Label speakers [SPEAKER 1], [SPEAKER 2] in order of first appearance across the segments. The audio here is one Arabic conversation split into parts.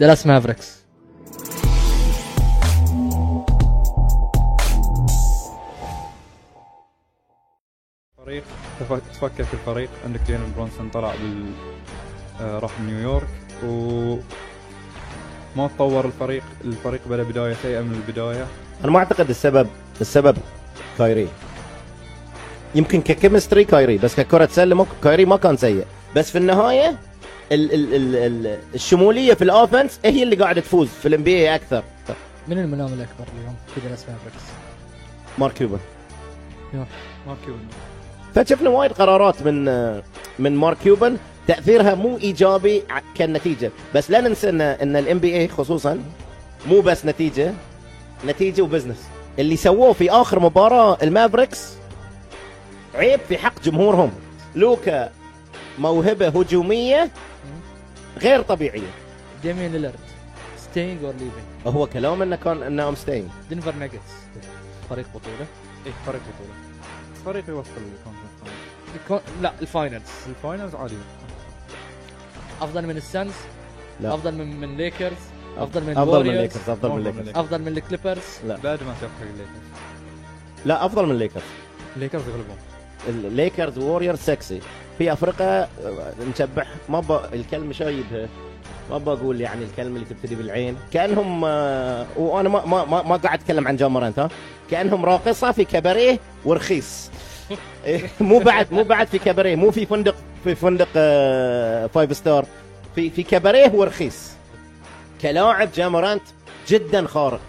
[SPEAKER 1] دالاس مافريكس
[SPEAKER 2] فريق تف- تفكك الفريق عندك جيلن برونسون طلع بال آه، راح نيويورك و ما تطور الفريق الفريق بدا بدايه سيئه من البدايه
[SPEAKER 3] انا ما اعتقد السبب السبب كايري يمكن ككيمستري كايري بس ككره سله مو- كايري ما كان سيء بس في النهايه ال ال ال ال الشموليه في الاوفنس هي اللي قاعده تفوز في الام بي اكثر
[SPEAKER 1] من المنام الاكبر اليوم في دالاس مافريكس؟
[SPEAKER 3] مارك كيوبن
[SPEAKER 2] مارك كيوبن
[SPEAKER 3] فشفنا وايد قرارات من من مارك كيوبن تاثيرها مو ايجابي ع- كالنتيجه بس لا ننسى ان ان الام بي اي خصوصا مو بس نتيجه نتيجه وبزنس اللي سووه في اخر مباراه المافريكس عيب في حق جمهورهم لوكا موهبه هجوميه غير طبيعيه
[SPEAKER 1] ديمين ليلارد ستينج اور ليفينج
[SPEAKER 3] هو كلام انه كان انه امستين
[SPEAKER 1] دنفر ناجتس فريق إيه، بطوله
[SPEAKER 2] اي فريق بطوله فريق يوصل للكونفرنس فاينل.
[SPEAKER 1] الكون... لا الفاينلز
[SPEAKER 2] الفاينلز عادي
[SPEAKER 1] افضل من السانز
[SPEAKER 3] لا.
[SPEAKER 1] افضل من من ليكرز افضل من
[SPEAKER 3] افضل من
[SPEAKER 1] الوريورز
[SPEAKER 3] الليكرز افضل من الليكرز
[SPEAKER 1] افضل من الكليبرز
[SPEAKER 3] لا.
[SPEAKER 2] بعد ما شاف حق الليكرز
[SPEAKER 3] لا افضل من الليكرز
[SPEAKER 2] الليكرز يغلبون
[SPEAKER 3] الليكرز وورير سكسي في افريقيا آه، نشبح ما ب... الكلمه شايبها ما بقول يعني الكلمه اللي تبتدي بالعين كانهم آه، وانا ما ما ما, ما قاعد اتكلم عن جامرانت ها كانهم راقصه في كباريه ورخيص إيه، مو بعد مو بعد في كباريه مو في فندق في فندق آه، فايف ستار في في كباريه ورخيص كلاعب جامرانت جدا خارق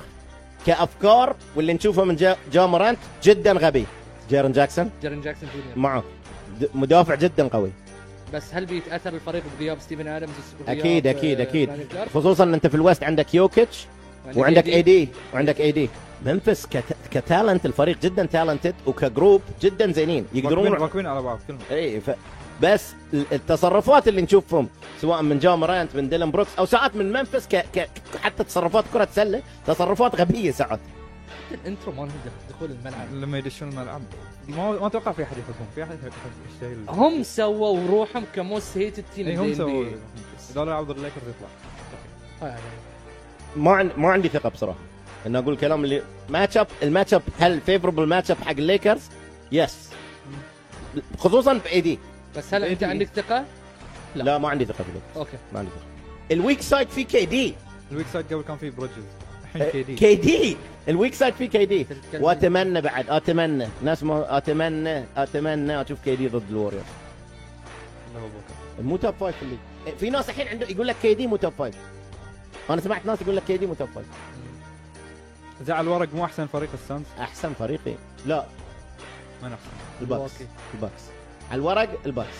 [SPEAKER 3] كافكار واللي نشوفه من جا- جامرانت جدا غبي جيرن جاكسون
[SPEAKER 1] جيرن جاكسون جونيور
[SPEAKER 3] معه د- مدافع جدا قوي
[SPEAKER 1] بس هل بيتاثر الفريق بغياب ستيفن ادمز وغياب،
[SPEAKER 3] اكيد اكيد
[SPEAKER 1] آه،
[SPEAKER 3] اكيد
[SPEAKER 1] داني كلارك؟
[SPEAKER 3] خصوصا إن انت في الوست عندك يوكيتش
[SPEAKER 1] وعندك
[SPEAKER 3] وعندك
[SPEAKER 1] AD.
[SPEAKER 3] اي دي وعندك اي دي منفس كت... كتالنت الفريق جدا تالنتد وكجروب جدا زينين
[SPEAKER 2] يقدرون
[SPEAKER 3] يقدرون
[SPEAKER 2] راكبين على بعض كلهم
[SPEAKER 3] اي ف... بس ال- التصرفات اللي نشوفهم سواء من جامرانت من ديلان بروكس او ساعات من منفس ك... ك... حتى تصرفات كره سله تصرفات غبيه ساعات
[SPEAKER 1] حتى الانترو مالهم دخ- دخول الملعب
[SPEAKER 2] لما يدشون الملعب ما ما اتوقع في احد يحبهم في احد يحب الشيء اللي-
[SPEAKER 1] هم سووا روحهم كموست هيتد تيم
[SPEAKER 2] اي إيه، هم سووا دول عبد الليكرز يطلع
[SPEAKER 1] آه، يعني
[SPEAKER 3] ما عن... ما عندي ثقه بصراحه ان اقول الكلام اللي ماتش اب الماتش اب هل فيفربل ماتش اب حق الليكرز؟ يس خصوصا في اي دي
[SPEAKER 1] بس هل انت
[SPEAKER 2] AD.
[SPEAKER 1] عندك ثقه؟
[SPEAKER 3] لا.
[SPEAKER 1] لا.
[SPEAKER 3] ما عندي ثقه في الليكرز
[SPEAKER 1] اوكي
[SPEAKER 3] ما عندي ثقه الويك سايد في كي دي
[SPEAKER 2] الويك سايد قبل كان في بروجز الحين كي دي
[SPEAKER 3] كي دي الويك سايد في كي دي
[SPEAKER 1] تتكلم.
[SPEAKER 3] واتمنى بعد اتمنى ناس ما اتمنى اتمنى اشوف كي دي ضد الوريورز مو توب فايف في الليج في ناس الحين عنده يقول لك كي دي مو توب فايف انا سمعت ناس يقول لك كي دي مو توب فايف
[SPEAKER 2] زعل ورق مو احسن فريق السانز
[SPEAKER 3] احسن فريقي لا
[SPEAKER 2] من احسن
[SPEAKER 3] الباكس
[SPEAKER 1] ملواكي.
[SPEAKER 3] الباكس على الورق الباكس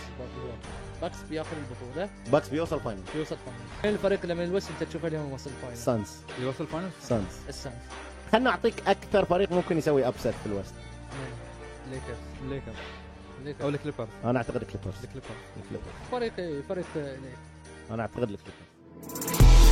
[SPEAKER 1] باكس بياخذ البطوله
[SPEAKER 3] الباكس بيوصل فاينل
[SPEAKER 1] يوصل فاينل الفريق اللي من الوست انت تشوفه اليوم وصل فاينل
[SPEAKER 3] سانز
[SPEAKER 2] اللي وصل فاينلز
[SPEAKER 3] سانز
[SPEAKER 1] السنه
[SPEAKER 3] خلنا اعطيك اكثر فريق ممكن يسوي ابسط في الوست
[SPEAKER 1] ليكرز
[SPEAKER 2] الليكرز او
[SPEAKER 1] ليكرز
[SPEAKER 2] الكليبرز
[SPEAKER 3] انا اعتقد الكليبرز
[SPEAKER 2] الكليبرز
[SPEAKER 3] الكليبرز
[SPEAKER 1] فريق فريق آه،
[SPEAKER 3] انا اعتقد الكليبرز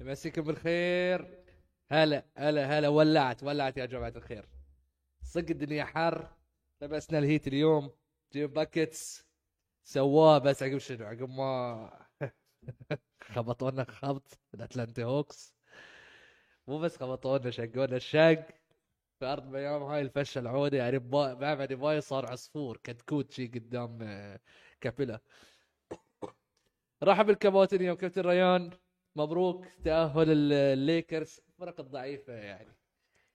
[SPEAKER 1] مسيكم بالخير هلا هلا هلا ولعت ولعت يا جماعة الخير صدق الدنيا حر لبسنا الهيت اليوم جيب باكيتس سواه بس عقب شنو عقب ما خبطونا خبط الاتلانتا هوكس مو بس خبطونا شقونا الشق في ارض ميام هاي الفشه العوده يعني با... مع ديفاي صار عصفور كتكوت شي قدام آه، كابيلا رحب الكباتن يوم كابتن ريان مبروك تاهل ال- الليكرز الفرق الضعيفه يعني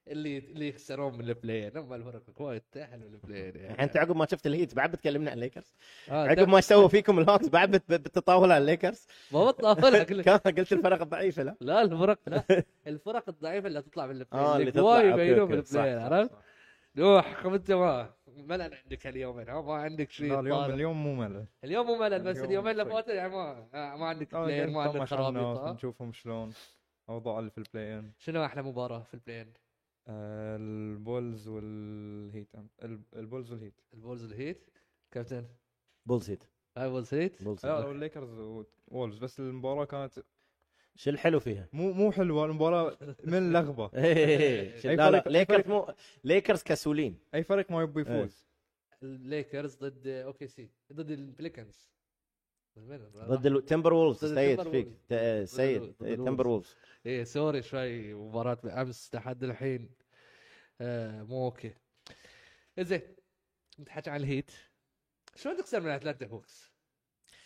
[SPEAKER 1] اللي اللي يخسرون من البلاين اما الفرق الكويت تاهلوا من البلاين
[SPEAKER 3] يعني انت عقب ما شفت الهيت بعد بتكلمنا عن الليكرز
[SPEAKER 1] آه،
[SPEAKER 3] عقب ما سووا فيكم الهوكس بعد بت- بتتطاول على الليكرز
[SPEAKER 1] ما هو الطاولة أقول لك.
[SPEAKER 3] كان قلت الفرق الضعيف لا
[SPEAKER 1] لا الفرق لا الفرق الضعيفه اللي تطلع من البلاي
[SPEAKER 3] آه، اللي
[SPEAKER 1] اللي
[SPEAKER 3] تطلع،
[SPEAKER 1] قواي
[SPEAKER 3] أوكي،
[SPEAKER 1] يبينون
[SPEAKER 3] أوكي،
[SPEAKER 1] من
[SPEAKER 3] صح،
[SPEAKER 1] البلاي
[SPEAKER 3] صح،
[SPEAKER 1] عرفت؟ نوح انت ما ملل عندك هاليومين ها، ما عندك شيء
[SPEAKER 2] لا اليوم
[SPEAKER 1] طالع.
[SPEAKER 2] اليوم مو ملل
[SPEAKER 1] اليوم مو ملل بس
[SPEAKER 2] اليوم
[SPEAKER 1] اليومين اللي
[SPEAKER 2] طيب.
[SPEAKER 1] فاتوا يعني ما آه، ما عندك
[SPEAKER 2] آه،
[SPEAKER 1] بلاي
[SPEAKER 2] قاعد
[SPEAKER 1] ما آه. عندك
[SPEAKER 2] نطمش على
[SPEAKER 1] خرابيط
[SPEAKER 2] الناس،
[SPEAKER 1] ها؟
[SPEAKER 2] نشوفهم شلون اوضاع اللي في البلاي ان
[SPEAKER 1] شنو احلى مباراه في البلاين؟
[SPEAKER 2] آه، البولز والهيت أم- الب- البولز والهيت
[SPEAKER 1] البولز الهيت كابتن
[SPEAKER 3] بولز هيت
[SPEAKER 1] I was hit
[SPEAKER 3] بولز
[SPEAKER 2] لا هو الليكرز وولفز بس المباراه كانت
[SPEAKER 3] شو الحلو فيها؟
[SPEAKER 2] مو مو حلوه المباراه من لغبه
[SPEAKER 3] إيه.
[SPEAKER 2] أي
[SPEAKER 3] لا لا
[SPEAKER 2] فريق- أي
[SPEAKER 3] ليكرز
[SPEAKER 2] فريق-
[SPEAKER 3] مو ليكرز كسولين
[SPEAKER 2] اي فريق ما يبي
[SPEAKER 1] إيه.
[SPEAKER 2] يفوز
[SPEAKER 1] الليكرز ضد اوكي سي ضد البليكنز
[SPEAKER 3] ضد التمبر وولفز
[SPEAKER 1] ضد
[SPEAKER 3] سيد
[SPEAKER 1] التمبر
[SPEAKER 3] فيك
[SPEAKER 1] وولفز.
[SPEAKER 3] ت- آه، سيد
[SPEAKER 1] ضد
[SPEAKER 3] إيه،
[SPEAKER 1] الوولفز.
[SPEAKER 3] تمبر وولفز
[SPEAKER 1] ايه سوري شوي مباراة بالامس لحد الحين آه مو اوكي زين نتحكي عن الهيت شلون تخسر من اتلانتا هوكس؟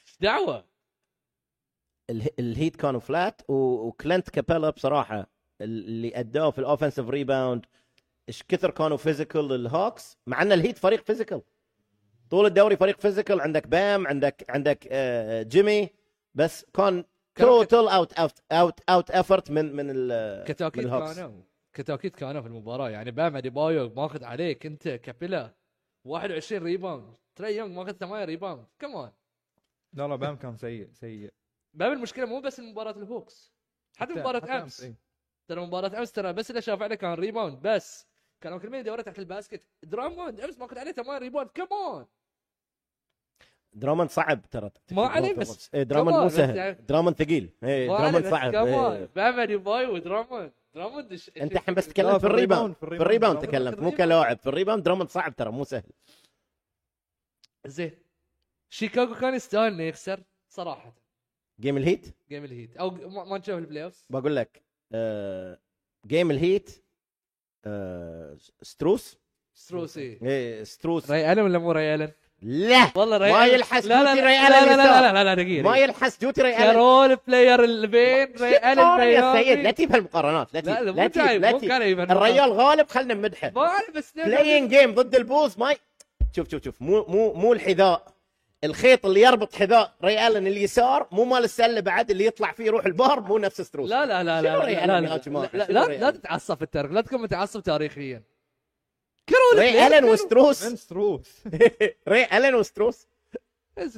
[SPEAKER 1] إيش دعوة
[SPEAKER 3] اله- الهيت كانوا فلات و- وكلنت كابيلا بصراحه اللي ادوه في الاوفنسيف ريباوند ايش كثر كانوا فيزيكال الهوكس مع ان الهيت فريق فيزيكال طول الدوري فريق فيزيكال عندك بام عندك عندك آه، جيمي بس كان
[SPEAKER 1] كانوا-
[SPEAKER 3] توتال اوت اوت اوت اوت افورت من من ال-
[SPEAKER 1] كتاكيد
[SPEAKER 3] بالهوكس.
[SPEAKER 1] كانوا كتاكيد كانوا في المباراة يعني بام اديبايو ماخذ عليك انت كابيلا 21 ريباوند تري يونغ ماخذ 8 ريباوند كمان
[SPEAKER 2] لا لا بام كان سيء سيء
[SPEAKER 1] بام المشكلة مو بس مباراة الهوكس حتى
[SPEAKER 2] حتى
[SPEAKER 1] مباراة امس
[SPEAKER 2] إيه.
[SPEAKER 1] ترى مباراة امس ترى بس اللي شاف عليه كان ريباوند بس كانوا كل مين يدور تحت الباسكت دراموند امس ماخذ عليه 8 ريباوند كمان
[SPEAKER 3] درامون صعب ترى
[SPEAKER 1] ما عليه بس
[SPEAKER 3] إيه، درامون مو
[SPEAKER 1] كمان، بس يعني-
[SPEAKER 3] سهل درامون ثقيل إيه، درامون صعب
[SPEAKER 1] كمان
[SPEAKER 3] إيه.
[SPEAKER 1] بام ديباي ودراموند دراموند إيش- إيش-
[SPEAKER 3] انت الحين بس
[SPEAKER 2] لا،
[SPEAKER 3] تكلم في
[SPEAKER 2] في الريباوند،
[SPEAKER 3] الريباوند
[SPEAKER 2] في
[SPEAKER 3] في
[SPEAKER 2] الريباوند،
[SPEAKER 3] الريباوند
[SPEAKER 1] في
[SPEAKER 3] تكلمت مو
[SPEAKER 1] الريباوند.
[SPEAKER 3] كلاعب في الريباوند درامون صعب ترى مو سهل
[SPEAKER 1] زين شيكاغو كان يستاهل انه يخسر صراحه
[SPEAKER 3] جيم الهيت
[SPEAKER 1] جيم الهيت او ما ما نشوف البلاي اوف
[SPEAKER 3] بقول لك آه، جيم الهيت آه، ستروس
[SPEAKER 1] ستروسي
[SPEAKER 3] إيه، ستروس
[SPEAKER 1] ري الن ولا مو ري الن؟
[SPEAKER 3] لا
[SPEAKER 1] والله ري
[SPEAKER 3] ما
[SPEAKER 1] ألن-
[SPEAKER 3] يلحس
[SPEAKER 1] لا لا
[SPEAKER 3] جوتي
[SPEAKER 1] لا
[SPEAKER 3] ري
[SPEAKER 1] لا
[SPEAKER 3] ألن
[SPEAKER 1] لا لا لا
[SPEAKER 3] يستاهل.
[SPEAKER 1] لا لا دقيقه
[SPEAKER 3] ما
[SPEAKER 1] دقيقة.
[SPEAKER 3] يلحس ديوتي ري ألن
[SPEAKER 1] كارول بلاير اللي بين ري الن
[SPEAKER 3] شطار
[SPEAKER 1] ري
[SPEAKER 3] يا سيد
[SPEAKER 1] ألن.
[SPEAKER 3] لا تجيب هالمقارنات لا
[SPEAKER 1] لا
[SPEAKER 3] تجيب
[SPEAKER 1] لا،
[SPEAKER 3] لا
[SPEAKER 1] مو
[SPEAKER 3] تجيب
[SPEAKER 1] جايب
[SPEAKER 3] لا
[SPEAKER 1] مو
[SPEAKER 3] تجيب
[SPEAKER 1] قريب
[SPEAKER 3] الريال غالب خلنا نمدحه
[SPEAKER 1] ما اعرف بس
[SPEAKER 3] بلاين جيم ضد البوز ما ي- شوف شوف شوف مو مو مو الحذاء الخيط اللي يربط حذاء ري الن اليسار مو مال السله بعد اللي يطلع فيه يروح البار مو نفس ستروس
[SPEAKER 1] لا لا لا لا
[SPEAKER 3] شنو ري
[SPEAKER 1] لا
[SPEAKER 3] ألن
[SPEAKER 1] لا
[SPEAKER 3] يا حاج
[SPEAKER 1] لا
[SPEAKER 3] ماهر؟
[SPEAKER 1] لا
[SPEAKER 3] شنو ري
[SPEAKER 1] لا لا
[SPEAKER 3] ألن؟
[SPEAKER 1] تتعصب في التاريخ لا تكون متعصب تاريخيا كارول
[SPEAKER 3] ري
[SPEAKER 1] بلاير
[SPEAKER 3] الن
[SPEAKER 1] كانوا-
[SPEAKER 2] من
[SPEAKER 3] وستروس
[SPEAKER 2] ستروس
[SPEAKER 3] ري الن وستروس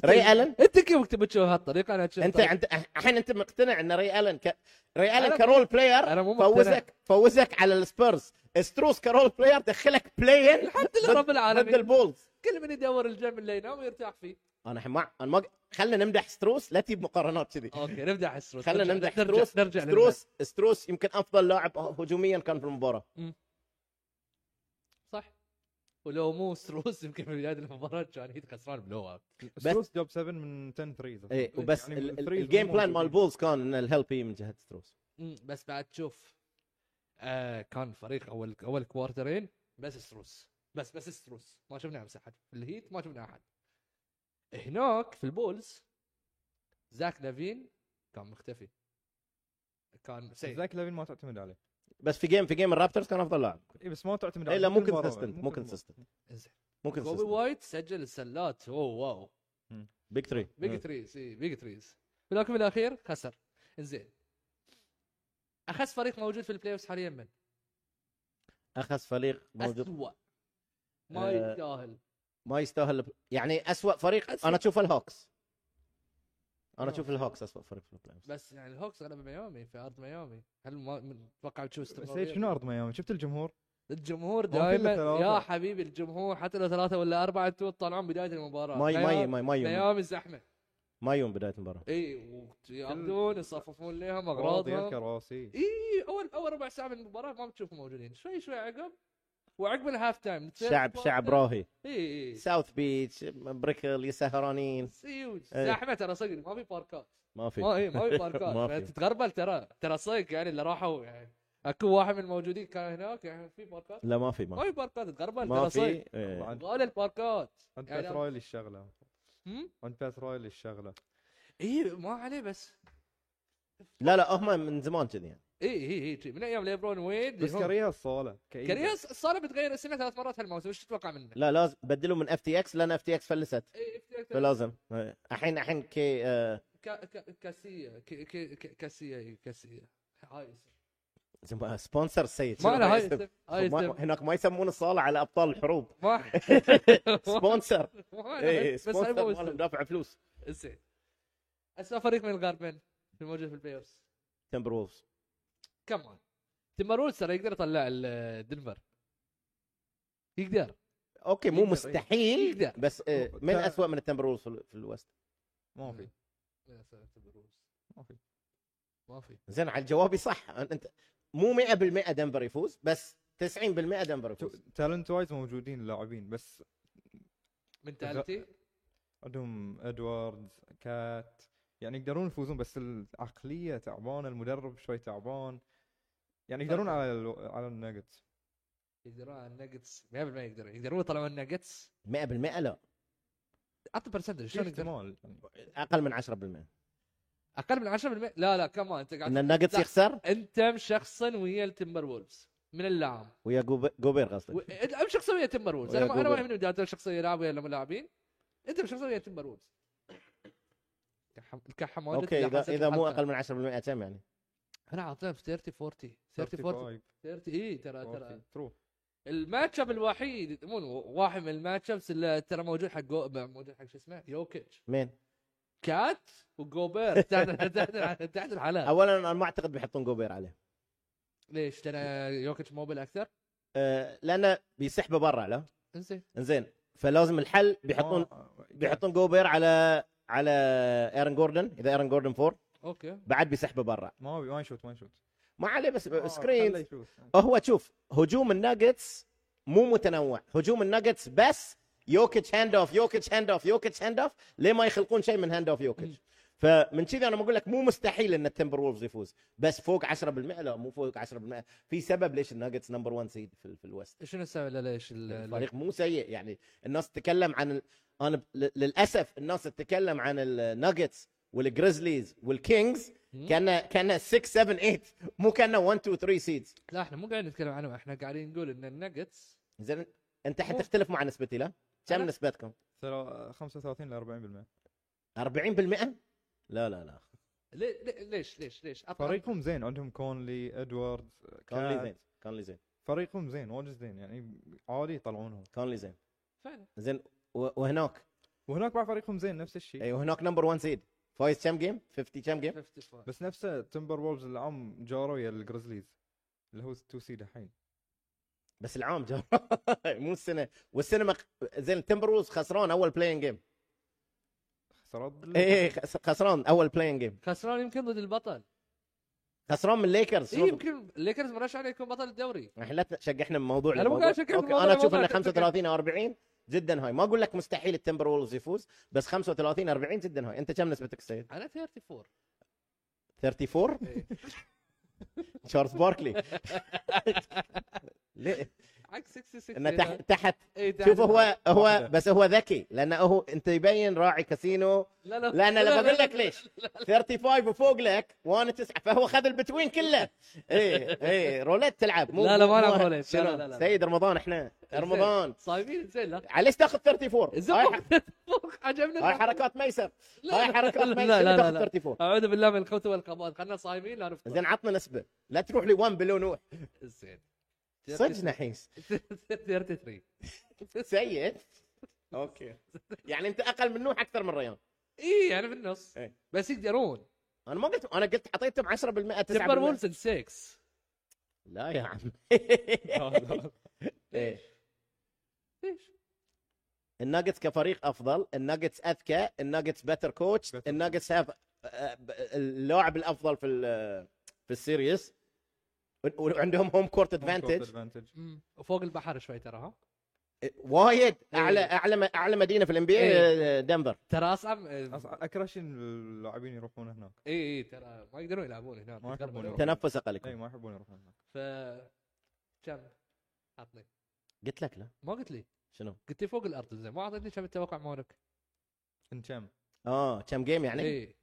[SPEAKER 3] ري ألن؟
[SPEAKER 1] انت كيف تبي تشوف هالطريقه انا اشوف
[SPEAKER 3] انت
[SPEAKER 1] طريقة.
[SPEAKER 3] انت الحين انت مقتنع ان ري الن ك... ري
[SPEAKER 1] طيب. أنا
[SPEAKER 3] الن كرول بلاير
[SPEAKER 1] أنا مو مقتنع.
[SPEAKER 3] فوزك فوزك على السبيرز ستروس كرول بلاير دخلك بلاين
[SPEAKER 1] الحمد لله رب
[SPEAKER 3] ضد
[SPEAKER 1] العالمين
[SPEAKER 3] البولز
[SPEAKER 1] كل من يدور الجيم اللي ينام ويرتاح فيه
[SPEAKER 3] انا الحين ما انا ما خلينا نمدح ستروس لا تجيب مقارنات كذي
[SPEAKER 1] اوكي نمدح ستروس
[SPEAKER 3] خلينا
[SPEAKER 1] نرجع-
[SPEAKER 3] نمدح
[SPEAKER 1] نرجع-
[SPEAKER 3] ستروس
[SPEAKER 1] نرجع للمدح.
[SPEAKER 3] ستروس ستروس يمكن افضل لاعب هجوميا كان في المباراه
[SPEAKER 1] صح ولو مو ستروس يمكن في يعني بدايه المباراه كان هيت خسران بلو اوت
[SPEAKER 2] ستروس جاب 7 من 10 ثريز
[SPEAKER 1] إيه،
[SPEAKER 3] اي إيه، وبس
[SPEAKER 2] يعني
[SPEAKER 3] ال- ال-
[SPEAKER 2] الثريز
[SPEAKER 3] الجيم
[SPEAKER 2] مو
[SPEAKER 3] بلان مال
[SPEAKER 2] موجودين.
[SPEAKER 3] البولز كان ان الهيلب هي من جهه ستروس
[SPEAKER 1] أمم، بس بعد تشوف آه كان فريق اول اول كوارترين بس ستروس بس بس ستروس ما شفنا امس احد في الهيت ما شفنا احد هناك في البولز زاك لافين كان مختفي كان سيء
[SPEAKER 2] زاك لافين ما تعتمد عليه
[SPEAKER 3] بس في جيم في جيم الرابترز كان افضل لاعب
[SPEAKER 2] اي إيه، بس ما تعتمد عليه
[SPEAKER 3] الا مو
[SPEAKER 2] كل مرة.
[SPEAKER 3] كونسستنت مو
[SPEAKER 2] كل مرة.
[SPEAKER 3] كونسستنت
[SPEAKER 1] إنزين.
[SPEAKER 3] مو
[SPEAKER 1] كوبي
[SPEAKER 3] كونسستنت
[SPEAKER 1] وايت سجل السلات اوه واو
[SPEAKER 3] بيج 3
[SPEAKER 1] بيج تريز اي بيج تريز ولكن في الاخير خسر انزين اخس فريق موجود في البلاي اوف حاليا من
[SPEAKER 3] اخس فريق موجود
[SPEAKER 1] اسوء ما
[SPEAKER 3] آه،
[SPEAKER 1] يتجاهل
[SPEAKER 3] ما يستاهل يعني اسوء فريق
[SPEAKER 1] أسوأ.
[SPEAKER 3] انا اشوف الهوكس انا
[SPEAKER 2] نعم.
[SPEAKER 3] اشوف الهوكس اسوء فريق في البلاي أوفز.
[SPEAKER 1] بس يعني الهوكس غلبوا ميامي في ارض ميامي هل ما من- تتوقع تشوف
[SPEAKER 2] سيد شنو ارض ميامي شفت الجمهور
[SPEAKER 1] الجمهور
[SPEAKER 2] ما في إلا
[SPEAKER 1] دائما يا
[SPEAKER 2] ثلاثة.
[SPEAKER 1] حبيبي الجمهور حتى لو ثلاثه ولا اربعه انتوا تطلعون بدايه المباراه
[SPEAKER 3] ما ي- ما ي-
[SPEAKER 1] ميامي
[SPEAKER 3] ما ي- ما يوم
[SPEAKER 1] ميامي زحمه
[SPEAKER 3] ما يوم بدايه المباراه
[SPEAKER 1] اي وياخذون يصففون لهم
[SPEAKER 2] اغراض يا
[SPEAKER 1] اغراضهم
[SPEAKER 2] كراسي
[SPEAKER 1] اي اول اول ربع ساعه من المباراه ما بتشوفهم موجودين شوي شوي عقب وعقب الهاف تايم
[SPEAKER 3] شعب شعب راهي
[SPEAKER 1] اي اي
[SPEAKER 3] ساوث بيتش بريكل سهرانين
[SPEAKER 1] سيوج زحمه ترى صدق ما في باركات
[SPEAKER 3] ما في
[SPEAKER 1] ما اي ما
[SPEAKER 3] ما
[SPEAKER 1] في باركات
[SPEAKER 3] في.
[SPEAKER 1] يعني تتغربل ترى ترى صدق يعني اللي راحوا يعني اكو واحد من الموجودين كان هناك يعني في باركات
[SPEAKER 3] لا ما في
[SPEAKER 1] ما
[SPEAKER 3] ما
[SPEAKER 1] في باركات تتغربل
[SPEAKER 3] ما
[SPEAKER 1] ترى صدق
[SPEAKER 3] في إيه.
[SPEAKER 2] عند
[SPEAKER 1] غالي الباركات
[SPEAKER 2] عند
[SPEAKER 1] يعني
[SPEAKER 2] بات رايلي الشغله
[SPEAKER 1] هم؟
[SPEAKER 2] عند بات رايلي الشغله
[SPEAKER 1] اي إيه، ما عليه بس إيه،
[SPEAKER 3] لا لا هم من زمان كذي يعني
[SPEAKER 1] اي اي اي من ايام ليبرون ويد
[SPEAKER 2] بس
[SPEAKER 1] إيه، هم-
[SPEAKER 2] كاريها الصاله كئيبة.
[SPEAKER 1] كاريس صار بتغير اسمه ثلاث مرات هالموسم وش تتوقع منه؟
[SPEAKER 3] لا لازم بدلوا من اف تي اكس لان اف تي اكس فلست
[SPEAKER 1] اي
[SPEAKER 3] فلازم إيه. الحين الحين كي آه،
[SPEAKER 1] كا- كا- كاسية كي- كي- كي- كاسية إي، كاسية إيه، هاي اسم.
[SPEAKER 3] زم- آه، سبونسر سيد
[SPEAKER 1] ما له هاي
[SPEAKER 3] شنو
[SPEAKER 1] اسم هاي
[SPEAKER 3] ما-
[SPEAKER 1] اسم
[SPEAKER 3] هناك ما يسمون الصاله على ابطال الحروب
[SPEAKER 1] ما
[SPEAKER 3] سبونسر
[SPEAKER 1] ما له
[SPEAKER 3] اي
[SPEAKER 1] بس هاي مو
[SPEAKER 3] سبونسر مالهم
[SPEAKER 1] اسم
[SPEAKER 3] دافع فلوس
[SPEAKER 1] زين اسوء فريق من الغرب من الموجود في البلاي اوف
[SPEAKER 3] تمبر وولفز
[SPEAKER 1] كمان تمرولز ترى يقدر يطلع ال- دنفر يقدر
[SPEAKER 3] اوكي مو
[SPEAKER 1] يقدر،
[SPEAKER 3] مستحيل
[SPEAKER 1] يقدر.
[SPEAKER 3] بس آه، من اسوء من التمبرولز في ال- في الوست
[SPEAKER 2] ما في
[SPEAKER 1] يا سلام تبروس.
[SPEAKER 2] ما في.
[SPEAKER 1] ما في
[SPEAKER 3] زين على الجوابي صح انت مو 100% دنفر يفوز بس 90% دنفر يفوز
[SPEAKER 2] تالنت وايز موجودين اللاعبين بس
[SPEAKER 1] منتاليتي
[SPEAKER 2] عندهم ادواردز كات يعني يقدرون يفوزون بس العقليه تعبانه المدرب شوي تعبان يعني يقدرون
[SPEAKER 1] طيب.
[SPEAKER 2] على ال- على الناجتس
[SPEAKER 1] يقدرون على الناجتس 100% يقدرون يقدرون يطلعون الناجتس
[SPEAKER 3] 100% لا
[SPEAKER 1] اعطي برسنتج
[SPEAKER 2] في
[SPEAKER 1] شلون يقدر
[SPEAKER 2] احتمال يعني.
[SPEAKER 3] اقل من 10%
[SPEAKER 1] اقل من 10% لا لا كمان انت
[SPEAKER 3] ان
[SPEAKER 1] قاعد
[SPEAKER 3] الناجتس
[SPEAKER 1] لا.
[SPEAKER 3] يخسر
[SPEAKER 1] انت مشخصن ويا التمبر وولفز من اللعام
[SPEAKER 3] ويا جوب- جوبير قصدك
[SPEAKER 1] و... انت أنا مشخصن ويا التمبر وولفز انا
[SPEAKER 3] ويا
[SPEAKER 1] ما انا ما
[SPEAKER 3] طيب. جوجل.
[SPEAKER 1] يهمني بداية شخصيه يلعب ولا ملاعبين انت مشخصن ويا التمبر وولفز الكحم- الكحم واجد
[SPEAKER 3] اوكي اذا
[SPEAKER 1] حسب
[SPEAKER 3] اذا مو
[SPEAKER 1] الحلقة.
[SPEAKER 3] اقل من 10% كم يعني؟
[SPEAKER 1] انا عاطيهم 30 40 30 40
[SPEAKER 2] 35
[SPEAKER 1] 30 اي إيه، ترى آه، ترى
[SPEAKER 2] 40 ترو
[SPEAKER 1] الماتش اب الوحيد مو واحد من الماتش ابس اللي ترى موجود حق جو- موجود حق شو اسمه يوكيتش
[SPEAKER 3] مين؟
[SPEAKER 1] كات وجوبير تحت تحت تحت الحلال
[SPEAKER 3] اولا انا ما اعتقد بيحطون جوبير عليه
[SPEAKER 1] ليش؟ لان يوكيتش موبل اكثر
[SPEAKER 3] أه لانه بيسحبه برا لا
[SPEAKER 1] انزين
[SPEAKER 3] انزين فلازم الحل بيحطون بيحطون جوبير على على ايرن جوردن اذا ايرن جوردن فور
[SPEAKER 1] اوكي
[SPEAKER 3] بعد بيسحبه برا
[SPEAKER 2] ما ما يشوت ما يشوت
[SPEAKER 3] ما عليه بس
[SPEAKER 2] آه، خله
[SPEAKER 3] سكرين
[SPEAKER 2] يشوت.
[SPEAKER 3] هو شوف هجوم الناجتس مو متنوع هجوم الناجتس بس يوكيتش هاند اوف يوكيتش هاند اوف يوكيتش هاند اوف ليه ما يخلقون شيء من هاند اوف يوكيتش فمن كذي انا بقول لك مو مستحيل ان التمبر وولفز يفوز بس فوق 10% لا مو فوق 10% في سبب ليش الناجتس نمبر 1 سيد في, في الوست
[SPEAKER 1] شنو السبب لا ليش ال-
[SPEAKER 3] الفريق مو سيء يعني الناس تتكلم عن ال... انا ب... ل- للاسف الناس تتكلم عن الناجتس والجريزليز والكينجز
[SPEAKER 1] مم.
[SPEAKER 3] كان كان 6 7 8 مو كان 1 2 3 سيدز
[SPEAKER 1] لا احنا مو قاعدين نتكلم عنهم احنا قاعدين نقول ان النجتس
[SPEAKER 3] زين انت
[SPEAKER 1] مو-
[SPEAKER 3] حتختلف مع نسبتي لا كم
[SPEAKER 1] أنا-
[SPEAKER 3] نسبتكم
[SPEAKER 2] 35 ل 40%
[SPEAKER 3] 40% لا لا لا
[SPEAKER 1] لي- لي- ليش ليش ليش أط-
[SPEAKER 2] فريقهم زين عندهم كونلي ادواردز
[SPEAKER 3] كونلي
[SPEAKER 2] كات.
[SPEAKER 3] زين كونلي زين
[SPEAKER 2] فريقهم زين واجد زين يعني عادي يطلعونهم
[SPEAKER 3] كونلي زين
[SPEAKER 1] فعلا
[SPEAKER 3] زين و- وهناك
[SPEAKER 2] وهناك بعد فريقهم زين نفس الشيء
[SPEAKER 3] اي وهناك نمبر 1 سيد فايز كم جيم 50 كم جيم
[SPEAKER 1] 55.
[SPEAKER 2] بس نفسه تمبر وولفز العام جاروا ويا الجريزليز اللي هو 2 سيد الحين
[SPEAKER 3] بس العام جا مو السنه والسنه مق... زين تمبروز خسران اول بلاين جيم
[SPEAKER 2] خسارات بال-
[SPEAKER 3] اي اي إيه، خس- خسران اول بلاين جيم
[SPEAKER 1] خسران يمكن ضد البطل
[SPEAKER 3] خسران من الليكرز
[SPEAKER 1] إيه يمكن الليكرز مرشح انه يكون بطل الدوري
[SPEAKER 3] احنا لا شقحنا من موضوع
[SPEAKER 1] أنا مو
[SPEAKER 3] لموضوع.
[SPEAKER 1] قاعد أشجعك
[SPEAKER 3] أوكي،
[SPEAKER 1] بموضوع
[SPEAKER 3] انا اشوف
[SPEAKER 1] لموضوع،
[SPEAKER 3] انه
[SPEAKER 1] أنت بتتكلم.
[SPEAKER 3] 35 او 40 جدا هاي ما اقول لك مستحيل التمبر وولز يفوز بس 35 40 جدا هاي انت كم نسبتك سيد
[SPEAKER 1] انا 34
[SPEAKER 3] 34
[SPEAKER 1] إيه.
[SPEAKER 3] تشارلز باركلي ليه
[SPEAKER 1] عكس 66
[SPEAKER 3] انه تحت تحت
[SPEAKER 1] إيه، تحت-
[SPEAKER 3] شوف هو هو
[SPEAKER 2] واحدة.
[SPEAKER 3] بس هو ذكي لانه هو انت يبين راعي كاسينو
[SPEAKER 1] لا لا
[SPEAKER 3] لا انا
[SPEAKER 1] لا،
[SPEAKER 3] لما
[SPEAKER 1] لا،
[SPEAKER 3] اقول لك ليش 35 وفوق لك وانا تسعه فهو خذ البتوين كله ايه ايه روليت تلعب
[SPEAKER 1] لا، لا، ما
[SPEAKER 3] مو-
[SPEAKER 1] ألعب
[SPEAKER 3] مو-
[SPEAKER 1] روليت. لا،
[SPEAKER 3] شنو؟
[SPEAKER 1] لا، إيه، لا، لا.
[SPEAKER 3] سيد رمضان احنا رمضان
[SPEAKER 1] زين. صايمين زين لا
[SPEAKER 3] عليش تاخذ
[SPEAKER 1] إيه،
[SPEAKER 3] 34 هاي ح-
[SPEAKER 1] زين عجبنا
[SPEAKER 3] هاي حركات ميسر
[SPEAKER 1] لا،
[SPEAKER 3] هاي
[SPEAKER 1] لا،
[SPEAKER 3] حركات
[SPEAKER 1] لا،
[SPEAKER 3] ميسر
[SPEAKER 1] لا، لا،
[SPEAKER 3] تاخذ
[SPEAKER 1] لا.
[SPEAKER 3] 34
[SPEAKER 1] اعوذ بالله من الخوت والقبض خلنا صايمين لا نفطر
[SPEAKER 3] زين عطنا نسبه لا تروح لي 1 بلون نوح
[SPEAKER 1] زين
[SPEAKER 3] صدق نحيس
[SPEAKER 1] 33
[SPEAKER 3] سيد اوكي يعني انت اقل من نوح اكثر من ريان
[SPEAKER 1] اي يعني بالنص
[SPEAKER 3] إيه.
[SPEAKER 1] بس يقدرون
[SPEAKER 3] انا ما قلت انا قلت اعطيتهم 10% 9%
[SPEAKER 1] تمبر وولفز 6
[SPEAKER 3] لا يا عم إيه.
[SPEAKER 1] ليش؟
[SPEAKER 3] الناجتس كفريق افضل الناجتس اذكى الناجتس بيتر كوتش
[SPEAKER 2] Better
[SPEAKER 3] الناجتس هاف آه، اللاعب الافضل في ال- في السيريس و- وعندهم هوم كورت ادفانتج
[SPEAKER 2] ادفانتج
[SPEAKER 1] مم. وفوق البحر شوي ترى ها
[SPEAKER 3] إيه، وايد اعلى
[SPEAKER 1] إيه.
[SPEAKER 3] اعلى اعلى مدينه في الام بي
[SPEAKER 1] إيه.
[SPEAKER 3] دنفر
[SPEAKER 1] ترى إيه، اصعب
[SPEAKER 2] اكره شيء إن اللاعبين يروحون هناك
[SPEAKER 1] اي اي إيه، ترى ما يقدرون يلعبون هناك
[SPEAKER 2] ما يحبون
[SPEAKER 1] يتغربلون.
[SPEAKER 2] يلعبون.
[SPEAKER 3] تنفس اقل
[SPEAKER 2] اي
[SPEAKER 3] يكون.
[SPEAKER 1] أيوه.
[SPEAKER 2] إيه، ما يحبون يروحون هناك
[SPEAKER 1] ف كم عطني
[SPEAKER 3] قلت لك لا
[SPEAKER 1] ما قلت لي
[SPEAKER 3] شنو
[SPEAKER 1] قلت لي فوق الارض زين ما اعطيتني كم التوقع مالك
[SPEAKER 2] ان كم
[SPEAKER 3] اه كم جيم يعني
[SPEAKER 1] اي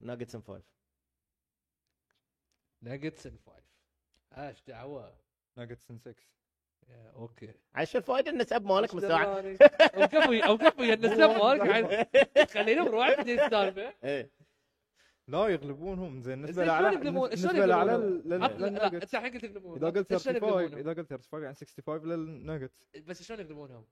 [SPEAKER 3] ناجتس ان فايف
[SPEAKER 1] ناجتس ان فايف ايش دعوه
[SPEAKER 2] ناجتس ان 6
[SPEAKER 1] يا اوكي
[SPEAKER 3] عشان الفائده النسب مالك مساعد
[SPEAKER 1] اوقف ويا اوقف ويا النسب مالك عاد خلينا نروح نبدي السالفه
[SPEAKER 3] ايه
[SPEAKER 2] لا يغلبونهم زين
[SPEAKER 1] زين
[SPEAKER 2] النسبه
[SPEAKER 1] شلون
[SPEAKER 2] الاعلى
[SPEAKER 1] يقلبون شلون
[SPEAKER 2] النسبه الاعلى
[SPEAKER 1] يقلبون
[SPEAKER 2] لل-
[SPEAKER 1] عط-
[SPEAKER 2] لل-
[SPEAKER 1] لا
[SPEAKER 2] للناجتس
[SPEAKER 1] انت الحين قلت يقلبون
[SPEAKER 2] اذا قلت
[SPEAKER 1] شلون
[SPEAKER 2] 35
[SPEAKER 1] يقلبونهم؟
[SPEAKER 2] اذا قلت 35 يعني 65 للناجتس
[SPEAKER 1] بس شلون يقلبونهم؟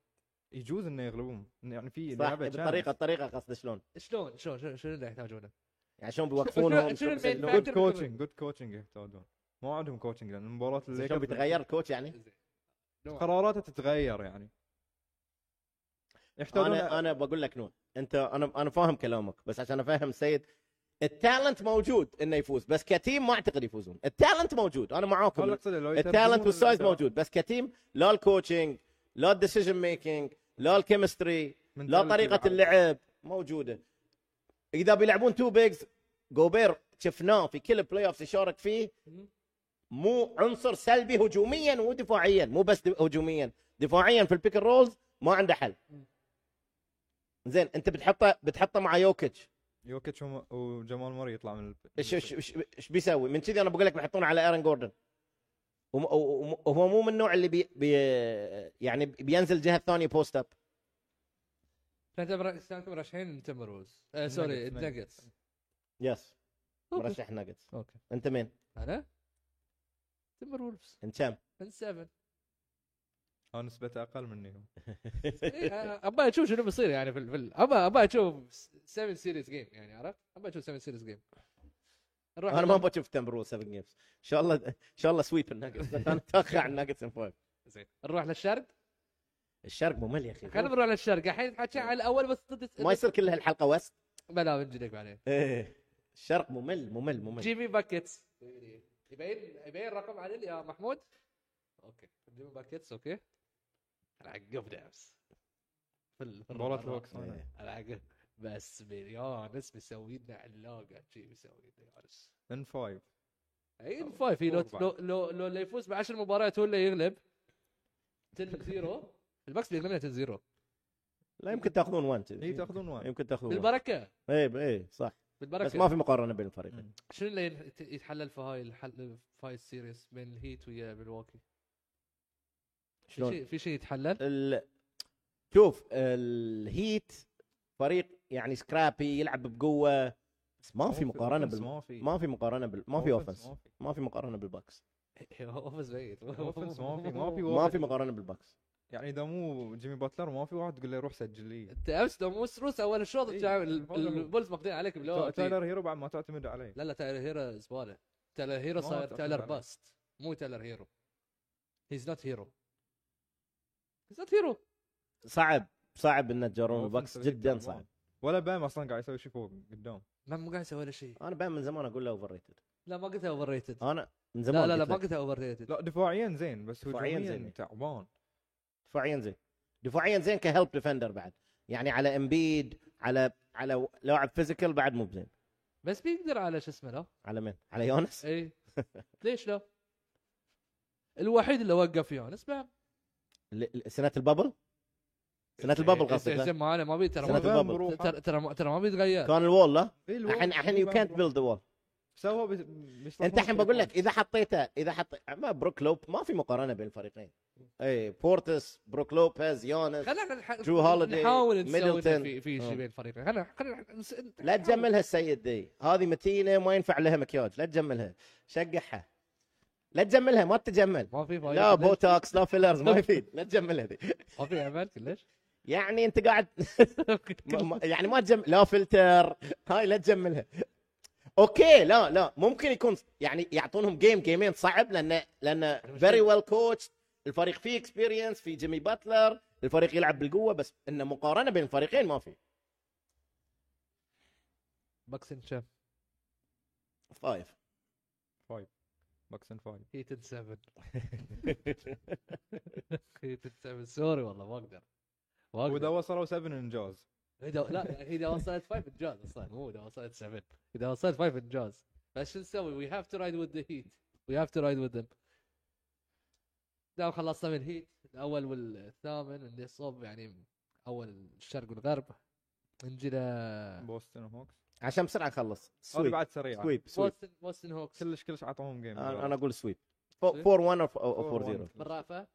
[SPEAKER 2] يجوز انه يغلبون يعني في
[SPEAKER 3] صح
[SPEAKER 2] لعبه
[SPEAKER 3] بالطريقه الطريقه قصدي شلون
[SPEAKER 1] شلون شلون شلون شنو اللي يحتاجونه؟
[SPEAKER 3] يعني شلون بيوقفونهم
[SPEAKER 1] شنو- شنو
[SPEAKER 3] شلون
[SPEAKER 1] المين
[SPEAKER 3] بيسلون-
[SPEAKER 1] فاكتور؟
[SPEAKER 2] جود كوتشنج جود كوتشنج يحتاجون ما عندهم كوتشنج لان مباراه
[SPEAKER 3] شلون بيتغير الكوتش يعني
[SPEAKER 1] زين. نوع.
[SPEAKER 2] قراراته تتغير يعني يحتاجون
[SPEAKER 3] انا انا بقول لك نوع انت انا انا فاهم كلامك بس عشان افهم سيد التالنت موجود انه يفوز بس كتيم ما اعتقد يفوزون التالنت موجود انا معاكم التالنت والسايز موجود بس كتيم لا الكوتشنج لا الديسيجن ميكينج لا الكيمستري لا طريقه اللعب موجوده اذا بيلعبون تو بيجز جوبير شفناه في كل بلاي اوف يشارك فيه مو عنصر سلبي هجوميا ودفاعيا مو بس د- هجوميا دفاعيا في البيك رولز ما عنده حل زين انت بتحطه بتحطه مع يوكيتش
[SPEAKER 2] يوكيتش وم- وجمال موري يطلع من ال...
[SPEAKER 3] ايش ايش ايش ايش بيسوي؟ من كذي انا بقول لك بيحطونه على ايرن جوردن وم- وم- وهو مو من النوع اللي بي بي يعني بينزل جهه ثانيه بوست اب
[SPEAKER 1] احنا تمر- احنا مرشحين انت مروز آه سوري
[SPEAKER 2] الناجتس.
[SPEAKER 1] الناجتس
[SPEAKER 3] يس مرشح ناجتس
[SPEAKER 1] اوكي
[SPEAKER 3] انت مين؟
[SPEAKER 1] انا تمر وولفز
[SPEAKER 3] انت كم؟
[SPEAKER 1] من 7
[SPEAKER 2] هو نسبته اقل مني هو
[SPEAKER 1] إيه، ابى اشوف شنو بيصير يعني في ال- في ال- ابى ابى اشوف 7 سيريز جيم يعني عرفت؟ ابى اشوف 7 سيريز جيم نروح
[SPEAKER 3] انا ما بشوف تمبرو 7 جيمز ان شاء الله ان شاء الله سويب الناجتس انا اتوقع الناجتس ان فايف
[SPEAKER 1] زين نروح للشرق
[SPEAKER 3] الشرق ممل يا اخي
[SPEAKER 1] خلينا نروح للشرق الحين نتحكي على الاول بس ضد
[SPEAKER 3] إيه. ما يصير كل هالحلقه وست
[SPEAKER 1] بلا بنجيك بعدين
[SPEAKER 2] إيه.
[SPEAKER 3] ايه الشرق ممل ممل ممل
[SPEAKER 1] جيمي باكيتس يبين يبين رقم عدل يا محمود اوكي جيمي باكيتس اوكي العقب دابس في ال- في
[SPEAKER 2] مباراة
[SPEAKER 1] الربع.
[SPEAKER 2] الوقت
[SPEAKER 3] إيه.
[SPEAKER 1] العقب بس بس مسوي لنا علاقه شي مسوي لنا يونس
[SPEAKER 2] ان 5
[SPEAKER 1] اي إيه فايف في لو لو لو لو اللي يفوز بعشر مباريات هو اللي يغلب 10 0 البكس بيغلبنا 10 0
[SPEAKER 3] لا يمكن تاخذون وان
[SPEAKER 2] هي تاخذون إيه، واحد
[SPEAKER 3] يمكن تاخذون وان
[SPEAKER 1] بالبركه
[SPEAKER 3] ايه ايه صح
[SPEAKER 1] بالبركه
[SPEAKER 3] بس ما في مقارنه بين الفريقين
[SPEAKER 2] مم.
[SPEAKER 1] شنو اللي يت- يتحلل في هاي الحل في هاي السيريس بين الهيت ويا ملواكي؟ في
[SPEAKER 3] شلون؟
[SPEAKER 1] شيء في شيء يتحلل؟
[SPEAKER 3] ال... شوف الهيت فريق يعني سكرابي يلعب بقوه بس ما في مقارنه
[SPEAKER 2] Offense
[SPEAKER 3] بال
[SPEAKER 2] ما في
[SPEAKER 3] ما في مقارنه بال... ما في
[SPEAKER 2] Offense
[SPEAKER 3] اوفنس
[SPEAKER 2] ما في
[SPEAKER 3] ما في مقارنه بالباكس
[SPEAKER 1] اوفيس ميت
[SPEAKER 2] Offense ما في- ما في
[SPEAKER 3] ما
[SPEAKER 2] واحد.
[SPEAKER 3] في مقارنه بالباكس
[SPEAKER 2] يعني اذا مو جيمي باتلر ما في واحد تقول له روح سجل لي
[SPEAKER 1] انت امس موس روس اول الشوط
[SPEAKER 2] إيه،
[SPEAKER 1] انت عامل-
[SPEAKER 2] والله.
[SPEAKER 1] ال- البولز ماخذين عليك بلو
[SPEAKER 2] تا- تايلر هيرو بعد ما تعتمد عليه
[SPEAKER 1] لا لا تايلر هيرو زباله تايلر هيرو
[SPEAKER 2] ما
[SPEAKER 1] صاير
[SPEAKER 2] تعتمد
[SPEAKER 1] تايلر
[SPEAKER 2] عليه.
[SPEAKER 1] باست مو تايلر هيرو هيز نوت هيرو هيز نوت هيرو
[SPEAKER 3] صعب صعب ان تجارون
[SPEAKER 2] Offense
[SPEAKER 3] الباكس
[SPEAKER 2] اللي
[SPEAKER 3] جدا
[SPEAKER 2] قدام.
[SPEAKER 3] صعب
[SPEAKER 2] ولا بام اصلا قاعد يسوي شيء فوق قدام
[SPEAKER 1] ما مو قاعد يسوي ولا شيء
[SPEAKER 3] انا بقى من زمان اقول له اوفر ريتد
[SPEAKER 1] لا ما قلتها اوفر ريتد
[SPEAKER 2] آه،
[SPEAKER 3] انا من زمان
[SPEAKER 1] لا لا لا
[SPEAKER 3] قلت
[SPEAKER 1] ما
[SPEAKER 3] لك.
[SPEAKER 1] قلتها اوفر ريتد
[SPEAKER 2] لا دفاعيا زين بس
[SPEAKER 3] دفاعياً
[SPEAKER 2] هجوميا
[SPEAKER 3] زين.
[SPEAKER 2] تعبان
[SPEAKER 3] دفاعيا زين دفاعيا زين كهيلب ديفندر بعد يعني على امبيد على على لاعب فيزيكال بعد مو بزين
[SPEAKER 1] بس بيقدر على شو اسمه لا
[SPEAKER 3] على مين؟ على يونس؟
[SPEAKER 1] اي ليش لا؟ الوحيد اللي وقف يونس بام
[SPEAKER 3] ل- ل- سنه البابل؟
[SPEAKER 1] إيه،
[SPEAKER 3] سنه البابل قصدك لا؟
[SPEAKER 1] زين ما انا ما بي ترى
[SPEAKER 3] سنة
[SPEAKER 1] ما بي-
[SPEAKER 3] البابل.
[SPEAKER 2] بروحه.
[SPEAKER 1] ترى ترى ما- ترى ما بيتغير
[SPEAKER 3] كان الوول لا؟
[SPEAKER 2] إيه، الوول-
[SPEAKER 3] الحين الحين يو
[SPEAKER 2] بام
[SPEAKER 3] كانت
[SPEAKER 2] بروحه.
[SPEAKER 3] بيلد ذا وول
[SPEAKER 2] سوى بس- بيصلحون
[SPEAKER 3] انت الحين بقول لك
[SPEAKER 2] الفريق.
[SPEAKER 3] اذا حطيته اذا حط ما بروك لوب ما في مقارنه بين الفريقين إيه، اي بورتس بروك لوبيز يونس
[SPEAKER 1] خلينا احنا نح-
[SPEAKER 3] درو هوليدي،
[SPEAKER 1] نحاول نسوي
[SPEAKER 3] ميدلتون.
[SPEAKER 1] في في شيء
[SPEAKER 3] آه.
[SPEAKER 1] بين الفريقين خلينا خلينا نس-
[SPEAKER 3] لا
[SPEAKER 1] نحاول.
[SPEAKER 3] تجملها السيد دي هذه متينه ما ينفع لها مكياج لا تجملها شقحها لا تجملها ما تتجمل
[SPEAKER 1] ما في
[SPEAKER 2] طيب،
[SPEAKER 1] فايدة
[SPEAKER 3] لا
[SPEAKER 1] كلش.
[SPEAKER 3] بوتوكس لا فيلرز ما يفيد لا تجملها دي
[SPEAKER 1] ما في امل كلش
[SPEAKER 3] يعني انت قاعد ما- ما- يعني ما تجم لا فلتر هاي لا تجملها اوكي لا لا ممكن يكون يعني يعطونهم جيم جيمين صعب لان لان فيري ويل كوتش الفريق فيه اكسبيرينس في جيمي باتلر الفريق يلعب بالقوه بس انه مقارنه بين الفريقين ما في
[SPEAKER 1] باكسن شاف
[SPEAKER 3] فايف
[SPEAKER 2] بوكس اند فايف
[SPEAKER 1] هيت 7 هيت 7 سوري والله ما اقدر ما
[SPEAKER 2] واذا
[SPEAKER 1] اقدر
[SPEAKER 2] وصلوا 7 انجاز
[SPEAKER 1] اذا لا اذا وصلت 5 انجاز اصلا مو اذا وصلت 7 اذا وصلت 5 انجاز بس شو نسوي؟ وي هاف تو رايد وذ ذا هيت وي هاف تو رايد وذ ذم دام خلصنا من الهيت الاول والثامن اللي صوب يعني اول الشرق والغرب نجينا
[SPEAKER 2] بوستن هوكس
[SPEAKER 3] عشان بسرعه نخلص
[SPEAKER 2] هذه
[SPEAKER 3] سويب
[SPEAKER 2] بعد سريعه
[SPEAKER 3] سويب سويب
[SPEAKER 1] بوستن بوستن هوكس
[SPEAKER 2] كلش كلش عطوهم جيم
[SPEAKER 3] انا أنا اقول سويب
[SPEAKER 1] سويب.
[SPEAKER 3] 4 1 او 4 0
[SPEAKER 1] بالرافه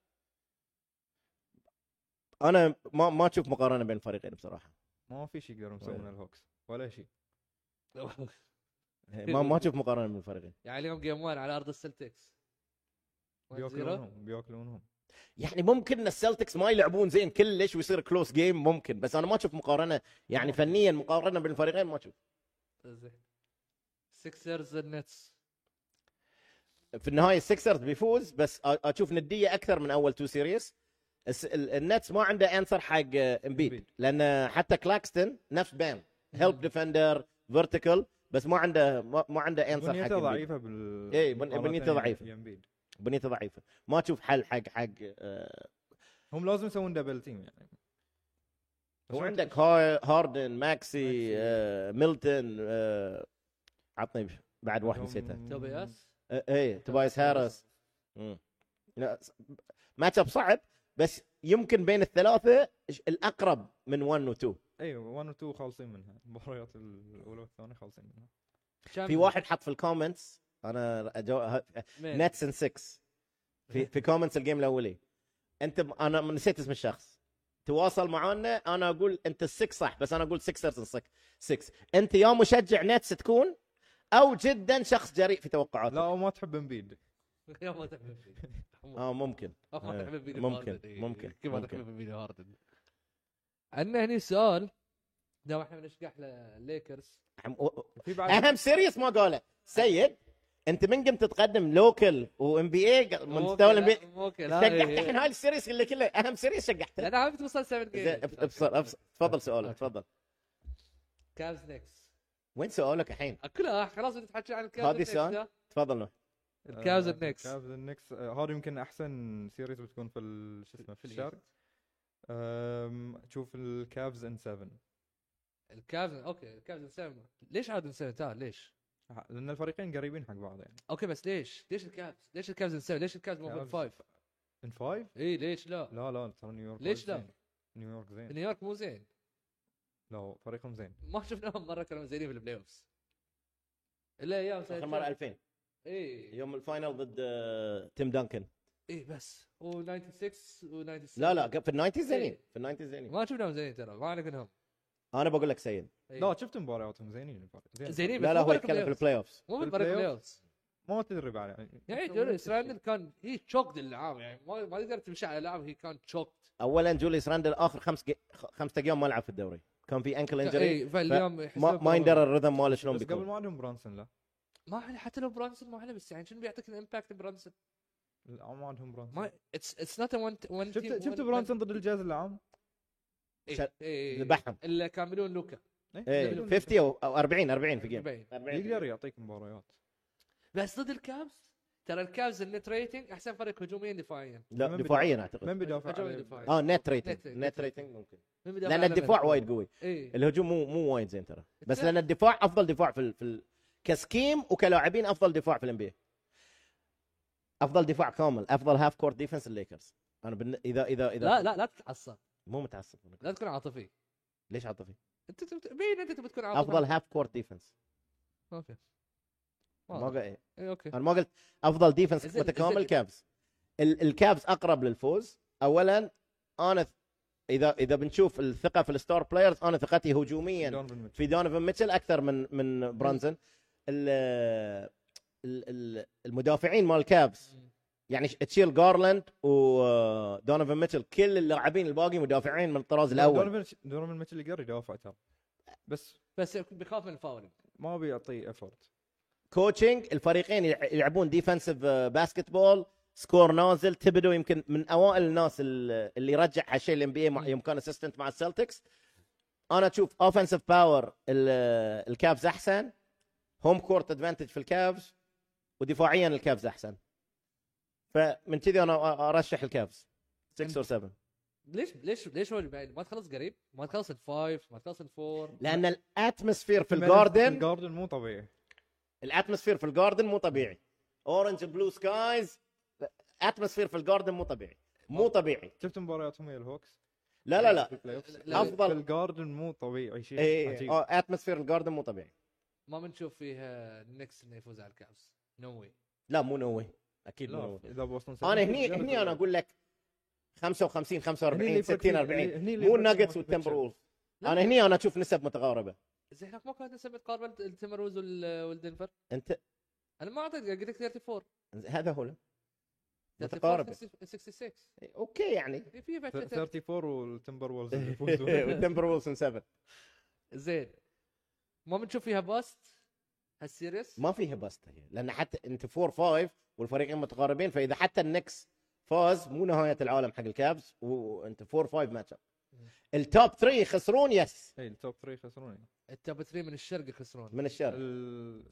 [SPEAKER 3] انا ما ما اشوف مقارنه بين الفريقين بصراحه
[SPEAKER 2] ما في شيء يقدرون يسوونه الهوكس ولا شيء
[SPEAKER 3] ما ما اشوف مقارنه بين الفريقين
[SPEAKER 1] يعني اليوم جيم 1 على ارض السلتكس 1-0.
[SPEAKER 2] بياكلونهم بياكلونهم
[SPEAKER 3] يعني ممكن ان السلتكس ما يلعبون زين كلش ويصير كلوس جيم ممكن بس انا ما اشوف مقارنه يعني فنيا مقارنه بين الفريقين ما اشوف
[SPEAKER 1] زين سكسرز النتس
[SPEAKER 3] في النهايه السكسرز بيفوز بس أ- اشوف نديه اكثر من اول تو سيريس الس- ال- النتس ما عنده انسر حق امبيد
[SPEAKER 2] Embiid.
[SPEAKER 3] لان حتى كلاكستن نفس بام هيلب ديفندر فيرتيكال بس ما عنده ما ما عنده انسر حق
[SPEAKER 2] بنيته
[SPEAKER 3] Embiid.
[SPEAKER 2] ضعيفه بال
[SPEAKER 3] إيه، بن-
[SPEAKER 2] مقارنة
[SPEAKER 3] بنيته ضعيفة.
[SPEAKER 2] يا امبيد
[SPEAKER 3] بنيته ضعيفه ما تشوف حل حق حق آه،
[SPEAKER 2] هم لازم يسوون دبل تيم يعني بس
[SPEAKER 3] وعندك هار- هاردن ماكسي
[SPEAKER 2] ماكسي. إيه.
[SPEAKER 3] آه، ميلتون آه، عطني بعد واحد
[SPEAKER 2] عندهم-
[SPEAKER 3] نسيته
[SPEAKER 1] توبياس
[SPEAKER 3] آه، ايه توبايس هارس مم. لا، س- ماتش اب صعب بس يمكن بين الثلاثه ش- الاقرب من 1 و 2
[SPEAKER 2] اي 1 و 2 خالصين منها المباريات الاولى والثانيه خالصين منها
[SPEAKER 3] في واحد حط في الكومنتس انا أجو... نتس ان 6 في في كومنتس الجيم الاولي انت ب- انا نسيت اسم الشخص تواصل معانا انا اقول انت السكس صح بس انا اقول سكسرز 6 انت يا مشجع نتس تكون او جدا شخص جريء في توقعاتك
[SPEAKER 2] لا وما تحب امبيد
[SPEAKER 1] يا ما تحب فيه
[SPEAKER 3] اه ممكن
[SPEAKER 1] أو ما
[SPEAKER 3] إيه،
[SPEAKER 1] تحب فيه
[SPEAKER 3] ممكن،
[SPEAKER 1] هاردن، إيه،
[SPEAKER 3] ممكن،
[SPEAKER 1] كيف ما
[SPEAKER 3] ممكن.
[SPEAKER 1] تحب فيه هاردن عندنا هني سؤال نعم، دام احنا بنشقح لليكرز
[SPEAKER 3] عم- و- و-
[SPEAKER 2] في بعد آه،
[SPEAKER 3] اهم سيريس ما قاله سيد انت من قمت تقدم لوكل وام بي اي مستوى الام بي
[SPEAKER 1] اوكي لا
[SPEAKER 3] شقحت
[SPEAKER 1] إيه،
[SPEAKER 3] الحين
[SPEAKER 1] إيه.
[SPEAKER 3] هاي السيريس اللي كله اهم سيريس شقحته
[SPEAKER 1] انا عم توصل 7
[SPEAKER 3] زين،
[SPEAKER 1] جيم
[SPEAKER 3] اب- ابصر ابصر تفضل سؤالك تفضل
[SPEAKER 1] كابز نيكس
[SPEAKER 3] وين سؤالك الحين؟
[SPEAKER 1] كلها خلاص انت تحكي عن الكابز
[SPEAKER 3] هذه
[SPEAKER 1] والنكس
[SPEAKER 3] سؤال؟
[SPEAKER 1] ده.
[SPEAKER 3] تفضل نوح
[SPEAKER 1] الكابز
[SPEAKER 2] آه،
[SPEAKER 1] النكس
[SPEAKER 2] الكابز النكس آه، هذه يمكن احسن سيريز بتكون في ال- شو اسمه في الشرق أم، تشوف الكافز ان 7
[SPEAKER 1] الكابز اوكي الكابز نسمع ليش عاد نسمع تعال ليش؟
[SPEAKER 2] ح- لان الفريقين قريبين حق بعض يعني
[SPEAKER 1] اوكي بس ليش؟ ليش الكابز؟ ليش الكابز نسمع؟ ليش الكابز مو
[SPEAKER 2] كابز.
[SPEAKER 1] فايف؟
[SPEAKER 2] ان 5
[SPEAKER 1] اي إيه، ليش لا؟
[SPEAKER 2] لا لا ترى نيويورك
[SPEAKER 1] ليش
[SPEAKER 2] وايد
[SPEAKER 1] لا؟
[SPEAKER 2] زين. نيويورك زين
[SPEAKER 1] نيويورك مو زين
[SPEAKER 2] لا هو فريقهم زين
[SPEAKER 1] ما شفناهم مره كانوا زينين في البلاي اوفز الا ايام سنة
[SPEAKER 3] اخر مره 2000
[SPEAKER 1] اي
[SPEAKER 3] يوم الفاينل ضد آه، تيم دانكن
[SPEAKER 1] اي بس و 96 و 97
[SPEAKER 3] إيه، لا لا في الناينتيز زينين
[SPEAKER 1] إيه.
[SPEAKER 3] في الناينتيز زينين
[SPEAKER 1] ما شفناهم زينين ترى ما عليكم
[SPEAKER 3] انا بقول لك سيد
[SPEAKER 1] إيه.
[SPEAKER 2] لا شفت مبارياتهم زينين الفريق زين
[SPEAKER 1] زينين بس
[SPEAKER 3] لا لا
[SPEAKER 1] مو
[SPEAKER 3] هو
[SPEAKER 1] برا
[SPEAKER 3] يتكلم في
[SPEAKER 1] البلاي أوفز.
[SPEAKER 3] البلاي اوفز
[SPEAKER 2] في
[SPEAKER 1] مو بالبرا
[SPEAKER 2] البلاي
[SPEAKER 1] البلاي
[SPEAKER 2] أوفز.
[SPEAKER 1] أوفز.
[SPEAKER 2] ما تدري بعد يعني
[SPEAKER 1] يعني جوليس راندل كان هي تشوكد اللاعب يعني ما ما تقدر تمشي على لاعب هي كان تشوكد
[SPEAKER 3] اولا جوليس راندل اخر خمس جي- خ- خمسة ايام ما لعب في الدوري كان في انكل انجري
[SPEAKER 1] اي إيه، فاليوم
[SPEAKER 3] ما,
[SPEAKER 1] يحسبها
[SPEAKER 3] ما يندر الرذم ماله شلون
[SPEAKER 2] بس قبل
[SPEAKER 3] بيكون
[SPEAKER 2] ما عندهم برانسون لا
[SPEAKER 1] ما حل حتى لو برانسون ما حل بس يعني شنو بيعطيك الامباكت برانسون
[SPEAKER 2] لا، ما عندهم برانسون
[SPEAKER 1] ما اتس اتس نوت وان وان
[SPEAKER 2] شفت شفت برانسون ضد الجاز العام
[SPEAKER 1] اي إيه،
[SPEAKER 3] شا- ذبحهم
[SPEAKER 1] الا كاملون لوكا
[SPEAKER 3] ايه 50 أو- او 40 40 في جيم
[SPEAKER 1] باين.
[SPEAKER 3] 40
[SPEAKER 2] إيه. يقدر يعطيك مباريات
[SPEAKER 1] بس ضد الكابز ترى الكابز النت ريتنج احسن فريق هجوميا دفاعيا
[SPEAKER 3] لا
[SPEAKER 2] من بدأ-
[SPEAKER 3] دفاعيا اعتقد
[SPEAKER 2] من بيدافع
[SPEAKER 1] هجوم
[SPEAKER 2] عليه؟
[SPEAKER 1] دفاعي.
[SPEAKER 3] اه نت ريتنج
[SPEAKER 1] Net rating.
[SPEAKER 3] نت ريتنج ممكن
[SPEAKER 1] من يعني. بدافع
[SPEAKER 3] لان
[SPEAKER 1] على
[SPEAKER 3] الدفاع
[SPEAKER 1] من.
[SPEAKER 3] وايد قوي
[SPEAKER 1] اي
[SPEAKER 3] الهجوم مو مو وايد زين ترى بس
[SPEAKER 1] صح.
[SPEAKER 3] لان الدفاع افضل دفاع في ال- في ال- كسكيم وكلاعبين افضل دفاع في الانبي افضل دفاع كامل افضل هاف كورت ديفنس الليكرز انا بالن... اذا اذا اذا
[SPEAKER 1] لا لا لا تتعصب
[SPEAKER 3] مو متعصب
[SPEAKER 1] لا تكون عاطفي
[SPEAKER 3] ليش عاطفي
[SPEAKER 1] انت تبت- مين انت تبي تكون عاطفي
[SPEAKER 3] افضل هاف كورت ديفنس
[SPEAKER 1] اوكي
[SPEAKER 3] ما
[SPEAKER 1] واضح.
[SPEAKER 3] قا- إيه.
[SPEAKER 1] اي اوكي
[SPEAKER 3] انا ما قلت افضل ديفنس
[SPEAKER 1] زين-
[SPEAKER 3] متكامل
[SPEAKER 1] زين.
[SPEAKER 3] كافز ال- الكافز اقرب للفوز اولا انا ث- اذا اذا بنشوف الثقه في الستار بلايرز انا ثقتي هجوميا
[SPEAKER 2] دونوفن ميتشل.
[SPEAKER 3] في دونيفن ميتشل اكثر من من برانسون ال- ال- ال- المدافعين مال الكابس يعني ش- تشيل آه، جارلاند ودونيفن ميتشل كل اللاعبين الباقي مدافعين من الطراز الاول
[SPEAKER 2] دونوفن دونوفن ميتشل يقدر يدافع ترى بس
[SPEAKER 1] بس بيخاف من الفاولينج
[SPEAKER 2] ما بيعطي افورت
[SPEAKER 3] كوتشنج الفريقين يلع- يلعبون ديفنسيف باسكتبول سكور نازل تبدو يمكن من اوائل الناس ال- اللي يرجع هالشيء الام بي اي يوم كان اسيستنت مع السلتكس انا اشوف اوفنسيف باور آه، الكافز احسن هوم كورت ادفانتج في الكافز ودفاعيا الكافز احسن فمن كذي انا أ- ارشح الكافز 6 او 7
[SPEAKER 1] ليش ليش ليش هو بعيد؟ ما تخلص قريب ما تخلص الفايف ما تخلص الفور
[SPEAKER 3] لان الاتموسفير في
[SPEAKER 2] في
[SPEAKER 3] الجاردن
[SPEAKER 2] الجاردن مو طبيعي
[SPEAKER 3] الاتموسفير في الجاردن مو طبيعي اورنج بلو سكايز اتموسفير في الجاردن مو طبيعي مو طبيعي
[SPEAKER 2] شفت مبارياتهم ويا الهوكس
[SPEAKER 3] لا لا
[SPEAKER 2] في
[SPEAKER 3] لا
[SPEAKER 2] البلاي أوفس؟
[SPEAKER 1] لا،
[SPEAKER 3] أفضل. إيه. آه.
[SPEAKER 2] في الجاردن مو طبيعي شيء عجيب.
[SPEAKER 3] اي اتموسفير الجاردن مو طبيعي
[SPEAKER 1] ما بنشوف فيها النكس انه يفوز على الكابز نو واي
[SPEAKER 3] لا مو نوي اكيد مو
[SPEAKER 2] لا
[SPEAKER 3] نوي
[SPEAKER 2] اذا بوصلون
[SPEAKER 3] انا هني هني انا اقول لك 55
[SPEAKER 2] هني اللي
[SPEAKER 3] 45
[SPEAKER 2] يفرق
[SPEAKER 3] 60
[SPEAKER 2] فيه- إيه،
[SPEAKER 3] 40
[SPEAKER 2] هني- هني اللي
[SPEAKER 3] مو
[SPEAKER 2] يفرق فيه
[SPEAKER 3] الناجتس
[SPEAKER 2] ماركوس
[SPEAKER 3] والتمبر
[SPEAKER 2] ميتشل.
[SPEAKER 3] وولف انا هني انا اشوف نسب متقاربه
[SPEAKER 1] زين هناك ما كانت نسبة قاربة التمروز وال- والدنفر
[SPEAKER 3] انت
[SPEAKER 1] انا ما اعطيت قلت لك 34
[SPEAKER 3] هذا هو لا.
[SPEAKER 1] 34
[SPEAKER 3] متقاربة.
[SPEAKER 1] 66
[SPEAKER 3] اوكي يعني
[SPEAKER 1] إيه، في
[SPEAKER 2] ث-
[SPEAKER 1] فترة
[SPEAKER 2] 34 والتمبر وولز اللي يفوزون.
[SPEAKER 3] والتمبر وولف 7
[SPEAKER 1] زين ما بنشوف فيها باست هالسيريس
[SPEAKER 3] ما فيها بسطه هي لان حتى انت 4 5 والفريقين متقاربين فاذا حتى النكس فاز مو نهايه العالم حق الكابز وانت 4 5 ماتش اب التوب 3 يخسرون يس
[SPEAKER 2] اي التوب 3 يخسرون
[SPEAKER 1] التوب 3 من الشرق يخسرون
[SPEAKER 3] من الشر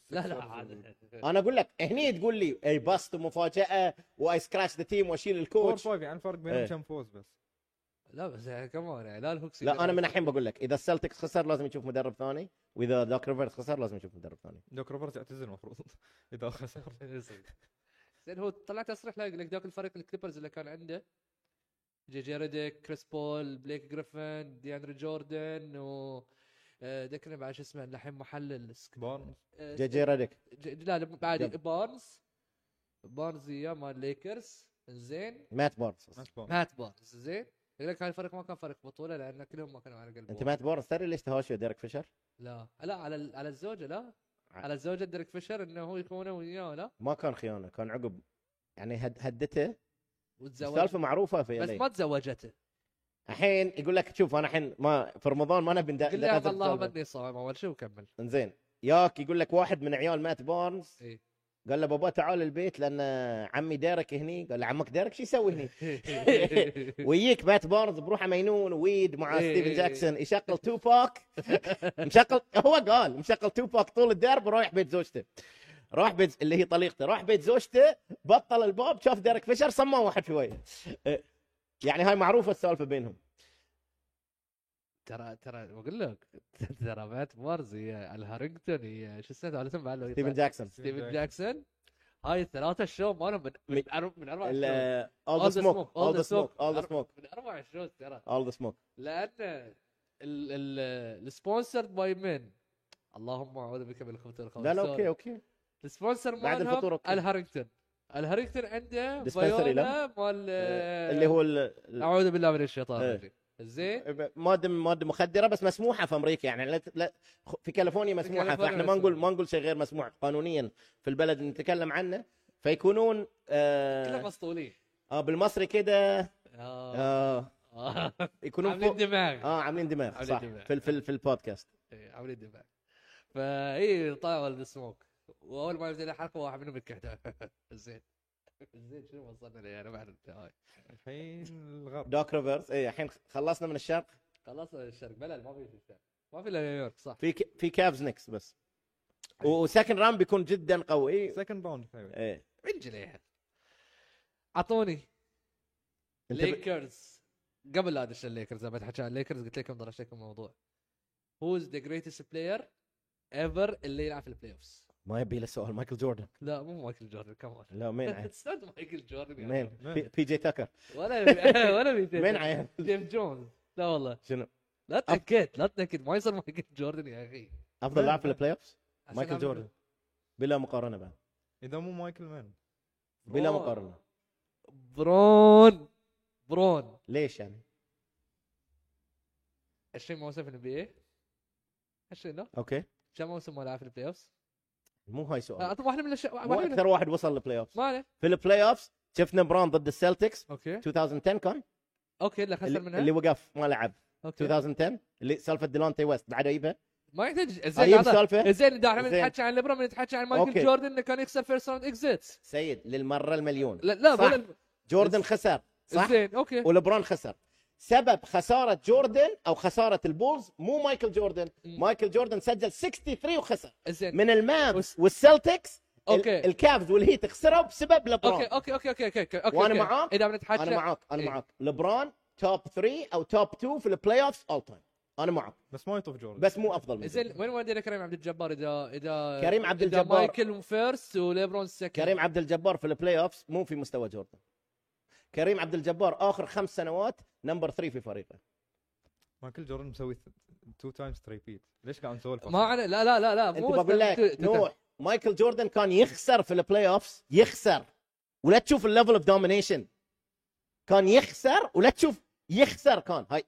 [SPEAKER 1] لا لا عاد
[SPEAKER 3] انا اقول لك هني تقول لي اي بسط ومفاجاه واي سكراتش ذا تيم واشيل
[SPEAKER 2] 4
[SPEAKER 3] الكوتش
[SPEAKER 2] 5 يعني الفرق بينهم
[SPEAKER 3] إيه.
[SPEAKER 2] كم فوز بس
[SPEAKER 1] لا بس يعني كمان يعني لا الهوكس
[SPEAKER 3] لا انا من الحين بقول لك اذا السلتكس خسر لازم يشوف مدرب ثاني واذا دوك ريفرز خسر لازم يشوف مدرب ثاني
[SPEAKER 2] دوك روبرتس يعتزل المفروض اذا خسر
[SPEAKER 1] زين هو طلع تصريح لا يقول لك ذاك الفريق الكليبرز اللي كان عنده جي جي ريديك كريس بول بليك جريفن دياندري جوردن و آه، ذكرني بعد شو اسمه الحين محلل
[SPEAKER 2] بارنز
[SPEAKER 1] آه،
[SPEAKER 3] جي جي ريدك
[SPEAKER 1] ج- لا لا بعد
[SPEAKER 3] جاب.
[SPEAKER 1] بارنز بارنز اياه مال ليكرز زين
[SPEAKER 3] مات بارنز
[SPEAKER 2] مات بارنز
[SPEAKER 1] مات بارنز زين يقول لك هاي الفريق ما كان فريق بطوله لان كلهم ما كانوا على قلب
[SPEAKER 3] انت مات بارنز تدري ليش تهاوشوا ديريك فيشر؟
[SPEAKER 1] لا لا على ال- على الزوجه لا
[SPEAKER 3] ع-
[SPEAKER 1] على الزوجه ديريك فيشر انه هو يكونه وياه لا
[SPEAKER 3] ما كان خيانه كان عقب يعني هد هدته
[SPEAKER 1] وتزوج
[SPEAKER 3] السالفه معروفه في
[SPEAKER 1] بس
[SPEAKER 3] LA.
[SPEAKER 1] ما تزوجته
[SPEAKER 3] الحين يقول لك شوف انا الحين ما في رمضان ما نبي
[SPEAKER 1] قل لها
[SPEAKER 3] ندقق
[SPEAKER 1] اللهم اني صائم اول شيء وكمل
[SPEAKER 3] انزين ياك يقول لك واحد من عيال مات بارنز
[SPEAKER 1] إيه.
[SPEAKER 3] قال له بابا تعال البيت لان عمي ديرك هني قال له عمك ديرك شو يسوي هني؟ ويجيك مات بارنز بروحه مينون ويد مع
[SPEAKER 1] إيه،
[SPEAKER 3] ستيفن
[SPEAKER 1] إيه،
[SPEAKER 3] جاكسون يشغل تو باك مشغل هو قال مشغل تو باك طول الدرب ورايح بيت زوجته راح بيت اللي هي طليقته راح بيت زوجته بطل الباب شاف ديرك فيشر سماه واحد شويه إيه، يعني هاي معروفه السالفه بينهم
[SPEAKER 1] ترى ترى بقول لك ترى مات بارز هي الهارنجتون هي شو اسمه ثالثهم بعد
[SPEAKER 3] ستيفن جاكسون
[SPEAKER 1] ستيفن جاكسون هاي الثلاثه الشو مالهم من من, أر- من اربع شو
[SPEAKER 3] اول ذا سموك اول ذا سموك اول ذا سموك
[SPEAKER 1] من اربع شو ترى
[SPEAKER 3] اول ذا سموك
[SPEAKER 1] لان السبونسرد باي من اللهم اعوذ بك من الخبث والخبث
[SPEAKER 3] لا لا اوكي اوكي
[SPEAKER 1] السبونسر
[SPEAKER 3] بعد الفطور،
[SPEAKER 1] مالهم
[SPEAKER 3] أوكي.
[SPEAKER 1] الهارنجتون الهارنجتون عنده
[SPEAKER 3] Dispensary،
[SPEAKER 1] فيولا
[SPEAKER 3] لا؟
[SPEAKER 1] مال آه،
[SPEAKER 3] اللي هو ال- ال-
[SPEAKER 1] اعوذ بالله من الشيطان
[SPEAKER 3] إيه.
[SPEAKER 1] الرجيم زين
[SPEAKER 3] ماده ماده مخدره بس مسموحه في امريكا يعني لا لا خ- في كاليفورنيا مسموحه
[SPEAKER 1] كاليفورنيا
[SPEAKER 3] فاحنا ما نقول
[SPEAKER 1] مسموحة.
[SPEAKER 3] ما نقول شيء غير مسموح قانونيا في البلد اللي نتكلم عنه فيكونون
[SPEAKER 1] كلهم
[SPEAKER 3] آه
[SPEAKER 1] مسطولين
[SPEAKER 3] آه بالمصري كده
[SPEAKER 1] آه.
[SPEAKER 3] آه
[SPEAKER 1] آه.
[SPEAKER 3] يكونون
[SPEAKER 1] عاملين
[SPEAKER 3] فوق
[SPEAKER 1] دماغ
[SPEAKER 3] اه عاملين دماغ
[SPEAKER 1] عاملين
[SPEAKER 3] صح
[SPEAKER 1] دماغ.
[SPEAKER 3] في ال- في, ال- في البودكاست
[SPEAKER 1] إيه، عاملين دماغ فاي طاول السموك واول ما يبدا الحلقه واحد منهم يتكهدى زين زين شنو وصلنا لي انا ما اعرف طيب. هاي
[SPEAKER 2] الحين الغرب
[SPEAKER 3] دوك ريفرز اي إيه، الحين خلصنا من الشرق
[SPEAKER 1] خلاص الشرق بلد ما في في الشرق ما في الا نيويورك صح
[SPEAKER 3] في ك- في كافز نكس بس
[SPEAKER 1] أيوه.
[SPEAKER 3] وسكن راوند بيكون جدا قوي
[SPEAKER 2] سكند باوند
[SPEAKER 3] ايه
[SPEAKER 1] من جنيها اعطوني
[SPEAKER 3] انت ب...
[SPEAKER 1] ليكرز قبل لا ادش الليكرز لما تحكي عن الليكرز قلت لكم درشت لكم الموضوع هوز ذا جريتست بلاير ايفر اللي يلعب في البلاي اوفز
[SPEAKER 3] ما يبي له سؤال مايكل جوردن
[SPEAKER 1] لا مو مايكل جوردن كمان
[SPEAKER 3] لا مين عين
[SPEAKER 1] It's not مايكل جوردن يا
[SPEAKER 3] مين
[SPEAKER 1] أخي.
[SPEAKER 2] مين؟
[SPEAKER 3] بي- بي جي تاكر
[SPEAKER 1] ولا ولا بيتين.
[SPEAKER 3] مين عين
[SPEAKER 1] جيم جونز لا والله
[SPEAKER 3] شنو
[SPEAKER 1] لا تنكد لا تنكد ما يصير مايكل جوردن يا اخي
[SPEAKER 3] افضل لاعب في البلاي اوفز
[SPEAKER 1] عشان
[SPEAKER 3] مايكل
[SPEAKER 1] أعمل-
[SPEAKER 3] جوردن بلا مقارنه بعد
[SPEAKER 2] اذا مو مايكل مان
[SPEAKER 3] بلا
[SPEAKER 1] برون.
[SPEAKER 3] مقارنه
[SPEAKER 1] برون برون
[SPEAKER 3] ليش يعني
[SPEAKER 1] 20 موسم في البي اي 20 لا
[SPEAKER 3] اوكي
[SPEAKER 1] كم موسم ما لعب في البلاي اوفز
[SPEAKER 3] مو هاي سؤال
[SPEAKER 1] اعطي واحده من الاشياء
[SPEAKER 3] مو
[SPEAKER 1] واحدة من-
[SPEAKER 3] اكثر واحد وصل للبلاي اوف
[SPEAKER 1] ما عليه
[SPEAKER 3] في البلاي اوف شفنا برون ضد السلتكس
[SPEAKER 1] اوكي
[SPEAKER 3] 2010 كان
[SPEAKER 1] اوكي لا خسر
[SPEAKER 3] اللي,
[SPEAKER 1] منها
[SPEAKER 3] اللي وقف ما لعب
[SPEAKER 1] اوكي
[SPEAKER 3] 2010 اللي سالفه ديلانتي ويست بعد اجيبها
[SPEAKER 1] ما يحتاج
[SPEAKER 3] اجيب
[SPEAKER 1] زين
[SPEAKER 3] سالفه
[SPEAKER 1] زين اذا احنا
[SPEAKER 3] طيب، زين.
[SPEAKER 1] بنتحكي عن ليبرون بنتحكي عن مايكل
[SPEAKER 3] أوكي.
[SPEAKER 1] جوردن انه كان يكسب فيرست راوند اكزيت
[SPEAKER 3] سيد للمره المليون
[SPEAKER 1] لا لا
[SPEAKER 3] صح.
[SPEAKER 1] ولا-
[SPEAKER 3] جوردن خسر صح
[SPEAKER 1] زين اوكي
[SPEAKER 3] ولبرون خسر سبب خساره جوردن او خساره البولز مو مايكل جوردن
[SPEAKER 1] مم.
[SPEAKER 3] مايكل جوردن سجل 63 وخسر
[SPEAKER 1] زين
[SPEAKER 3] من المافز
[SPEAKER 1] وس-
[SPEAKER 3] والسلتكس
[SPEAKER 1] أوكي.
[SPEAKER 3] اوكي الكافز والهيت خسروا بسبب لبرون
[SPEAKER 1] اوكي اوكي اوكي اوكي اوكي اوكي
[SPEAKER 3] وأنا
[SPEAKER 1] أوكي.
[SPEAKER 3] معاك.
[SPEAKER 1] اذا بنتحكي
[SPEAKER 3] انا معاك انا
[SPEAKER 1] إيه.
[SPEAKER 3] معاك لبرون توب 3 او توب 2 في البلاي اوف اول تايم انا معاك
[SPEAKER 2] بس ما يطوف جوردن
[SPEAKER 3] بس مو افضل من
[SPEAKER 1] زين
[SPEAKER 3] زين
[SPEAKER 1] وين ودينا كريم عبد الجبار اذا اذا
[SPEAKER 3] كريم عبد
[SPEAKER 1] إذا
[SPEAKER 3] الجبار.
[SPEAKER 1] مايكل فيرست وليبرون سكند
[SPEAKER 3] كريم عبد الجبار في البلاي اوف مو في مستوى جوردن كريم عبد الجبار اخر خمس سنوات نمبر 3 في فريقه
[SPEAKER 2] مايكل جوردن مسوي 2 تايمز ريبيت ليش قاعد نسولف
[SPEAKER 1] ما عليه لا لا لا لا
[SPEAKER 3] انت
[SPEAKER 1] مو
[SPEAKER 3] بقول لك نوح مايكل جوردن كان يخسر في البلاي اوف يخسر ولا تشوف الليفل اوف دومينيشن كان يخسر ولا تشوف يخسر كان هاي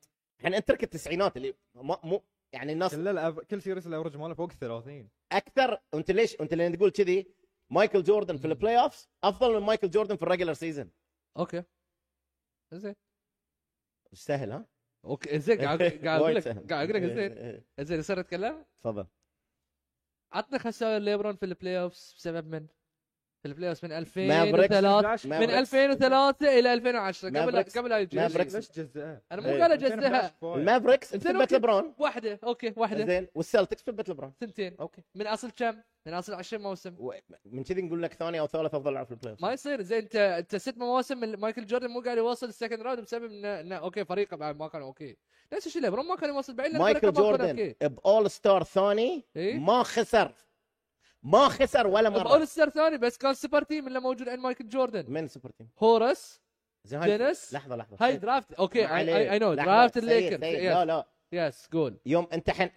[SPEAKER 3] احنا اترك التسعينات اللي ما- مو يعني الناس
[SPEAKER 2] كل الأب... كل سيريس الافرج ماله فوق 30
[SPEAKER 3] اكثر انت ليش انت لان تقول كذي مايكل جوردن في البلاي اوف افضل من مايكل جوردن في الريجلر سيزون
[SPEAKER 1] اوكي زين
[SPEAKER 3] سهل ها
[SPEAKER 1] اوكي زين قاعد قاعد اقول
[SPEAKER 3] وايد
[SPEAKER 1] لك
[SPEAKER 3] سهل. إيه،
[SPEAKER 1] قاعد اقول لك زين زين صرت اتكلم
[SPEAKER 3] تفضل
[SPEAKER 1] عطنا خساره ليبرون في البلاي اوفز بسبب من؟ في البلاي اوفز من
[SPEAKER 3] مافريكس.
[SPEAKER 1] 2003 من 2003 الى 2010 قبل
[SPEAKER 3] مافريكس.
[SPEAKER 1] قبل لا يجي
[SPEAKER 3] مافريكس.
[SPEAKER 1] انا
[SPEAKER 2] ليش جزأها؟
[SPEAKER 1] مو
[SPEAKER 3] إيه.
[SPEAKER 1] قال اجزها
[SPEAKER 3] المافريكس ثبت لبرون
[SPEAKER 1] واحده اوكي واحده
[SPEAKER 3] زين والسلتكس ثبت لبرون
[SPEAKER 1] ثنتين
[SPEAKER 3] اوكي
[SPEAKER 1] من اصل كم؟ من اصل 20 موسم
[SPEAKER 3] و- من كذي نقول لك ثاني او ثالث افضل لاعب في البلاي
[SPEAKER 1] ما يصير زين انت انت ست مواسم من مايكل جوردن مو قاعد يوصل السكند راوند بسبب انه إنه اوكي فريقه بعد ما كان اوكي نفس الشيء ليبرون ما كان يوصل بعيد لأن
[SPEAKER 3] مايكل
[SPEAKER 1] فريقه ما كان
[SPEAKER 3] جوردن
[SPEAKER 1] اوكي
[SPEAKER 3] باول ستار ثاني
[SPEAKER 1] إيه؟
[SPEAKER 3] ما خسر ما خسر ولا
[SPEAKER 1] باول
[SPEAKER 3] مره
[SPEAKER 1] ستار ثاني بس كان سوبر تيم اللي موجود عند مايكل جوردن
[SPEAKER 3] من سوبر تيم
[SPEAKER 1] هورس
[SPEAKER 3] زين هاي-
[SPEAKER 1] دينيس
[SPEAKER 3] لحظه لحظه
[SPEAKER 1] هاي درافت اوكي
[SPEAKER 3] إيه. ما عليه.
[SPEAKER 1] اي نو
[SPEAKER 3] لحظة.
[SPEAKER 1] درافت
[SPEAKER 3] سيد-
[SPEAKER 1] الليكرز
[SPEAKER 3] سيد. لا
[SPEAKER 1] يس
[SPEAKER 3] لا
[SPEAKER 1] يس قول
[SPEAKER 3] يوم انت حن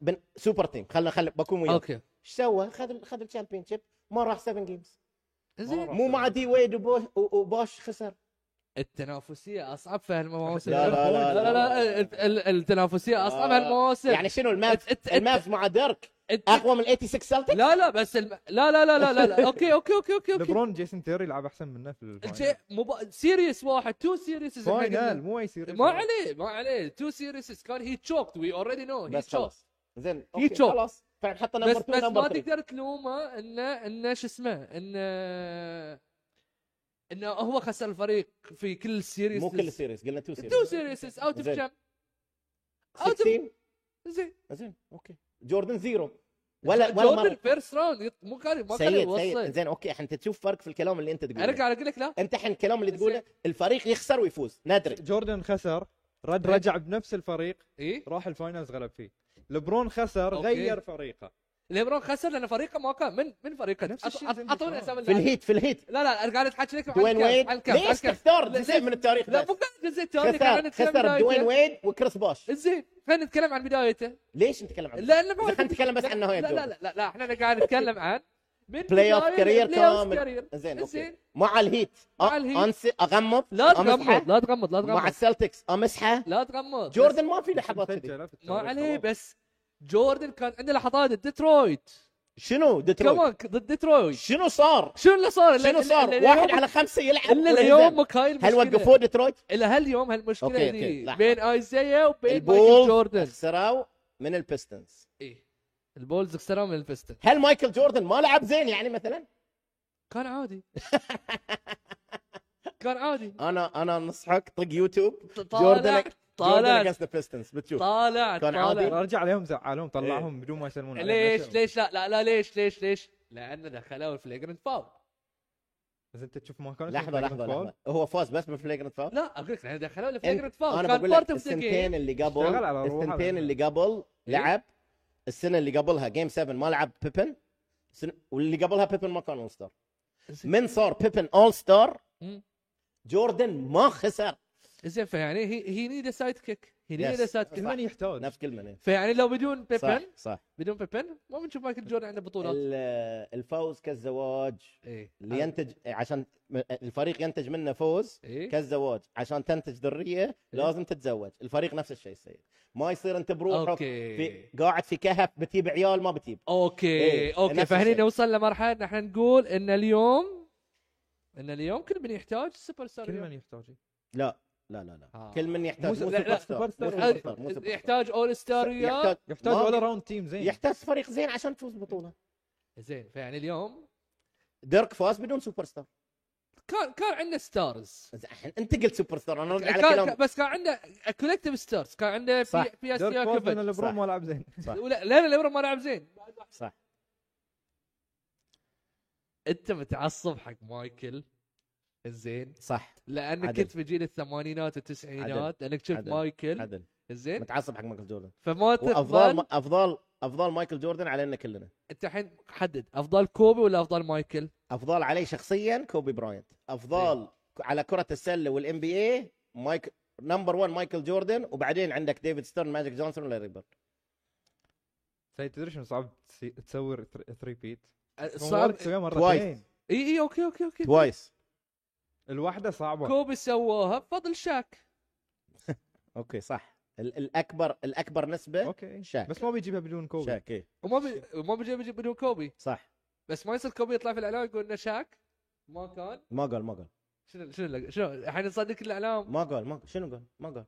[SPEAKER 3] بن... سوبر تيم خلنا خل بكون وياك
[SPEAKER 1] اوكي
[SPEAKER 3] ايش سوى؟ خذ خذ الشامبيون شيب ما راح 7 جيمز
[SPEAKER 1] زين
[SPEAKER 3] مو مع دي ويد وبو- و- وبوش خسر
[SPEAKER 1] التنافسيه اصعب في هالمواسم
[SPEAKER 3] لا، لا، لا،
[SPEAKER 1] لا, لا,
[SPEAKER 3] لا.
[SPEAKER 1] ال- ال- التنافسيه اصعب
[SPEAKER 3] آه،
[SPEAKER 1] هالمواسم
[SPEAKER 3] يعني شنو الماف
[SPEAKER 1] إت- إت- إت-
[SPEAKER 3] الماف مع ديرك
[SPEAKER 1] إت-
[SPEAKER 3] اقوى من 86 سلتك
[SPEAKER 1] لا لا بس الم... لا لا لا لا لا, لا. اوكي اوكي اوكي اوكي اوكي
[SPEAKER 2] لبرون جيسون تيري يلعب احسن منه في
[SPEAKER 1] الشيء
[SPEAKER 2] الفاينل
[SPEAKER 1] مب... سيريس واحد تو سيريس
[SPEAKER 2] فاينل مو اي سيريس
[SPEAKER 1] ما عليه ما عليه تو سيريس كان هي تشوكت وي اوريدي نو هي
[SPEAKER 3] بس
[SPEAKER 1] تشوكت
[SPEAKER 3] خلاص زين
[SPEAKER 1] هي
[SPEAKER 3] اوكي
[SPEAKER 1] تشوك.
[SPEAKER 3] خلاص فنحط نمبر
[SPEAKER 1] بس
[SPEAKER 3] 2
[SPEAKER 1] بس ما
[SPEAKER 3] نمبر 3
[SPEAKER 1] تقدر تلومه انه انه شو اسمه انه انه هو خسر الفريق في كل سيريس
[SPEAKER 3] مو كل سيريس قلنا 2 سيريس
[SPEAKER 1] تو سيريس اوت اوف
[SPEAKER 3] زين.
[SPEAKER 1] كم اوت
[SPEAKER 3] 16
[SPEAKER 1] زين
[SPEAKER 3] زين اوكي جوردن زيرو ولا ولا
[SPEAKER 1] جوردن
[SPEAKER 3] مرة.
[SPEAKER 1] فيرست راوند مو كان ما كان
[SPEAKER 3] سيد سيد
[SPEAKER 1] يوصل
[SPEAKER 3] زين اوكي احنا انت تشوف فرق في الكلام اللي انت
[SPEAKER 1] انا
[SPEAKER 3] تقوله
[SPEAKER 1] قاعد اقول لك لا
[SPEAKER 3] انت الحين الكلام اللي تقوله الفريق يخسر ويفوز ندري
[SPEAKER 2] جوردن خسر رد
[SPEAKER 1] إيه.
[SPEAKER 2] رجع بنفس الفريق
[SPEAKER 1] اي
[SPEAKER 2] راح الفاينلز غلب فيه لبرون خسر
[SPEAKER 1] أوكي.
[SPEAKER 2] غير فريقه
[SPEAKER 1] ليبرون خسر لان فريقه ما كان من من فريقه
[SPEAKER 2] نفس
[SPEAKER 1] أط-
[SPEAKER 2] الشيء
[SPEAKER 1] أط-
[SPEAKER 2] زي
[SPEAKER 1] اعطوني
[SPEAKER 2] الفرق.
[SPEAKER 1] اسامي
[SPEAKER 3] في
[SPEAKER 1] اللاعبين.
[SPEAKER 3] الهيت في الهيت
[SPEAKER 1] لا لا انا قاعد اتحكى لك عن
[SPEAKER 3] دوين
[SPEAKER 1] الكاف،
[SPEAKER 3] ويد
[SPEAKER 1] عن الكاف، عن
[SPEAKER 3] ليش
[SPEAKER 1] الكاف.
[SPEAKER 3] تختار
[SPEAKER 1] لا،
[SPEAKER 3] جزء
[SPEAKER 1] ليش-
[SPEAKER 3] من التاريخ
[SPEAKER 1] لا
[SPEAKER 3] بس؟
[SPEAKER 1] مو قاعد جزء التاريخ قاعد
[SPEAKER 3] خسر
[SPEAKER 1] نتكلم
[SPEAKER 3] خسر
[SPEAKER 1] بدايته.
[SPEAKER 3] دوين ويد وكريس بوش
[SPEAKER 1] زين خلينا نتكلم عن بدايته
[SPEAKER 3] ليش نتكلم عن
[SPEAKER 1] لانه ما
[SPEAKER 3] خلينا نتكلم بس عن نهاية
[SPEAKER 1] لا لا
[SPEAKER 3] جوردن.
[SPEAKER 1] لا لا لا احنا قاعد نتكلم عن من
[SPEAKER 3] بلاي اوف
[SPEAKER 1] بداية
[SPEAKER 3] كارير
[SPEAKER 1] البلاي أوف
[SPEAKER 3] كامل
[SPEAKER 1] كارير.
[SPEAKER 3] زين اوكي
[SPEAKER 1] زين.
[SPEAKER 3] مع الهيت
[SPEAKER 1] مع
[SPEAKER 3] أ-
[SPEAKER 1] الهيت.
[SPEAKER 3] انسى اغمض
[SPEAKER 1] لا
[SPEAKER 3] أمسحه.
[SPEAKER 1] تغمض لا تغمض لا
[SPEAKER 3] مع
[SPEAKER 1] تغمض
[SPEAKER 3] السلتكس امسحه
[SPEAKER 1] لا تغمض
[SPEAKER 3] جوردن ما في لحظات كذي
[SPEAKER 2] مسجلة في
[SPEAKER 1] ما
[SPEAKER 2] التاريخ.
[SPEAKER 1] عليه بس جوردن كان عنده لحظات ضد ديترويت
[SPEAKER 3] شنو ديترويت
[SPEAKER 1] كمان ضد ديترويت
[SPEAKER 3] شنو صار
[SPEAKER 1] شنو اللي صار اللي-
[SPEAKER 3] شنو
[SPEAKER 1] اللي-
[SPEAKER 3] صار
[SPEAKER 1] اللي-
[SPEAKER 3] واحد
[SPEAKER 1] اليوم-
[SPEAKER 3] على خمسة يلعب
[SPEAKER 1] الا
[SPEAKER 3] ويهزم.
[SPEAKER 1] اليوم مك هاي المشكله
[SPEAKER 3] هل وقفوه ديترويت
[SPEAKER 1] الى هاليوم هالمشكله
[SPEAKER 3] أوكي،
[SPEAKER 1] أوكي
[SPEAKER 3] أوكي،
[SPEAKER 1] دي
[SPEAKER 3] لحظة.
[SPEAKER 1] بين ايزايا إيه وبين مايكل
[SPEAKER 3] البولز
[SPEAKER 1] جوردن
[SPEAKER 3] خسروا إيه، من البيستنز
[SPEAKER 1] إيه. البولز خسروا من البيستن
[SPEAKER 3] هل مايكل جوردن ما لعب زين يعني مثلا
[SPEAKER 1] كان عادي كان عادي
[SPEAKER 3] انا انا انصحك طق يوتيوب
[SPEAKER 1] طالع
[SPEAKER 3] جوردن
[SPEAKER 1] طالع
[SPEAKER 3] against the Pistons بتشوف
[SPEAKER 1] طالع
[SPEAKER 3] كان
[SPEAKER 1] طالع.
[SPEAKER 3] عادي؟
[SPEAKER 2] رجع عليهم زعلهم طلعهم بدون ما يسلمون عليه.
[SPEAKER 1] إيه. ليش
[SPEAKER 2] ليش؟
[SPEAKER 1] ليش لا لا لا ليش ليش ليش لان دخلوا فليجرنت فاول
[SPEAKER 2] بس انت تشوف ما كانوا
[SPEAKER 3] لحظه لحظه لحظه هو فاز بس بالفليجرنت فاول
[SPEAKER 1] لا اقول لك لان دخلوا
[SPEAKER 3] أنت-
[SPEAKER 1] فليجرنت فاول
[SPEAKER 3] انا
[SPEAKER 1] كان
[SPEAKER 3] بقول
[SPEAKER 1] بارت
[SPEAKER 3] لك
[SPEAKER 1] اوف ذا جيم
[SPEAKER 3] السنتين اللي
[SPEAKER 2] اشتغل
[SPEAKER 3] قبل
[SPEAKER 2] على إيه؟ روحه
[SPEAKER 3] السنتين
[SPEAKER 2] بعدين.
[SPEAKER 3] اللي قبل لعب السنه اللي قبلها جيم 7 ما لعب بيبن السنة- واللي قبلها بيبن ما كان اول ستار من صار بيبن اول ستار
[SPEAKER 1] مم.
[SPEAKER 3] جوردن ما خسر
[SPEAKER 1] زين فيعني هي هي نيد سايد كيك هي
[SPEAKER 3] Yes.
[SPEAKER 1] نيد سايد كيك
[SPEAKER 2] لمن يحتاج
[SPEAKER 3] نفس كلمه
[SPEAKER 1] فيعني لو بدون
[SPEAKER 3] صح
[SPEAKER 1] بيبن
[SPEAKER 3] صح
[SPEAKER 1] بدون بيبن ما بنشوف مايكل جوردن عنده بطولات
[SPEAKER 3] ال- الفوز كالزواج
[SPEAKER 1] ايه
[SPEAKER 3] اللي ينتج عشان الفريق ينتج منه فوز
[SPEAKER 1] ايه
[SPEAKER 3] كالزواج عشان تنتج
[SPEAKER 1] إيه.
[SPEAKER 3] ذريه لازم تتزوج الفريق نفس الشيء السيد ما يصير انت بروحك
[SPEAKER 1] أوكي.
[SPEAKER 3] في قاعد في كهف بتجيب عيال ما بتجيب
[SPEAKER 1] اوكي
[SPEAKER 3] إيه، نفس
[SPEAKER 1] اوكي فهني
[SPEAKER 3] الشيء.
[SPEAKER 1] نوصل لمرحله ان احنا نقول ان اليوم ان اليوم كل من يحتاج سوبر ستار
[SPEAKER 2] كل من
[SPEAKER 1] اليوم.
[SPEAKER 2] يحتاج
[SPEAKER 3] لا لا لا لا
[SPEAKER 1] آه.
[SPEAKER 3] كل من يحتاج
[SPEAKER 2] مو
[SPEAKER 3] مو
[SPEAKER 2] س- لا، لا،
[SPEAKER 3] سوبر ستار
[SPEAKER 2] سوبر
[SPEAKER 3] مو
[SPEAKER 2] ستار.
[SPEAKER 3] سوبر ستار مو سوبر ستار.
[SPEAKER 1] يحتاج اول ستار يا
[SPEAKER 3] يحتاج
[SPEAKER 2] يحتاج
[SPEAKER 3] ما-
[SPEAKER 2] اول راوند تيم زين
[SPEAKER 3] يحتاج فريق زين عشان تفوز بطوله
[SPEAKER 1] زين فيعني اليوم
[SPEAKER 3] ديرك فاز بدون سوبر ستار
[SPEAKER 1] كان كان عندنا ستارز
[SPEAKER 3] زين، الحين انت قلت سوبر ستار انا ارجع على
[SPEAKER 1] كان
[SPEAKER 3] كلام
[SPEAKER 1] بس كان عنده كولكتيف ستارز كان عنده
[SPEAKER 3] صح.
[SPEAKER 1] في في
[SPEAKER 2] ديرك
[SPEAKER 1] اسيا
[SPEAKER 2] فوز من
[SPEAKER 1] كوفيتش
[SPEAKER 2] لبرون
[SPEAKER 3] صح.
[SPEAKER 2] ما لعب زين
[SPEAKER 3] صح
[SPEAKER 1] ولا لا لا ما لعب زين
[SPEAKER 3] صح
[SPEAKER 1] انت متعصب حق مايكل زين
[SPEAKER 3] صح
[SPEAKER 1] لانك
[SPEAKER 3] عدل.
[SPEAKER 1] كنت في جيل الثمانينات والتسعينات لانك شفت
[SPEAKER 3] عدل.
[SPEAKER 1] مايكل
[SPEAKER 3] عدل
[SPEAKER 1] زين
[SPEAKER 3] متعصب حق مايكل جوردن
[SPEAKER 1] فما
[SPEAKER 3] وافضل
[SPEAKER 1] تقبل
[SPEAKER 3] افضل افضل مايكل جوردن علينا كلنا
[SPEAKER 1] انت الحين حدد افضل كوبي ولا افضل مايكل؟
[SPEAKER 3] افضل علي شخصيا كوبي براينت افضل على كره السله والان بي اي مايك نمبر 1 مايكل جوردن وبعدين عندك ديفيد ستيرن ماجيك جونسون ولا بيرد
[SPEAKER 2] سيد تدري شنو صعب تسي- تسوي 3 بيت
[SPEAKER 1] صعب
[SPEAKER 2] تسويها
[SPEAKER 3] توايس.
[SPEAKER 2] مرتين
[SPEAKER 1] اي اي اوكي اوكي اوكي
[SPEAKER 3] توايس
[SPEAKER 2] الواحده صعبه
[SPEAKER 1] كوبي سواها بفضل شاك
[SPEAKER 3] اوكي صح ال- الاكبر الاكبر نسبه
[SPEAKER 2] اوكي
[SPEAKER 3] شاك.
[SPEAKER 2] بس ما بيجيبها بدون كوبي
[SPEAKER 3] شاك إيه.
[SPEAKER 1] وما بي... وما بيجي بيجي بدون كوبي
[SPEAKER 3] صح
[SPEAKER 1] بس ما يصير كوبي يطلع في الاعلام يقول انه شاك ما كان
[SPEAKER 3] ما قال ما قال
[SPEAKER 1] شنو شنو اللي- شنو الحين نصدق الاعلام
[SPEAKER 3] ما قال ما قال شنو قال ما قال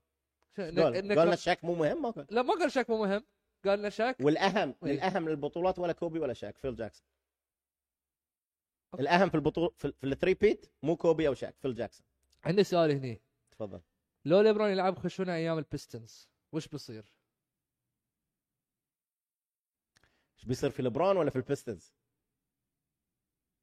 [SPEAKER 1] شنو-
[SPEAKER 3] قال
[SPEAKER 1] إنه
[SPEAKER 3] قال
[SPEAKER 1] كان-
[SPEAKER 3] الشاك مو مهم ما قال
[SPEAKER 1] لا ما قال شاك مو مهم قال لنا شاك
[SPEAKER 3] والاهم
[SPEAKER 1] إيه.
[SPEAKER 3] الاهم للبطولات ولا كوبي ولا شاك فيل جاكسون الاهم في البطوله في, في الثري بيت مو كوبي او شاك فيل جاكسون
[SPEAKER 1] عندي سؤال هني
[SPEAKER 3] تفضل
[SPEAKER 1] لو ليبرون يلعب خشونه ايام البيستنز وش بيصير؟
[SPEAKER 3] ايش بيصير في لبرون ولا في البيستنز؟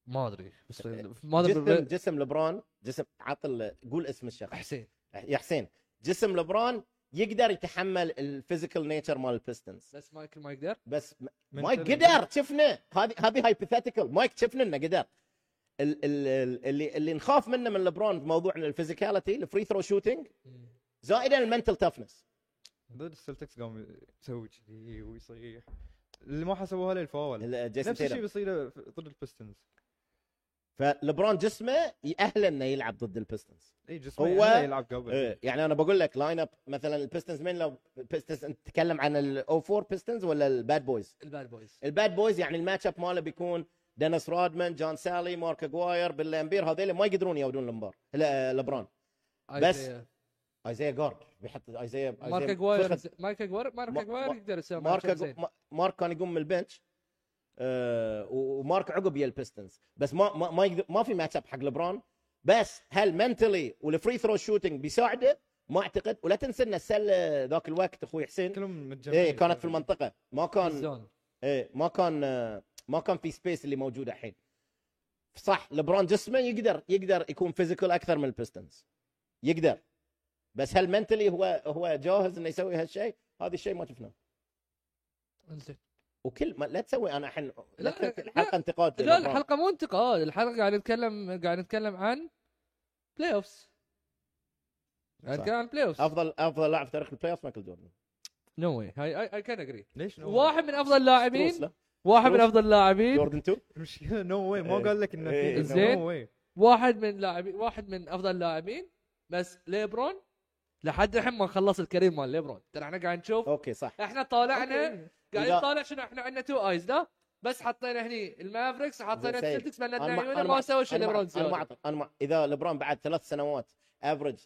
[SPEAKER 1] ما ادري بس ما
[SPEAKER 3] جسم
[SPEAKER 1] ادري
[SPEAKER 3] جسم لبرون جسم عطل قول اسم الشخص
[SPEAKER 1] حسين
[SPEAKER 3] يا حسين جسم لبرون يقدر يتحمل الفيزيكال نيتشر مال البيستنز
[SPEAKER 1] بس مايكل ما يقدر
[SPEAKER 3] بس
[SPEAKER 2] من
[SPEAKER 3] مايك
[SPEAKER 2] تل-
[SPEAKER 3] قدر شفنا هذه هذه هايبوثيتيكال مايك شفنا انه قدر ال- ال- ال- اللي اللي نخاف منه من لبرون بموضوع الفيزيكاليتي الفري ثرو شوتنج زائدا المنتل تفنس
[SPEAKER 2] ضد السلتكس قام يسوي كذي ويصيح اللي ما حسبوها له الفاول
[SPEAKER 3] جيسون
[SPEAKER 2] نفس الشيء
[SPEAKER 3] تيلم
[SPEAKER 2] بيصير له في- ضد البيستنز
[SPEAKER 3] فلبرون جسمه يأهله انه يلعب ضد البيستنز
[SPEAKER 2] اي جسمه
[SPEAKER 3] هو-
[SPEAKER 2] يعني يلعب قبل
[SPEAKER 3] إيه، يعني انا بقول لك لاين اب مثلا البيستنز مين لو البيستنز انت تتكلم عن الاو 4 بيستنز ولا الباد بويز؟
[SPEAKER 1] الباد بويز
[SPEAKER 3] الباد بويز يعني الماتش اب ماله بيكون دينيس رودمان، جون سالي، مارك اجواير، بيل امبير هذول ما يقدرون يودون لمبار لا، لبرون بس ايزايا جارد بيحط ايزايا إيزايا
[SPEAKER 1] مارك اجواير
[SPEAKER 3] فخذ.
[SPEAKER 1] مارك اجواير مارك
[SPEAKER 3] ما-
[SPEAKER 1] اجواير
[SPEAKER 3] ما-
[SPEAKER 1] يقدر يسوي
[SPEAKER 3] مارك
[SPEAKER 1] ماتشات
[SPEAKER 3] أجو-
[SPEAKER 1] زين.
[SPEAKER 3] ما- مارك كان يقوم من البنش آه، و- ومارك عقب يا البيستنز بس ما ما ما, يقدر ما في ماتش اب حق لبرون بس هل منتلي والفري ثرو شوتنج بيساعده ما اعتقد ولا تنسى ان السله ذاك الوقت اخوي حسين
[SPEAKER 2] كلهم متجمعين
[SPEAKER 3] ايه كانت في المنطقه ما كان
[SPEAKER 1] الزون
[SPEAKER 3] ايه ما كان آه، ما كان في سبيس اللي موجوده الحين صح لبرون جسمه يقدر يقدر يكون فيزيكال اكثر من البيستنز يقدر بس هل منتلي هو هو جاهز انه يسوي هالشيء هذا الشيء ما شفناه
[SPEAKER 1] انزين
[SPEAKER 3] وكل ما لا تسوي انا الحين
[SPEAKER 1] لا،
[SPEAKER 3] لا تسوي
[SPEAKER 1] لا.
[SPEAKER 3] الحلقه انتقاد
[SPEAKER 1] لا
[SPEAKER 3] لبرون.
[SPEAKER 1] الحلقه مو انتقاد الحلقه قاعد نتكلم قاعد نتكلم عن بلاي اوفس قاعد
[SPEAKER 3] صح.
[SPEAKER 1] نتكلم عن بلاي اوفس
[SPEAKER 3] افضل افضل لاعب في تاريخ البلاي اوف مايكل جوردن
[SPEAKER 1] نو واي اي كان اجري
[SPEAKER 2] ليش نو
[SPEAKER 1] واحد من افضل
[SPEAKER 3] تروس
[SPEAKER 1] اللاعبين
[SPEAKER 3] له.
[SPEAKER 1] واحد من
[SPEAKER 3] تروس.
[SPEAKER 1] افضل اللاعبين
[SPEAKER 3] جوردن 2
[SPEAKER 2] المشكله نو واي ما
[SPEAKER 3] إيه.
[SPEAKER 2] قال لك انه
[SPEAKER 3] إيه.
[SPEAKER 2] في
[SPEAKER 1] زين.
[SPEAKER 2] نو واي
[SPEAKER 1] واحد من لاعبين واحد من افضل اللاعبين بس ليبرون لحد الحين ما خلص الكارير مال ليبرون ترى احنا قاعد نشوف
[SPEAKER 3] اوكي صح
[SPEAKER 1] احنا طالعنا قاعدين
[SPEAKER 3] إذا-
[SPEAKER 1] نطالع شنو احنا عندنا تو ايز لا بس حطينا هني المافريكس وحطينا
[SPEAKER 3] زين.
[SPEAKER 1] السلتكس مالنا
[SPEAKER 3] أنا ما-
[SPEAKER 1] عيونه
[SPEAKER 3] أنا
[SPEAKER 1] ما
[SPEAKER 3] ما-
[SPEAKER 1] سوى شيء
[SPEAKER 3] انا
[SPEAKER 1] ليبرون
[SPEAKER 3] ما انا ما
[SPEAKER 1] زيادة.
[SPEAKER 3] أعتقد- انا ما اذا لبرون بعد ثلاث سنوات آه، افرج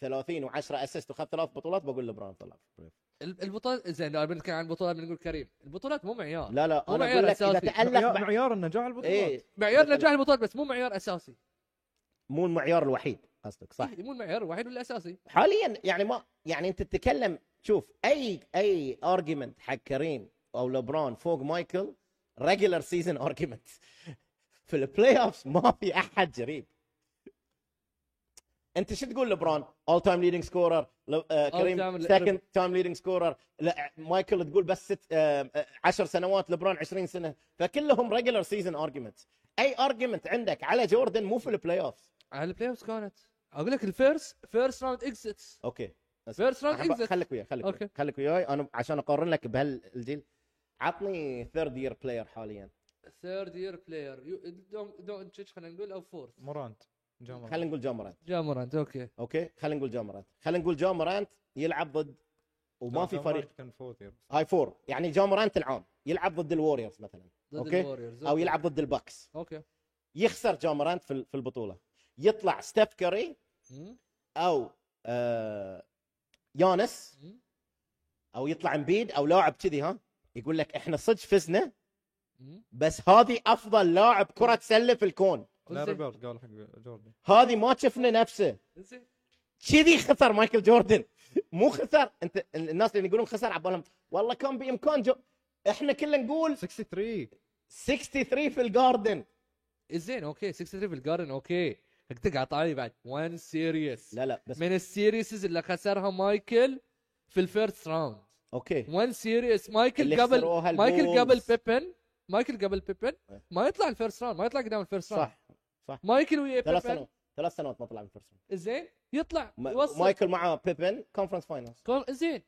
[SPEAKER 3] 30 و10 اسيست وخذ ثلاث بطولات بقول لبرون طلع
[SPEAKER 2] طيب.
[SPEAKER 1] ال- البطولات زين لو بنتكلم عن البطولات بنقول كريم البطولات مو معيار
[SPEAKER 3] لا لا
[SPEAKER 1] هو
[SPEAKER 3] انا
[SPEAKER 1] معيار
[SPEAKER 3] اقول لك اذا
[SPEAKER 1] أساسي.
[SPEAKER 3] تالق
[SPEAKER 2] معيار-
[SPEAKER 3] بعد
[SPEAKER 2] معيار النجاح البطولات
[SPEAKER 3] ايه
[SPEAKER 1] معيار
[SPEAKER 3] مثلاً.
[SPEAKER 1] نجاح البطولات بس مو معيار اساسي
[SPEAKER 3] مو المعيار الوحيد قصدك صح
[SPEAKER 1] إيه، مو المعيار الوحيد والاساسي
[SPEAKER 3] حاليا يعني ما يعني انت تتكلم شوف اي اي ارجيومنت حق كريم او لبرون فوق مايكل ريجلر سيزون ارجيومنت في البلاي اوفز ما في احد قريب انت شو تقول لبرون اول تايم ليدنج سكورر آه، كريم
[SPEAKER 1] time-
[SPEAKER 3] سكند تايم ليدنج سكورر مايكل تقول بس ست 10 سنوات لبرون 20 سنه فكلهم ريجلر سيزون ارجيومنت اي ارجيومنت عندك على جوردن مو في البلاي اوفز
[SPEAKER 1] على البلاي اوف كانت اقول لك الفيرس فيرس راوند اكزيتس
[SPEAKER 3] اوكي
[SPEAKER 1] فيرس راوند
[SPEAKER 3] أحب-
[SPEAKER 1] اكزيتس
[SPEAKER 3] خليك وياي خليك
[SPEAKER 1] أوكي.
[SPEAKER 3] وياي خليك وياي انا عشان اقارن لك بهالجيل عطني ثيرد يير بلاير حاليا
[SPEAKER 1] ثيرد يير بلاير دونتش خلينا نقول او فورث
[SPEAKER 2] مورانت جامعة
[SPEAKER 3] خلينا نقول جامرانت
[SPEAKER 1] جامورانت اوكي
[SPEAKER 3] اوكي خلينا نقول جامرانت خلينا نقول جامرانت يلعب ضد وما في فريق
[SPEAKER 2] كان فوث يربس.
[SPEAKER 3] هاي فور يعني جامرانت العام يلعب ضد الوريورز مثلا
[SPEAKER 1] ضد
[SPEAKER 3] أوكي.
[SPEAKER 1] الوريورز
[SPEAKER 3] او يلعب ضد الباكس
[SPEAKER 1] اوكي
[SPEAKER 3] يخسر جامرانت في ال- في البطوله يطلع ستيف كاري
[SPEAKER 1] مم،
[SPEAKER 3] او آه يانس
[SPEAKER 1] مم،
[SPEAKER 3] او يطلع امبيد او لاعب كذي ها يقول لك احنا صدق فزنا
[SPEAKER 1] مم.
[SPEAKER 3] بس هذه افضل لاعب كره سله في الكون
[SPEAKER 2] لا
[SPEAKER 1] زين،
[SPEAKER 2] روبرت قال حق جوردن
[SPEAKER 3] هذه ما شفنا نفسه
[SPEAKER 1] زين.
[SPEAKER 3] كذي خسر مايكل جوردن مو خسر انت الناس اللي يقولون خسر على بالهم والله كان بامكان جو... احنا كلنا نقول
[SPEAKER 2] 63
[SPEAKER 3] 63 في الجاردن
[SPEAKER 1] زين اوكي 63 في الجارن اوكي هكتك عطاني بعد 1 سيريس
[SPEAKER 3] لا لا بس
[SPEAKER 1] من السيريسز اللي خسرها مايكل في الفيرست راوند
[SPEAKER 3] اوكي
[SPEAKER 1] 1 سيريس
[SPEAKER 3] اللي
[SPEAKER 1] مايكل قبل
[SPEAKER 3] خسروها
[SPEAKER 1] مايكل
[SPEAKER 3] البولز.
[SPEAKER 1] قبل بيبن مايكل قبل بيبن
[SPEAKER 3] إيه.
[SPEAKER 1] ما يطلع الفيرست راوند ما يطلع قدام الفيرست راوند
[SPEAKER 3] صح صح
[SPEAKER 1] مايكل ويا
[SPEAKER 3] ثلاث
[SPEAKER 1] بيبن
[SPEAKER 3] سنوات ثلاث سنوات ما طلع من الفرصه
[SPEAKER 1] زين يطلع
[SPEAKER 3] ما...
[SPEAKER 1] يوصل
[SPEAKER 3] مايكل مع بيبن كونفرنس فاينلز
[SPEAKER 1] كون زين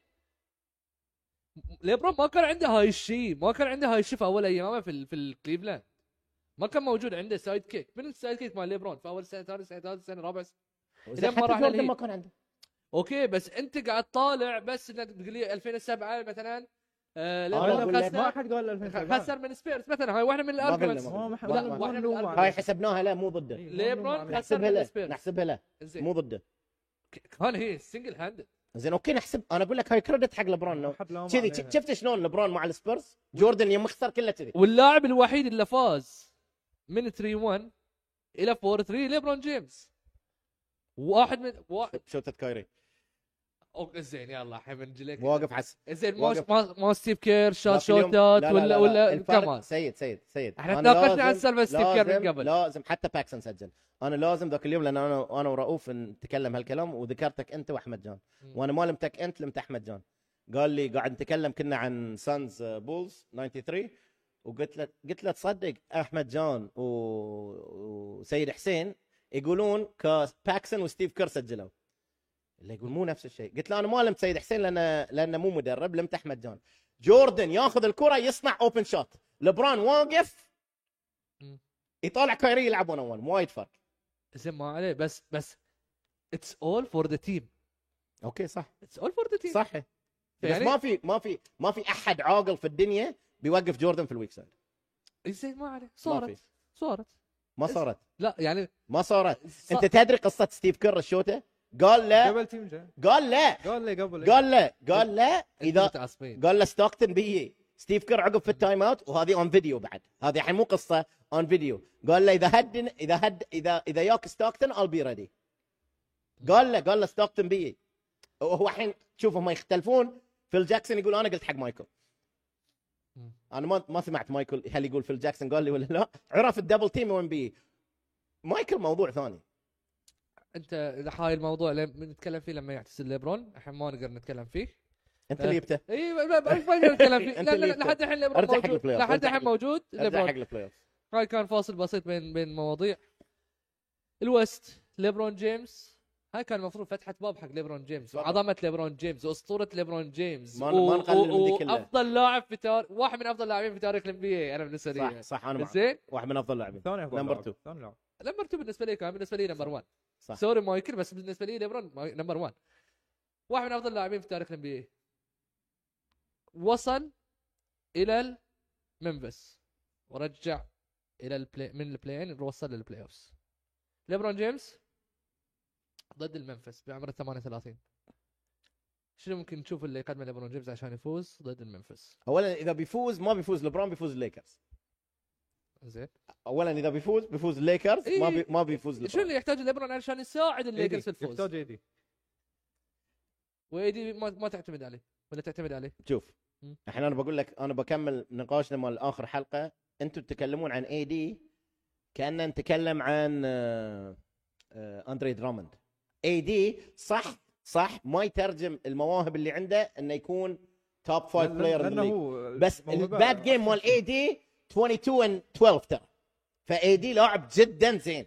[SPEAKER 1] ليبرون ما كان عنده هاي الشيء ما كان عنده هاي الشيء في اول ايامه في ال- في الكليفلاند ما كان موجود عنده سايد كيك من السايد كيك مال ليبرون في اول سنه ثاني سنه ثالث سنه رابع سنه إذا ما
[SPEAKER 3] حتى
[SPEAKER 1] راح
[SPEAKER 3] جوردن
[SPEAKER 1] للهيت.
[SPEAKER 3] ما كان عنده
[SPEAKER 1] اوكي بس انت قاعد طالع بس انك تقول لي 2007 مثلا آه
[SPEAKER 3] أنا
[SPEAKER 1] ليبرون
[SPEAKER 3] أقول لك
[SPEAKER 2] ما
[SPEAKER 1] خسر
[SPEAKER 2] حد قال 2007
[SPEAKER 1] خسر من سبيرز مثلا هاي واحده من
[SPEAKER 3] ما قلنا،
[SPEAKER 1] الارجمنتس
[SPEAKER 3] ما
[SPEAKER 2] ما حد
[SPEAKER 3] لا،
[SPEAKER 2] ما-
[SPEAKER 1] واحد
[SPEAKER 2] ما
[SPEAKER 1] من
[SPEAKER 2] نلوم
[SPEAKER 1] الأربعة.
[SPEAKER 2] عليه.
[SPEAKER 3] هاي حسبناها لا مو ضده
[SPEAKER 2] إيه، ما
[SPEAKER 1] ليبرون
[SPEAKER 2] نلوم عليه.
[SPEAKER 1] خسر
[SPEAKER 3] نحسبها
[SPEAKER 1] من
[SPEAKER 3] له
[SPEAKER 1] السبيرز
[SPEAKER 3] نحسبها له
[SPEAKER 1] زين
[SPEAKER 3] مو ضده
[SPEAKER 1] كان هي سنجل هاندد
[SPEAKER 3] زين اوكي نحسب انا اقول لك هاي كريدت حق لبرون إنه
[SPEAKER 2] أحب لهم
[SPEAKER 3] كذي
[SPEAKER 2] عليها.
[SPEAKER 3] شفت شلون لبرون مع السبيرز جوردن يوم اختار كله كذي
[SPEAKER 1] واللاعب الوحيد اللي فاز من 3 1 الى 4 3 ليبرون جيمس واحد من واحد
[SPEAKER 3] شوتة كايري
[SPEAKER 1] اوكي زين يلا الحين بنجي لك
[SPEAKER 3] واقف حس
[SPEAKER 1] زين ما
[SPEAKER 3] واقف.
[SPEAKER 1] ما- ما ستيف كير شات
[SPEAKER 3] لكن اليوم-
[SPEAKER 1] شوتات
[SPEAKER 3] لا لا
[SPEAKER 1] ولا
[SPEAKER 3] لا لا.
[SPEAKER 1] ولا
[SPEAKER 3] الفرق-
[SPEAKER 1] كمان
[SPEAKER 3] سيد سيد سيد
[SPEAKER 1] احنا
[SPEAKER 3] أنا
[SPEAKER 1] تناقشنا
[SPEAKER 3] لازم-
[SPEAKER 1] عن سالفه ستيف كير من
[SPEAKER 3] لازم-
[SPEAKER 1] قبل
[SPEAKER 3] لازم حتى باكسن سجل انا لازم ذاك اليوم لان انا انا ورؤوف نتكلم هالكلام وذكرتك انت واحمد جان
[SPEAKER 1] مم.
[SPEAKER 3] وانا ما لمتك انت لمت احمد جان قال لي قاعد نتكلم كنا عن آه، سانز بولز 93 وقلت له قلت له تصدق احمد جان و... وسيد حسين يقولون كاس باكسن وستيف كير سجلوا اللي يقول مو نفس الشيء قلت له انا ما لمت سيد حسين لانه لانه مو مدرب لمت احمد جان جوردن ياخذ الكره يصنع اوبن شوت لبران واقف
[SPEAKER 1] مم.
[SPEAKER 3] يطالع كايري يلعب 1 1 وايد فرق
[SPEAKER 1] زين ما عليه بس بس اتس اول فور ذا تيم
[SPEAKER 3] اوكي صح
[SPEAKER 1] اتس اول فور ذا تيم
[SPEAKER 3] صح بس ما في ما في ما في احد عاقل في الدنيا بيوقف جوردن في الويك سايد
[SPEAKER 1] زين ما عليه
[SPEAKER 3] ما في
[SPEAKER 1] صارت صارت
[SPEAKER 3] ما صارت
[SPEAKER 1] لا يعني
[SPEAKER 3] ما صارت
[SPEAKER 1] ص-
[SPEAKER 3] انت تدري قصه ستيف كير الشوته قال له
[SPEAKER 2] قبل تيم جا
[SPEAKER 3] قال له
[SPEAKER 2] قال لي قبل
[SPEAKER 3] إيه. قال له قال له
[SPEAKER 1] انتوا
[SPEAKER 3] اذا
[SPEAKER 1] متعصبين
[SPEAKER 3] قال له ستوكتن بيي ستيف كير عقب في التايم اوت وهذه اون فيديو بعد هذه الحين مو قصه اون فيديو قال له اذا هد اذا هد اذا اذا ياك ستوكتن I'll بي ريدي قال له قال له ستوكتن بيي وهو الحين شوف هم يختلفون فيل جاكسون يقول انا قلت حق مايكل
[SPEAKER 1] مم.
[SPEAKER 3] انا ما ما سمعت مايكل هل يقول فيل جاكسون قال لي ولا لا عرف الدبل تيم وين بي مايكل موضوع ثاني
[SPEAKER 1] انت اذا هاي الموضوع لم- نتكلم فيه لما يعتزل ليبرون الحين ما نقدر نتكلم فيه
[SPEAKER 3] انت اللي جبته
[SPEAKER 1] اي ما ما- ما نقدر نتكلم فيه
[SPEAKER 3] أنت
[SPEAKER 1] لا
[SPEAKER 3] اللي
[SPEAKER 1] لا لحد الحين ليبرون
[SPEAKER 3] ارجع حق
[SPEAKER 1] موجود
[SPEAKER 3] البلاي أوف،
[SPEAKER 1] لحد
[SPEAKER 3] ارجع
[SPEAKER 1] الحين
[SPEAKER 3] حق-
[SPEAKER 1] موجود
[SPEAKER 3] ارجع
[SPEAKER 1] ليبرون
[SPEAKER 3] حق البلاي اوف
[SPEAKER 1] هاي كان فاصل بسيط بين بين المواضيع الوست ليبرون جيمس هاي كان المفروض فتحة باب حق ليبرون جيمس
[SPEAKER 3] طبعاً.
[SPEAKER 1] وعظمة ليبرون جيمس واسطورة ليبرون جيمس
[SPEAKER 3] ما- ما نقلل من ذي كله.
[SPEAKER 1] افضل لاعب في تاريخ واحد من افضل لاعبين في تاريخ الام بي اي انا بالنسبة
[SPEAKER 3] صح
[SPEAKER 1] لي
[SPEAKER 3] صح انا معك
[SPEAKER 1] زين
[SPEAKER 3] واحد من افضل اللاعبين
[SPEAKER 2] ثاني افضل
[SPEAKER 3] نمبر
[SPEAKER 2] لاعب.
[SPEAKER 3] تو.
[SPEAKER 2] ثاني لاعب
[SPEAKER 1] نمبر 2 بالنسبة لي كان بالنسبة لي نمبر 1
[SPEAKER 3] صح.
[SPEAKER 1] سوري مايكل بس بالنسبة لي ليبرون ماي- نمبر 1 واحد من افضل اللاعبين في تاريخ الام بي اي وصل الى المنفس ورجع الى البلاي من البلاي ان وصل للبلاي اوفز ليبرون جيمس ضد المنفس بعمر 38 شنو ممكن نشوف اللي يقدمه ليبرون جيمس عشان يفوز ضد المنفس
[SPEAKER 3] اولا اذا بيفوز ما بيفوز لبرون بيفوز الليكرز
[SPEAKER 1] زين
[SPEAKER 3] اولا اذا بيفوز بيفوز الليكرز ما بي
[SPEAKER 1] إيه.
[SPEAKER 3] ما بيفوز
[SPEAKER 1] شنو
[SPEAKER 3] لبرون
[SPEAKER 1] اللي يحتاج ليبرون عشان يساعد
[SPEAKER 3] إيه.
[SPEAKER 1] الليكرز في الفوز
[SPEAKER 2] إيه يحتاج ايدي
[SPEAKER 1] وايدي ما, ما تعتمد عليه ولا تعتمد عليه
[SPEAKER 3] شوف
[SPEAKER 1] مم.
[SPEAKER 3] الحين انا بقول لك انا بكمل نقاشنا مال اخر حلقه انتم تتكلمون عن اي دي كاننا نتكلم عن آه، آه، اندري دراموند اي دي صح صح ما يترجم المواهب اللي عنده انه يكون توب فايف بلاير الليج بس الباد جيم مال اي دي 22 and 12 ترى فاي دي لاعب جدا زين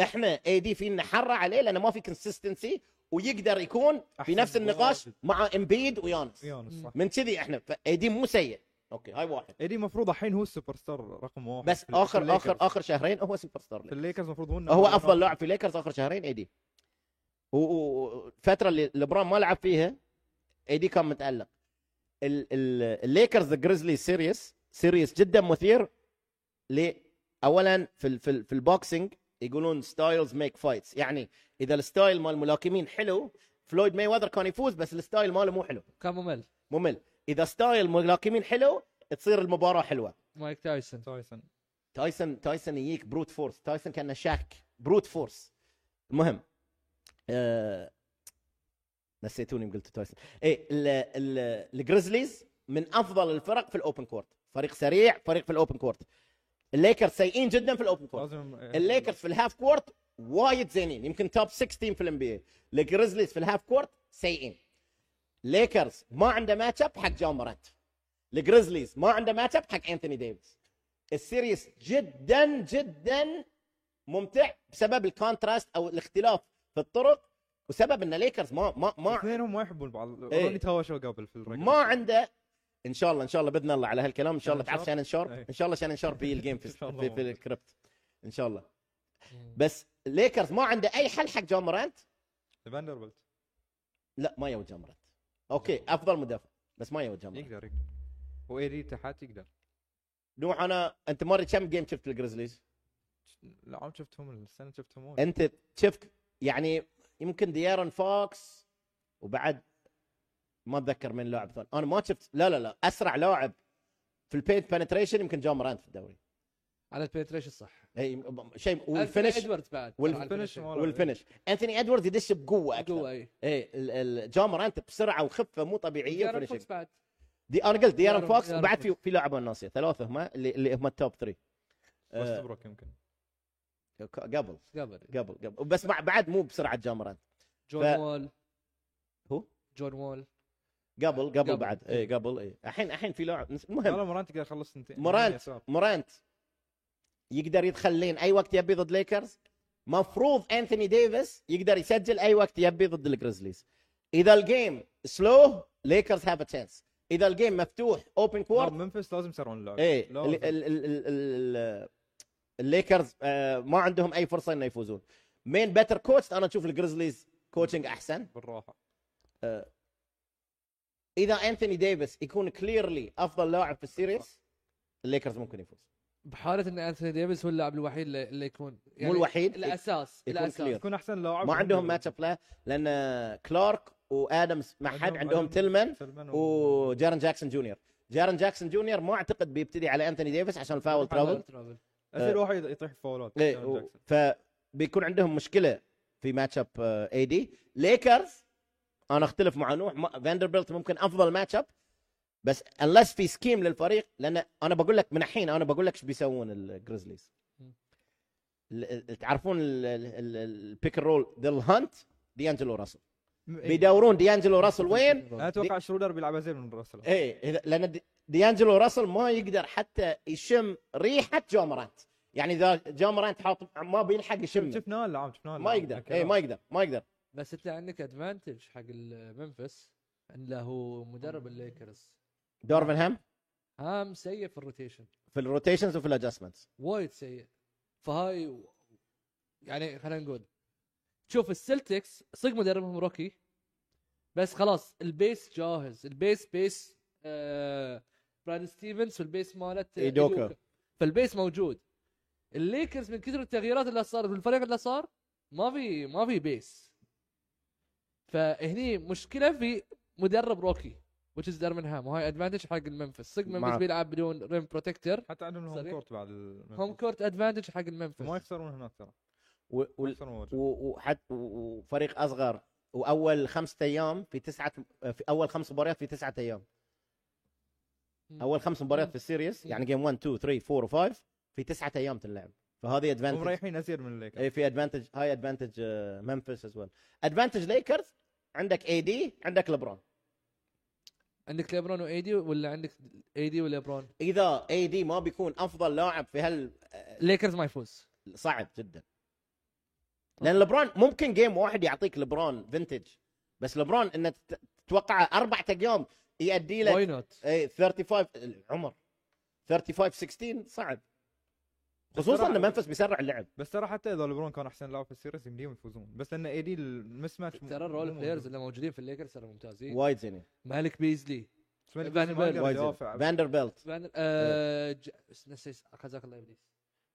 [SPEAKER 3] احنا اي دي فينا حره عليه لانه ما في كونسستنسي ويقدر يكون في
[SPEAKER 2] أحسن
[SPEAKER 3] نفس النقاش
[SPEAKER 2] واجد.
[SPEAKER 3] مع امبيد ويانس
[SPEAKER 2] يونس صح
[SPEAKER 3] من كذي احنا فاي دي مو سيء اوكي هاي واحد
[SPEAKER 2] ايدي المفروض الحين هو السوبر ستار رقم واحد
[SPEAKER 3] بس
[SPEAKER 2] في- في
[SPEAKER 3] اخر
[SPEAKER 2] الليكرز.
[SPEAKER 3] اخر اخر شهرين هو سوبر ستار
[SPEAKER 2] في الليكرز المفروض هو
[SPEAKER 3] هو افضل لاعب في ليكرز اخر شهرين اي دي والفتره اللي لبران ما لعب فيها اي دي كان متالق ال- ال- الليكرز جريزلي سيريس سيريس جدا مثير ل اولا في ال- في, ال- في البوكسينج يقولون ستايلز ميك فايتس يعني اذا الستايل مال الملاكمين حلو فلويد ماي وذر كان يفوز بس الستايل ماله مو حلو
[SPEAKER 1] كان ممل
[SPEAKER 3] ممل اذا ستايل الملاكمين حلو تصير المباراه حلوه
[SPEAKER 1] مايك تايسون
[SPEAKER 2] تايسون
[SPEAKER 3] تايسون تايسون يجيك بروت فورس تايسون كان شاك بروت فورس المهم آه... نسيتوني يوم قلت تايسون ايه ال... ال... الجريزليز من افضل الفرق في الاوبن كورت فريق سريع فريق في الاوبن كورت الليكرز سيئين جدا في الاوبن كورت
[SPEAKER 2] لازم
[SPEAKER 3] الليكرز في الهاف كورت وايد زينين يمكن توب 16 في الام بي اي الجريزليز في الهاف كورت سيئين ليكرز ما عنده ماتش اب حق جون مورانت الجريزليز ما عنده ماتش اب حق انثوني ديفيس السيريس جدا جدا ممتع بسبب الكونتراست او الاختلاف في الطرق وسبب ان ليكرز ما ما ما
[SPEAKER 2] اثنينهم ما يحبون بعض
[SPEAKER 3] إيه.
[SPEAKER 2] اوريدي تهاوشوا قبل في الرقم
[SPEAKER 3] ما عنده ان شاء الله ان شاء الله باذن الله على هالكلام ان شاء الله
[SPEAKER 2] شانن
[SPEAKER 3] تعرف شانن شارب
[SPEAKER 2] إيه.
[SPEAKER 3] ان شاء الله شانن شارب هي الجيم في
[SPEAKER 2] إن شاء الله
[SPEAKER 3] في, في الكريبت ان شاء الله بس ليكرز ما عنده اي حل حق جون مورانت
[SPEAKER 2] فاندربلت
[SPEAKER 3] لا ما يو جون مورانت اوكي افضل مدافع بس ما يو جون مورانت
[SPEAKER 2] يقدر يقدر وايدي تحت يقدر
[SPEAKER 3] نوح انا انت مره كم جيم شفت الجريزليز؟
[SPEAKER 2] لا عم شفتهم السنه شفتهم
[SPEAKER 3] انت شفت يعني يمكن ديارن فوكس وبعد ما اتذكر من لاعب ثاني انا ما شفت لا لا لا اسرع لاعب في البيت بنتريشن يمكن جون مرانت في الدوري
[SPEAKER 1] على البنتريشن صح
[SPEAKER 3] اي شيء والفنش
[SPEAKER 1] ادوردز بعد
[SPEAKER 3] والفينش
[SPEAKER 1] على الفينش.
[SPEAKER 3] والفinish انثوني ادواردز يدش بقوه اكثر
[SPEAKER 1] قوه اي
[SPEAKER 3] اي ال- ال- جون مرانت بسرعه وخفه مو طبيعيه
[SPEAKER 1] ديارن
[SPEAKER 3] وفينشنج.
[SPEAKER 1] فوكس بعد
[SPEAKER 3] دي انا قلت ديارن
[SPEAKER 1] ديارن-
[SPEAKER 3] فوكس
[SPEAKER 1] ديارن
[SPEAKER 3] وبعد في
[SPEAKER 1] فوكس.
[SPEAKER 3] في لاعبين ناسي ثلاثه هم اللي, اللي هم التوب 3 آه.
[SPEAKER 2] وستبروك يمكن
[SPEAKER 3] قبل
[SPEAKER 1] قبل
[SPEAKER 3] قبل قبل بس مع- بعد مو بسرعه جون مرانت
[SPEAKER 1] جون
[SPEAKER 3] ف-
[SPEAKER 1] وول
[SPEAKER 3] هو؟
[SPEAKER 1] جون وول
[SPEAKER 3] قبل قبل, إيه.
[SPEAKER 1] قبل.
[SPEAKER 3] بعد اي قبل اي الحين الحين في لاعب المهم
[SPEAKER 2] والله مورانت قاعد يخلص سنتين
[SPEAKER 3] مورانت.
[SPEAKER 2] يسار.
[SPEAKER 3] مورانت يقدر يدخل لين اي وقت يبي ضد ليكرز مفروض انثوني ديفيس يقدر يسجل اي وقت يبي ضد الجريزليز اذا الجيم سلو ليكرز هاف تشانس اذا الجيم مفتوح اوبن
[SPEAKER 2] لا،
[SPEAKER 3] كورت
[SPEAKER 2] منفس لازم يسرعون اللعب
[SPEAKER 3] ايه
[SPEAKER 2] لازم.
[SPEAKER 3] ال- ال- ال- ال- ال- الليكرز آه، ما عندهم اي فرصه انه يفوزون مين بيتر كوتش انا اشوف الجريزليز كوتشنج احسن
[SPEAKER 2] بالراحه
[SPEAKER 3] اذا انثوني ديفيس يكون كليرلي افضل لاعب في السيريس الليكرز ممكن يفوز
[SPEAKER 1] بحاله ان انثوني ديفيس هو اللاعب الوحيد اللي اللي يكون يعني
[SPEAKER 3] مو الوحيد
[SPEAKER 1] الاساس
[SPEAKER 3] يكون
[SPEAKER 1] الاساس
[SPEAKER 3] clear.
[SPEAKER 2] يكون احسن لاعب
[SPEAKER 3] ما يعني عندهم ماتش اب لا لان كلارك وادمز ما حد عندهم تلمن
[SPEAKER 2] تلمن
[SPEAKER 3] وجارن جاكسون جونيور جارن جاكسون جونيور ما اعتقد بيبتدي على انثوني ديفيس عشان الفاول ترابل
[SPEAKER 1] ترابل
[SPEAKER 2] اخر واحد يطيح فاولات
[SPEAKER 3] آه. إيه،
[SPEAKER 2] جون
[SPEAKER 3] و-
[SPEAKER 2] جاكسون.
[SPEAKER 3] فبيكون عندهم مشكله في آه، ماتش اب اي دي ليكرز انا اختلف مع نوح ما- فاندربيلت ممكن افضل ماتش اب بس انلس في سكيم للفريق لان انا بقول لك من الحين انا بقول لك ايش بيسوون الجريزليز
[SPEAKER 1] مم.
[SPEAKER 3] ال- ال- تعرفون البيك رول ديل هانت ديانجلو راسل
[SPEAKER 2] م- إيه.
[SPEAKER 3] بيدورون ديانجلو راسل وين
[SPEAKER 2] انا اتوقع شرودر بيلعبها زين من راسل
[SPEAKER 3] ايه إذا- لان دي- ديانجلو راسل ما يقدر حتى يشم ريحه جومرانت يعني اذا جومرانت حاط ما بيلحق يشم
[SPEAKER 2] شفناه اللعب شفناه
[SPEAKER 3] ما يقدر اي ما يقدر ما يقدر
[SPEAKER 1] بس انت عندك ادفانتج حق ال- ممفيس ان له مدرب الليكرز
[SPEAKER 3] دورفنهام
[SPEAKER 1] هام سيء في الروتيشن
[SPEAKER 3] في الروتيشنز وفي الادجستمنتس
[SPEAKER 1] وايد سيء فهاي و- يعني خلينا نقول شوف السلتكس صدق مدربهم روكي بس خلاص البيس جاهز البيس بيس آه براد ستيفنز والبيس مالت آه،
[SPEAKER 3] إيدوكا.
[SPEAKER 1] فالبيس موجود الليكرز من كثر التغييرات اللي صارت والفريق اللي صار ما في ما في بيس فهني مشكله في مدرب روكي which is درمنهام وهاي ادفانتج حق المنفس صدق
[SPEAKER 3] معك.
[SPEAKER 1] منفس بيلعب بدون ريم بروتكتر
[SPEAKER 2] حتى عندهم هوم
[SPEAKER 1] صريح.
[SPEAKER 2] كورت بعد
[SPEAKER 1] هوم كورت ادفانتج حق المنفس
[SPEAKER 2] ما يخسرون هناك ترى
[SPEAKER 3] و-
[SPEAKER 2] ما
[SPEAKER 3] وال-
[SPEAKER 2] يخسرون واجد.
[SPEAKER 3] و- وحت- و- وفريق اصغر واول خمسة ايام في تسعه في اول خمس مباريات في تسعه ايام
[SPEAKER 1] مم.
[SPEAKER 3] اول خمس مباريات في السيريس يعني جيم 1 2 3 4 5 في تسعه ايام تنلعب فهذه
[SPEAKER 2] هم
[SPEAKER 3] ادفانتج
[SPEAKER 2] رايحين ازيد من الليكرز
[SPEAKER 3] اي إيه، في ادفانتج هاي ادفانتج ممفيس از ويل ادفانتج ليكرز عندك اي دي عندك لبرون
[SPEAKER 1] عندك ليبرون وايدي ولا عندك ايدي وليبرون
[SPEAKER 3] اذا اي دي ما بيكون افضل لاعب في هال
[SPEAKER 1] ليكرز ما يفوز
[SPEAKER 3] صعب جدا لان لبرون ممكن جيم واحد يعطيك لبرون فينتج بس لبرون انه تت- تتوقعه اربعة ايام يؤدي لك
[SPEAKER 1] واي نوت
[SPEAKER 3] اي 35 العمر 35 16 صعب خصوصا ان منفس بيسرع اللعب
[SPEAKER 2] بس ترى حتى اذا لبرون كان احسن لاعب في السيريز يمديهم يفوزون بس ان اي دي المس ماتش
[SPEAKER 1] ترى الرول بلايرز اللي موجودين في الليكرز ترى ممتازين
[SPEAKER 3] وايد زينين
[SPEAKER 1] مالك بيزلي فان بيرن.
[SPEAKER 3] وايد زينين فاندربيلت
[SPEAKER 1] بعدين-
[SPEAKER 3] إيه.
[SPEAKER 1] آه، ج- نسيت خزاك الله ابليس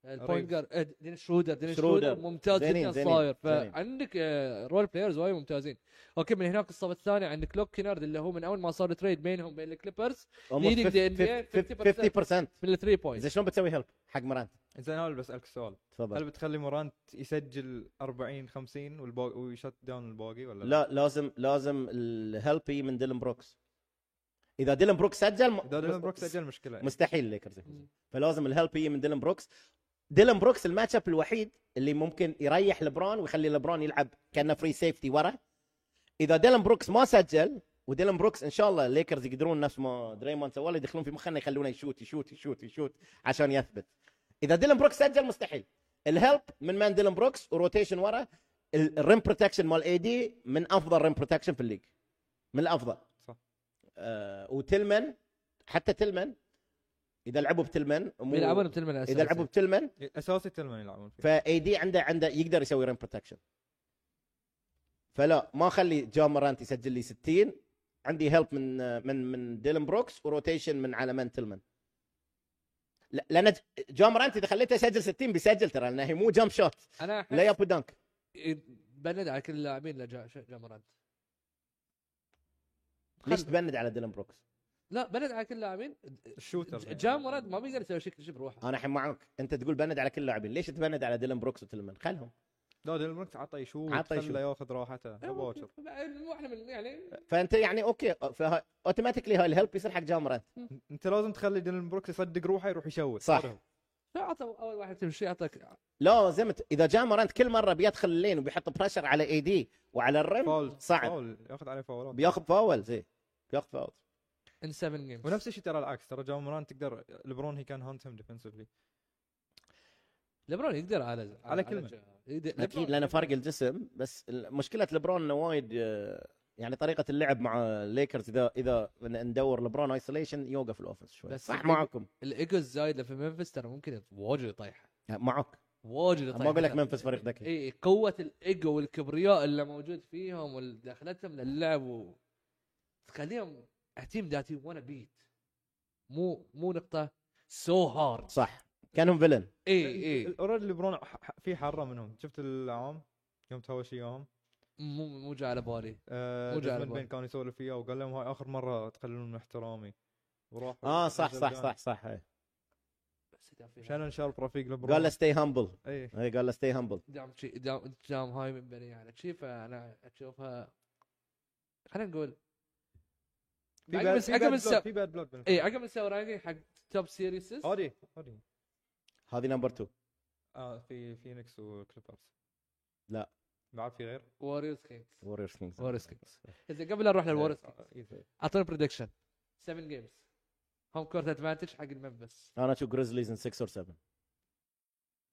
[SPEAKER 1] البوينت
[SPEAKER 2] ريفز.
[SPEAKER 1] جارد دين إيه، شرودر دين
[SPEAKER 3] شرودر.
[SPEAKER 1] شرودر ممتاز
[SPEAKER 3] زينين،
[SPEAKER 1] جدا
[SPEAKER 3] زينين،
[SPEAKER 1] صاير
[SPEAKER 3] زينين.
[SPEAKER 1] فعندك آه، رول بلايرز وايد ممتازين اوكي من هناك الصف الثاني عندك لوك كينارد اللي هو من اول ما صار تريد بينهم بين الكليبرز Leading the NBA 50%.
[SPEAKER 3] 50%
[SPEAKER 1] من الثري
[SPEAKER 3] زين
[SPEAKER 1] بوينت
[SPEAKER 3] شلون بتسوي هيلب حق مرانت
[SPEAKER 2] زين انا اللي بسالك سؤال هل
[SPEAKER 3] تفضل
[SPEAKER 2] بتخلي مورانت يسجل 40 50 والباقي ويشت داون الباقي ولا
[SPEAKER 3] لا لازم لازم الهيلب يجي من ديلن بروكس اذا ديلن بروكس سجل م-
[SPEAKER 2] اذا ديلان بروك سجل مشكله
[SPEAKER 3] مستحيل الليكرز يفوزون فلازم الهيلب يجي من ديلن بروكس ديلن بروكس الماتش اب الوحيد اللي ممكن يريح لبران ويخلي لبران يلعب كانه فري سيفتي ورا اذا ديلن بروكس ما سجل وديلان بروكس ان شاء الله الليكرز يقدرون نفس ما دريموند سوى له يدخلون في مخنا يخلونه يشوت يشوت يشوت يشوت عشان يثبت اذا ديلان بروكس سجل مستحيل الهيلب من مان ديلان بروكس وروتيشن ورا ال- الريم بروتكشن مال اي دي من افضل ريم بروتكشن في الليج من الافضل
[SPEAKER 2] صح.
[SPEAKER 3] آه وتلمن حتى تلمن اذا لعبوا بتلمن مو-
[SPEAKER 1] بيلعبون بتلمن
[SPEAKER 3] اذا لعبوا بتلمن
[SPEAKER 2] اساسي تلمن يلعبون فيه
[SPEAKER 3] فاي دي عنده عنده يقدر يسوي ريم بروتكشن فلا ما اخلي جون مرانت يسجل لي 60 عندي هيلب من من من ديلن بروكس وروتيشن من على من تلمن لا- لان ج- جون مرانت اذا خليته يسجل 60 بيسجل ترى لانه هي مو جامب شوت
[SPEAKER 1] انا أحس-
[SPEAKER 3] لا ياب ودنك
[SPEAKER 1] إيه، بند على كل اللاعبين اللي جا جا مرانت
[SPEAKER 3] ليش تبند على ديلان بروكس؟
[SPEAKER 1] لا بلد على كل اللاعبين
[SPEAKER 2] الشوتر
[SPEAKER 1] جامورد ما بيقدر يسوي شيء شيء
[SPEAKER 3] انا
[SPEAKER 1] بروحه
[SPEAKER 3] الحين معك انت تقول بند على كل اللاعبين ليش تبند على ديلان بروكس وتلمن خلهم
[SPEAKER 2] لا ديلان بروكس عطى يشوت
[SPEAKER 3] عطى يشوت.
[SPEAKER 2] خله ياخذ راحته
[SPEAKER 1] إيه،
[SPEAKER 2] ابو باكر
[SPEAKER 1] بعدين مو احنا من يعني
[SPEAKER 3] فانت يعني اوكي فه- اوتوماتيكلي هاي الهيلب يصير حق جامرة
[SPEAKER 2] انت لازم تخلي ديلان بروكس يصدق روحه يروح يشوت
[SPEAKER 3] صح.
[SPEAKER 1] لا اعطى اول واحد تمشي اعطاك
[SPEAKER 3] لا زي ما ت- اذا جامرانت كل مره بيدخل اللين وبيحط بريشر على اي دي وعلى الرم
[SPEAKER 2] فاول
[SPEAKER 3] صعب
[SPEAKER 2] فاول ياخذ عليه فاولات
[SPEAKER 3] بياخذ فاول زي بياخذ فاول
[SPEAKER 1] ان 7 جيمز
[SPEAKER 2] ونفس الشيء ترى العكس ترى جاموران تقدر لبرون هي كان هانتهم ديفنسفلي
[SPEAKER 1] لبرون يقدر على
[SPEAKER 2] على كلمة.
[SPEAKER 1] جا- يقدر-
[SPEAKER 3] اكيد
[SPEAKER 1] لبرون.
[SPEAKER 3] لانه فرق الجسم بس ال- مشكله لبرون انه وايد آه، يعني طريقه اللعب مع الليكرز اذا اذا ن- ندور لبرون ايسوليشن يوقف الاوفنس شوي
[SPEAKER 1] بس
[SPEAKER 3] صح
[SPEAKER 1] اللي-
[SPEAKER 3] معكم
[SPEAKER 1] الايجوز زايده في منفس ترى ممكن واجد يطيح
[SPEAKER 3] معك
[SPEAKER 1] واجد يطيح
[SPEAKER 3] ما اقول لك منفس فريق ذكي
[SPEAKER 1] اي قوه الايجو إيه، والكبرياء اللي موجود فيهم ودخلتهم للعب و... تخليهم تيم ذات وانا بيت مو مو نقطه سو هارد
[SPEAKER 3] صح كانهم فيلن
[SPEAKER 1] اي اي
[SPEAKER 2] اوريدي لبرون ح- ح- في حره منهم شفت العام يوم تهاوش وياهم
[SPEAKER 1] مو مو جاي على بالي
[SPEAKER 2] آه
[SPEAKER 1] مو جعل
[SPEAKER 2] جاسمين
[SPEAKER 1] بال.
[SPEAKER 2] بين كان يسولف فيها وقال لهم هاي اخر مره تقللون من احترامي وراح
[SPEAKER 3] اه صح صح صح صح إيه.
[SPEAKER 1] بس دام في
[SPEAKER 2] شانون شارب رفيق لبرون إيه.
[SPEAKER 3] قال له ستي هامبل
[SPEAKER 2] اي
[SPEAKER 3] قال له ستي هامبل
[SPEAKER 1] دام شي دام دام هاي مبنيه على شي فانا اشوفها خلينا نقول
[SPEAKER 2] في
[SPEAKER 1] عقب
[SPEAKER 2] باد
[SPEAKER 1] الس- عقب الس-
[SPEAKER 2] بلاد في باد بلاد
[SPEAKER 1] اي إيه، عقب نسوي رانكينج حق توب سيريسز
[SPEAKER 2] هادي هادي
[SPEAKER 3] هذه نمبر 2
[SPEAKER 2] اه في فينيكس وكليبرز
[SPEAKER 3] لا.
[SPEAKER 2] بعد في غير
[SPEAKER 1] ووريرز كينجز
[SPEAKER 3] ووريرز كينجز
[SPEAKER 1] ووريرز كينجز اذا قبل لا نروح للووريرز
[SPEAKER 2] آه،
[SPEAKER 1] كينجز
[SPEAKER 2] إيه.
[SPEAKER 1] اعطونا بريدكشن 7 جيمز هوم كورت ادفانتج حق المنفس
[SPEAKER 3] انا اشوف جريزليز ان 6 اور 7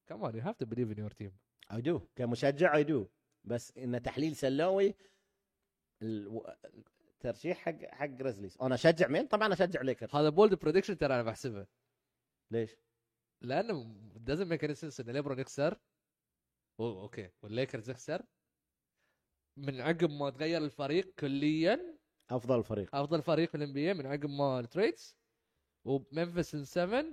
[SPEAKER 1] كمان يو هاف تو بليف ان يور تيم
[SPEAKER 3] اي دو كمشجع اي دو بس ان تحليل سلاوي الو... الترشيح حق حق جريزليز انا اشجع مين؟ طبعا اشجع ليكرز
[SPEAKER 1] هذا بولد بريدكشن ترى انا بحسبه
[SPEAKER 3] ليش؟
[SPEAKER 1] لانه دازنت ميك اني سنس ان ليبرون يخسر أو- اوكي والليكرز يخسر من عقب ما تغير الفريق كليا
[SPEAKER 3] افضل فريق
[SPEAKER 1] افضل فريق في الانبياء من عقب ما التريدز ومنفس ان 7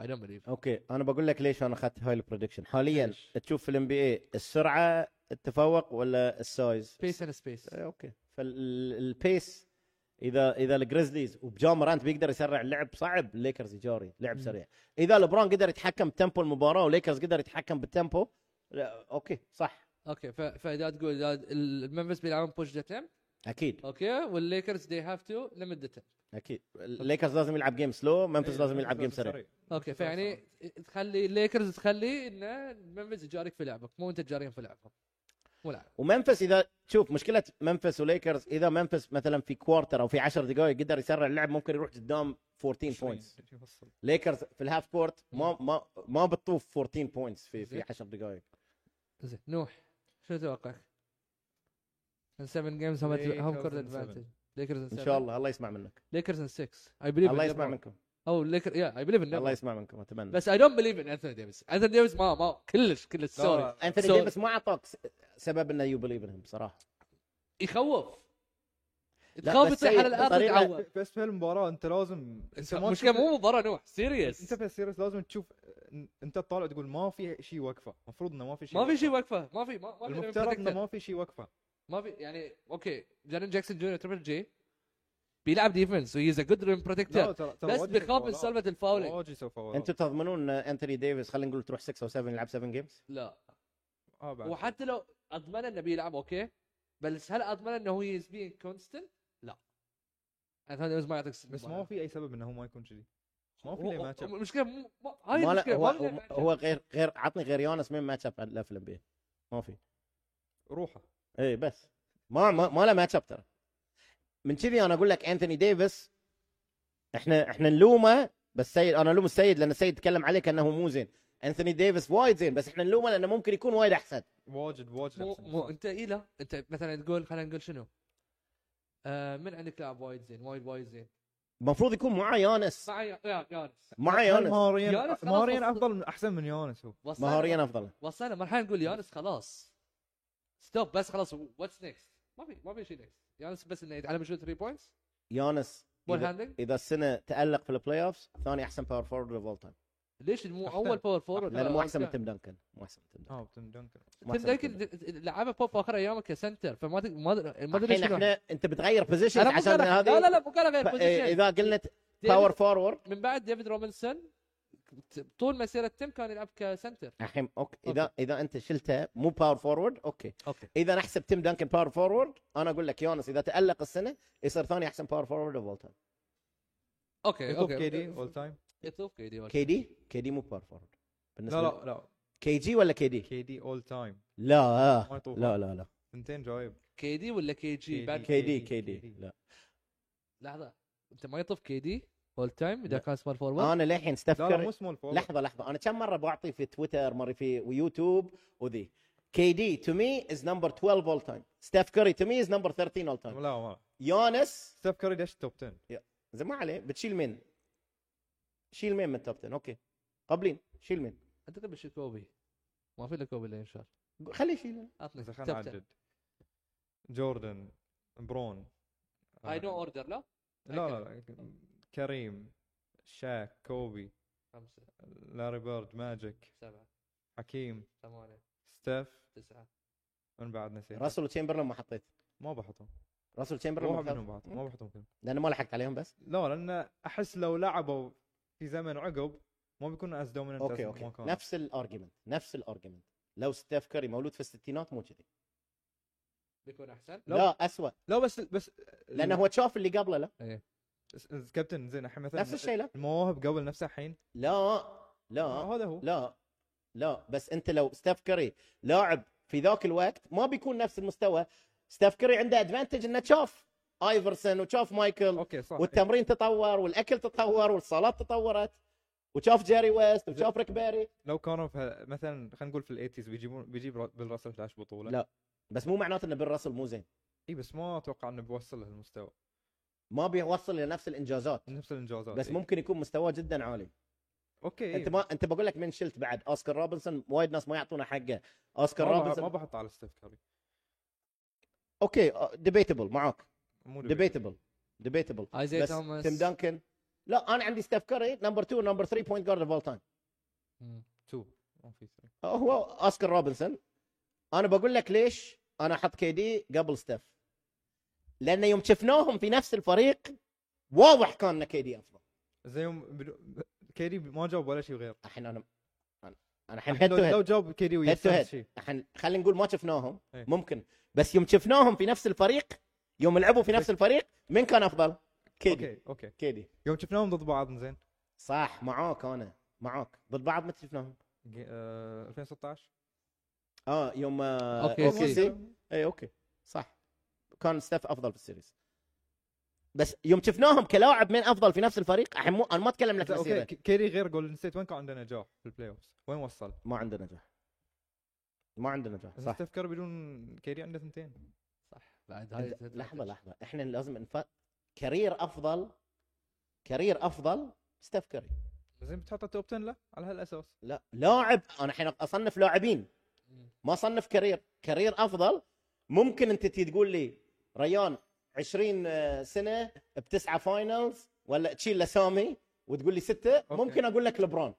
[SPEAKER 1] اي دونت بليف
[SPEAKER 3] اوكي انا بقول لك ليش انا اخذت هاي البريدكشن حاليا
[SPEAKER 1] ليش؟
[SPEAKER 3] تشوف في الام بي اي السرعه التفوق ولا السايز؟
[SPEAKER 1] سبيس اند سبيس
[SPEAKER 3] إيه، اوكي فالبيس اذا اذا الجريزليز وبجامرانت بيقدر يسرع اللعب صعب الليكرز يجاري لعب سريع اذا لبرون قدر يتحكم بتمبو المباراه وليكرز قدر يتحكم بالتمبو لا اوكي صح
[SPEAKER 1] اوكي ف- فاذا تقول إذا المنفس بيلعبون بوش ذا تيم
[SPEAKER 3] اكيد
[SPEAKER 1] اوكي والليكرز دي هاف تو ليمت ذا تيم
[SPEAKER 3] اكيد الليكرز لازم يلعب جيم سلو
[SPEAKER 2] إيه،
[SPEAKER 3] منفس لازم يلعب جيم
[SPEAKER 2] لازم
[SPEAKER 3] سريع
[SPEAKER 1] اوكي
[SPEAKER 2] لازم
[SPEAKER 1] فيعني
[SPEAKER 2] سريع.
[SPEAKER 1] تخلي الليكرز تخلي انه منفس يجاريك في لعبك مو انت تجاريهم في لعبهم مو لاعب
[SPEAKER 3] ومنفس اذا شوف مشكله منفس وليكرز اذا منفس مثلا في كوارتر او في 10 دقائق يقدر يسرع اللعب ممكن يروح قدام 14 بوينتس
[SPEAKER 2] يوصل.
[SPEAKER 3] ليكرز في الهاف كورت ما ما ما بتطوف 14 بوينتس في في
[SPEAKER 1] زين.
[SPEAKER 3] 10 دقائق
[SPEAKER 1] زين نوح شنو توقعك؟ ان 7 جيمز هم
[SPEAKER 2] Lakers
[SPEAKER 1] هم كورت
[SPEAKER 2] in
[SPEAKER 1] ادفانتج
[SPEAKER 2] seven.
[SPEAKER 1] ليكرز
[SPEAKER 3] ان شاء الله الله يسمع منك
[SPEAKER 1] ليكرز ان 6 اي بليف
[SPEAKER 3] الله يسمع منكم
[SPEAKER 1] او ليكر يا اي بليف
[SPEAKER 3] الله
[SPEAKER 1] ان
[SPEAKER 3] يسمع منكم اتمنى بس
[SPEAKER 1] بس اي دونت بليف ان انثوني ديفيس انثوني ديفيس ما ما كلش كلش
[SPEAKER 2] لا،
[SPEAKER 1] سوري
[SPEAKER 2] لا.
[SPEAKER 3] انثوني
[SPEAKER 1] So-
[SPEAKER 3] ديفيس ما اعطاك س- سبب انه يبلي بهم بصراحه
[SPEAKER 1] يخوف
[SPEAKER 3] لا،
[SPEAKER 1] تخاف
[SPEAKER 3] بس إيه،
[SPEAKER 1] تصيح
[SPEAKER 3] هي
[SPEAKER 1] على الارض
[SPEAKER 3] بطريقة-
[SPEAKER 1] تعور
[SPEAKER 2] بس في المباراه انت لازم انت ما
[SPEAKER 1] مشكله
[SPEAKER 2] تشوف-
[SPEAKER 1] مو مباراه نوح سيريس
[SPEAKER 2] انت في السيريس لازم تشوف إن- انت تطالع تقول ما في شيء وقفه المفروض انه ما في شيء
[SPEAKER 1] ما في شيء وقفه ما في ما, ما في
[SPEAKER 2] المفترض
[SPEAKER 1] protector.
[SPEAKER 2] انه ما في شيء وقفه
[SPEAKER 1] ما في يعني اوكي جارين جاكسون جونيور تربل جي بيلعب ديفنس وهيز ا جود ريم
[SPEAKER 2] لا،
[SPEAKER 1] بروتكتر
[SPEAKER 2] ترى- ترى
[SPEAKER 1] بس
[SPEAKER 2] واجد يسوي
[SPEAKER 1] بيخاف من
[SPEAKER 2] فاولات.
[SPEAKER 1] سالفه الفاولينج
[SPEAKER 2] واجد يسوي فاولات.
[SPEAKER 3] انتم تضمنون ان انثوني ديفيس خلينا نقول تروح 6 او 7 يلعب 7 جيمز
[SPEAKER 1] لا
[SPEAKER 2] اه بعد
[SPEAKER 1] وحتى لو اضمن انه بيلعب اوكي بس هل اضمن انه هو از بين كونستنت؟ لا انثوني ديفيز ما يعطيك
[SPEAKER 2] بس ما في اي سبب انه هو ما يكون كذي ما في
[SPEAKER 1] هو-
[SPEAKER 2] لي ماتش اب
[SPEAKER 1] المشكله مو ما- هاي
[SPEAKER 3] ما
[SPEAKER 1] المشكله
[SPEAKER 3] لا هو,
[SPEAKER 1] ما في
[SPEAKER 3] هو,
[SPEAKER 1] لها match up.
[SPEAKER 3] هو غير غير عطني غير يونس مين ماتش اب له في الانبي ما في
[SPEAKER 2] روحه
[SPEAKER 3] اي بس ما ما, ما له ماتش اب ترى من كذي انا اقول لك انثوني ديفيس احنا احنا نلومه بس سيد انا الوم السيد لان السيد تكلم عليك انه مو زين انثوني ديفيس وايد زين بس احنا نلومه لانه ممكن يكون وايد احسن
[SPEAKER 2] واجد واجد
[SPEAKER 1] مو
[SPEAKER 2] أحسن.
[SPEAKER 1] مو انت اي لا انت مثلا تقول خلينا نقول شنو؟ آه من عندك لاعب وايد زين وايد وايد زين
[SPEAKER 3] المفروض يكون مع يونس
[SPEAKER 1] مع يا- يا- يانس
[SPEAKER 3] مع
[SPEAKER 2] هل
[SPEAKER 3] يونس
[SPEAKER 2] مهاريا
[SPEAKER 1] يانس خلاص
[SPEAKER 2] مهاريا
[SPEAKER 1] وصل.
[SPEAKER 2] افضل من احسن من يونس هو
[SPEAKER 1] وصلنا-
[SPEAKER 3] مهاريا افضل
[SPEAKER 1] وصلنا مرحله نقول يانس خلاص ستوب بس خلاص واتس نيكست ما في ما في شيء نيكست يانس بس انه يتعلم شو 3 بوينتس
[SPEAKER 3] يونس
[SPEAKER 1] بول
[SPEAKER 3] إذا-
[SPEAKER 1] هاندلنج
[SPEAKER 3] اذا السنه تالق في البلاي اوف ثاني احسن باور فورد اوف اول تايم
[SPEAKER 1] ليش مو
[SPEAKER 2] أختار.
[SPEAKER 1] اول باور فورورد
[SPEAKER 3] لانه مو
[SPEAKER 1] أول
[SPEAKER 3] احسن من
[SPEAKER 1] كان.
[SPEAKER 3] تيم دنكن مو احسن من تيم دنكن
[SPEAKER 2] اه تيم دنكن
[SPEAKER 3] مو
[SPEAKER 1] آه، تيم
[SPEAKER 3] أحسن من
[SPEAKER 1] دنكن
[SPEAKER 3] دنكن.
[SPEAKER 1] د- د- لعبه بوب اخر ايامه كسنتر فما أدري- ما أدري- ما ادري
[SPEAKER 3] الحين
[SPEAKER 1] شنو
[SPEAKER 3] احنا انت بتغير بوزيشن
[SPEAKER 1] انا مو
[SPEAKER 3] عشان
[SPEAKER 1] قال
[SPEAKER 3] هذه
[SPEAKER 1] لا لا لا مو قال غير
[SPEAKER 3] ف- إيه،
[SPEAKER 1] بوزيشن
[SPEAKER 3] اذا قلنا
[SPEAKER 1] ديفيد-
[SPEAKER 3] باور فورورد
[SPEAKER 1] من بعد ديفيد روبنسون ت- طول مسيره تيم كان يلعب كسنتر
[SPEAKER 3] الحين اوكي اذا اذا انت شلته مو باور فورورد اوكي
[SPEAKER 1] اوكي
[SPEAKER 3] اذا نحسب تيم دانكن باور فورورد انا اقول لك يونس اذا تالق السنه يصير ثاني احسن باور فورورد اوف اول تايم
[SPEAKER 1] اوكي
[SPEAKER 2] يطوف كي
[SPEAKER 1] اوكي
[SPEAKER 2] دي اول تايم
[SPEAKER 1] يطوف كي دي
[SPEAKER 3] كي دي كي دي مو باور فورورد
[SPEAKER 2] لا
[SPEAKER 3] بالنسبه
[SPEAKER 2] لا لا
[SPEAKER 3] كي جي ولا كي دي؟
[SPEAKER 2] كي دي اول تايم
[SPEAKER 3] لا
[SPEAKER 2] ما يطوف
[SPEAKER 3] لا لا لا
[SPEAKER 2] ثنتين جايب
[SPEAKER 1] كي دي ولا كي جي
[SPEAKER 2] KD.
[SPEAKER 1] بعد
[SPEAKER 3] كي دي
[SPEAKER 2] KD.
[SPEAKER 3] كي دي لا
[SPEAKER 1] لحظه انت ما يطوف كي دي اول تايم اذا
[SPEAKER 3] لا.
[SPEAKER 1] كان سمول فورورد
[SPEAKER 3] انا للحين
[SPEAKER 2] لا لا مو
[SPEAKER 3] استفكر
[SPEAKER 2] سمول فورورد
[SPEAKER 3] لحظه لحظه انا كم مره بعطي في تويتر مره في ويوتيوب وذي كي دي تو مي از نمبر 12 اول تايم ستيف كوري تو مي از نمبر 13
[SPEAKER 2] لا
[SPEAKER 3] اول تايم
[SPEAKER 2] ما
[SPEAKER 3] يونس
[SPEAKER 2] ستيف كاري دش توب 10
[SPEAKER 3] زين ما عليه بتشيل مين؟ شيل مين من التوب 10 اوكي قابلين شيل مين؟
[SPEAKER 1] انت قبل شي كوبي ما في الا كوبي اللي ينشر
[SPEAKER 3] خليه يشيل
[SPEAKER 1] عطني
[SPEAKER 2] اذا خلينا نعدد جوردن برون
[SPEAKER 1] هاي نو
[SPEAKER 2] آه،
[SPEAKER 1] اوردر لا
[SPEAKER 2] لا لا لا كريم شاك كوبي
[SPEAKER 1] خمسه
[SPEAKER 2] لاري بيرد ماجيك
[SPEAKER 1] سبعه
[SPEAKER 2] حكيم
[SPEAKER 1] ثمانيه
[SPEAKER 2] ستيف
[SPEAKER 1] تسعه
[SPEAKER 2] من بعد نسيت
[SPEAKER 3] راسل وتشامبرلين ما حطيت
[SPEAKER 2] ما بحطهم
[SPEAKER 3] راسل
[SPEAKER 2] مو واحد
[SPEAKER 3] تشامبرلين
[SPEAKER 2] منهم بعد ما بحطهم كلهم
[SPEAKER 3] لانه ما لحقت عليهم بس
[SPEAKER 2] لا لان احس لو لعبوا في زمن عقب ما بيكون از دوميننت
[SPEAKER 3] اوكي اوكي نفس الارجيومنت نفس الارجيومنت لو ستيف كاري مولود في الستينات مو كذي
[SPEAKER 1] بيكون احسن
[SPEAKER 2] لا.
[SPEAKER 3] لا اسوء
[SPEAKER 2] لا بس بس
[SPEAKER 3] لانه هو شاف اللي قبله لا
[SPEAKER 2] س- س- كابتن زين الحين مثلا
[SPEAKER 3] نفس الشيء لا
[SPEAKER 2] المواهب قبل نفسها الحين
[SPEAKER 3] لا لا
[SPEAKER 2] هذا هو
[SPEAKER 3] آه. لا لا بس انت لو ستيف كاري لاعب في ذاك الوقت ما بيكون نفس المستوى ستيف كاري عنده ادفانتج انه شاف ايفرسون وشاف مايكل
[SPEAKER 2] اوكي صح
[SPEAKER 3] والتمرين تطور والاكل تطور والصالات تطورت وشاف جيري ويست وشاف ريك بيري
[SPEAKER 2] لو كانوا في ه- مثلا خلينا نقول في الايتيز بيجيبون بيجيب را- بيل راسل فلاش بطوله
[SPEAKER 3] لا. بس مو معناته ان بيل راسل مو زين
[SPEAKER 2] اي بس ما اتوقع انه بيوصل لهالمستوى
[SPEAKER 3] ما بيوصل لنفس الانجازات
[SPEAKER 2] نفس الانجازات
[SPEAKER 3] بس
[SPEAKER 2] إي.
[SPEAKER 3] ممكن يكون مستواه جدا عالي
[SPEAKER 2] اوكي
[SPEAKER 3] انت ما انت بقول لك من شلت بعد اوسكار روبنسون وايد ناس ما يعطونه حقه اوسكار
[SPEAKER 2] كرابس ما
[SPEAKER 3] روبنسون
[SPEAKER 2] بحط على ستيف كاري
[SPEAKER 3] اوكي ديبيتبل آه، معاك
[SPEAKER 2] مو debate.
[SPEAKER 3] ديبيتبل ديبيتبل
[SPEAKER 1] ايزاي
[SPEAKER 3] بس
[SPEAKER 1] توماس
[SPEAKER 3] تيم دانكن لا انا عندي ستيف كاري نمبر 2 نمبر 3 بوينت جارد اوف اول تايم
[SPEAKER 1] مم.
[SPEAKER 2] تو ما في ثري.
[SPEAKER 3] هو اوسكار روبنسون انا بقول لك ليش انا احط كي دي قبل ستيف لان يوم شفناهم في نفس الفريق واضح كان ان كي دي افضل
[SPEAKER 2] زي يوم بدو... كيدي ما جاوب ولا شيء غير
[SPEAKER 3] الحين انا انا أنا الحين هيد
[SPEAKER 2] لو,
[SPEAKER 3] تو هيد
[SPEAKER 2] لو جاوب كيدي ويا
[SPEAKER 3] Head to
[SPEAKER 2] نفس
[SPEAKER 3] head.
[SPEAKER 2] الشيء.
[SPEAKER 3] الحين خلينا نقول ما شفناهم
[SPEAKER 2] إيه.
[SPEAKER 3] ممكن بس يوم شفناهم في نفس الفريق يوم لعبوا في نفس الفريق من كان افضل؟ كيدي
[SPEAKER 2] اوكي اوكي
[SPEAKER 3] كيدي
[SPEAKER 2] يوم شفناهم ضد بعض زين
[SPEAKER 3] صح معاك انا معاك ضد بعض متى شفناهم؟
[SPEAKER 2] جي- آه، 2016
[SPEAKER 3] اه يوم آه
[SPEAKER 1] أوكي،
[SPEAKER 3] أوكي
[SPEAKER 1] أوكي.
[SPEAKER 3] سي. اي اوكي صح كان ستاف افضل في السيريز بس يوم شفناهم كلاعب من افضل في نفس الفريق الحين مو انا ما اتكلم لك
[SPEAKER 2] اوكي
[SPEAKER 3] مسيره
[SPEAKER 2] ك- كيدي غير جولدن ستيت وين كان عنده نجاح في البلاي اوفز وين وصل؟
[SPEAKER 3] ما عنده نجاح ما عنده نجاح
[SPEAKER 2] صح
[SPEAKER 3] صح
[SPEAKER 2] ستيف كاري بدون كيدي عنده ثنتين
[SPEAKER 1] صح بعد هاي
[SPEAKER 3] أنت- لحظه لحظه احنا لازم نف... كارير افضل كارير افضل ستاف كاري
[SPEAKER 2] زين بتحط التوب 10 له على هالاساس
[SPEAKER 3] لا لاعب انا الحين اصنف لاعبين
[SPEAKER 1] مم.
[SPEAKER 3] ما اصنف كارير كارير افضل ممكن انت تي تقول لي ريان 20 آه، سنه بتسعه فاينلز ولا تشيل اسامي وتقول لي سته
[SPEAKER 2] أوكي.
[SPEAKER 3] ممكن اقول لك لبرون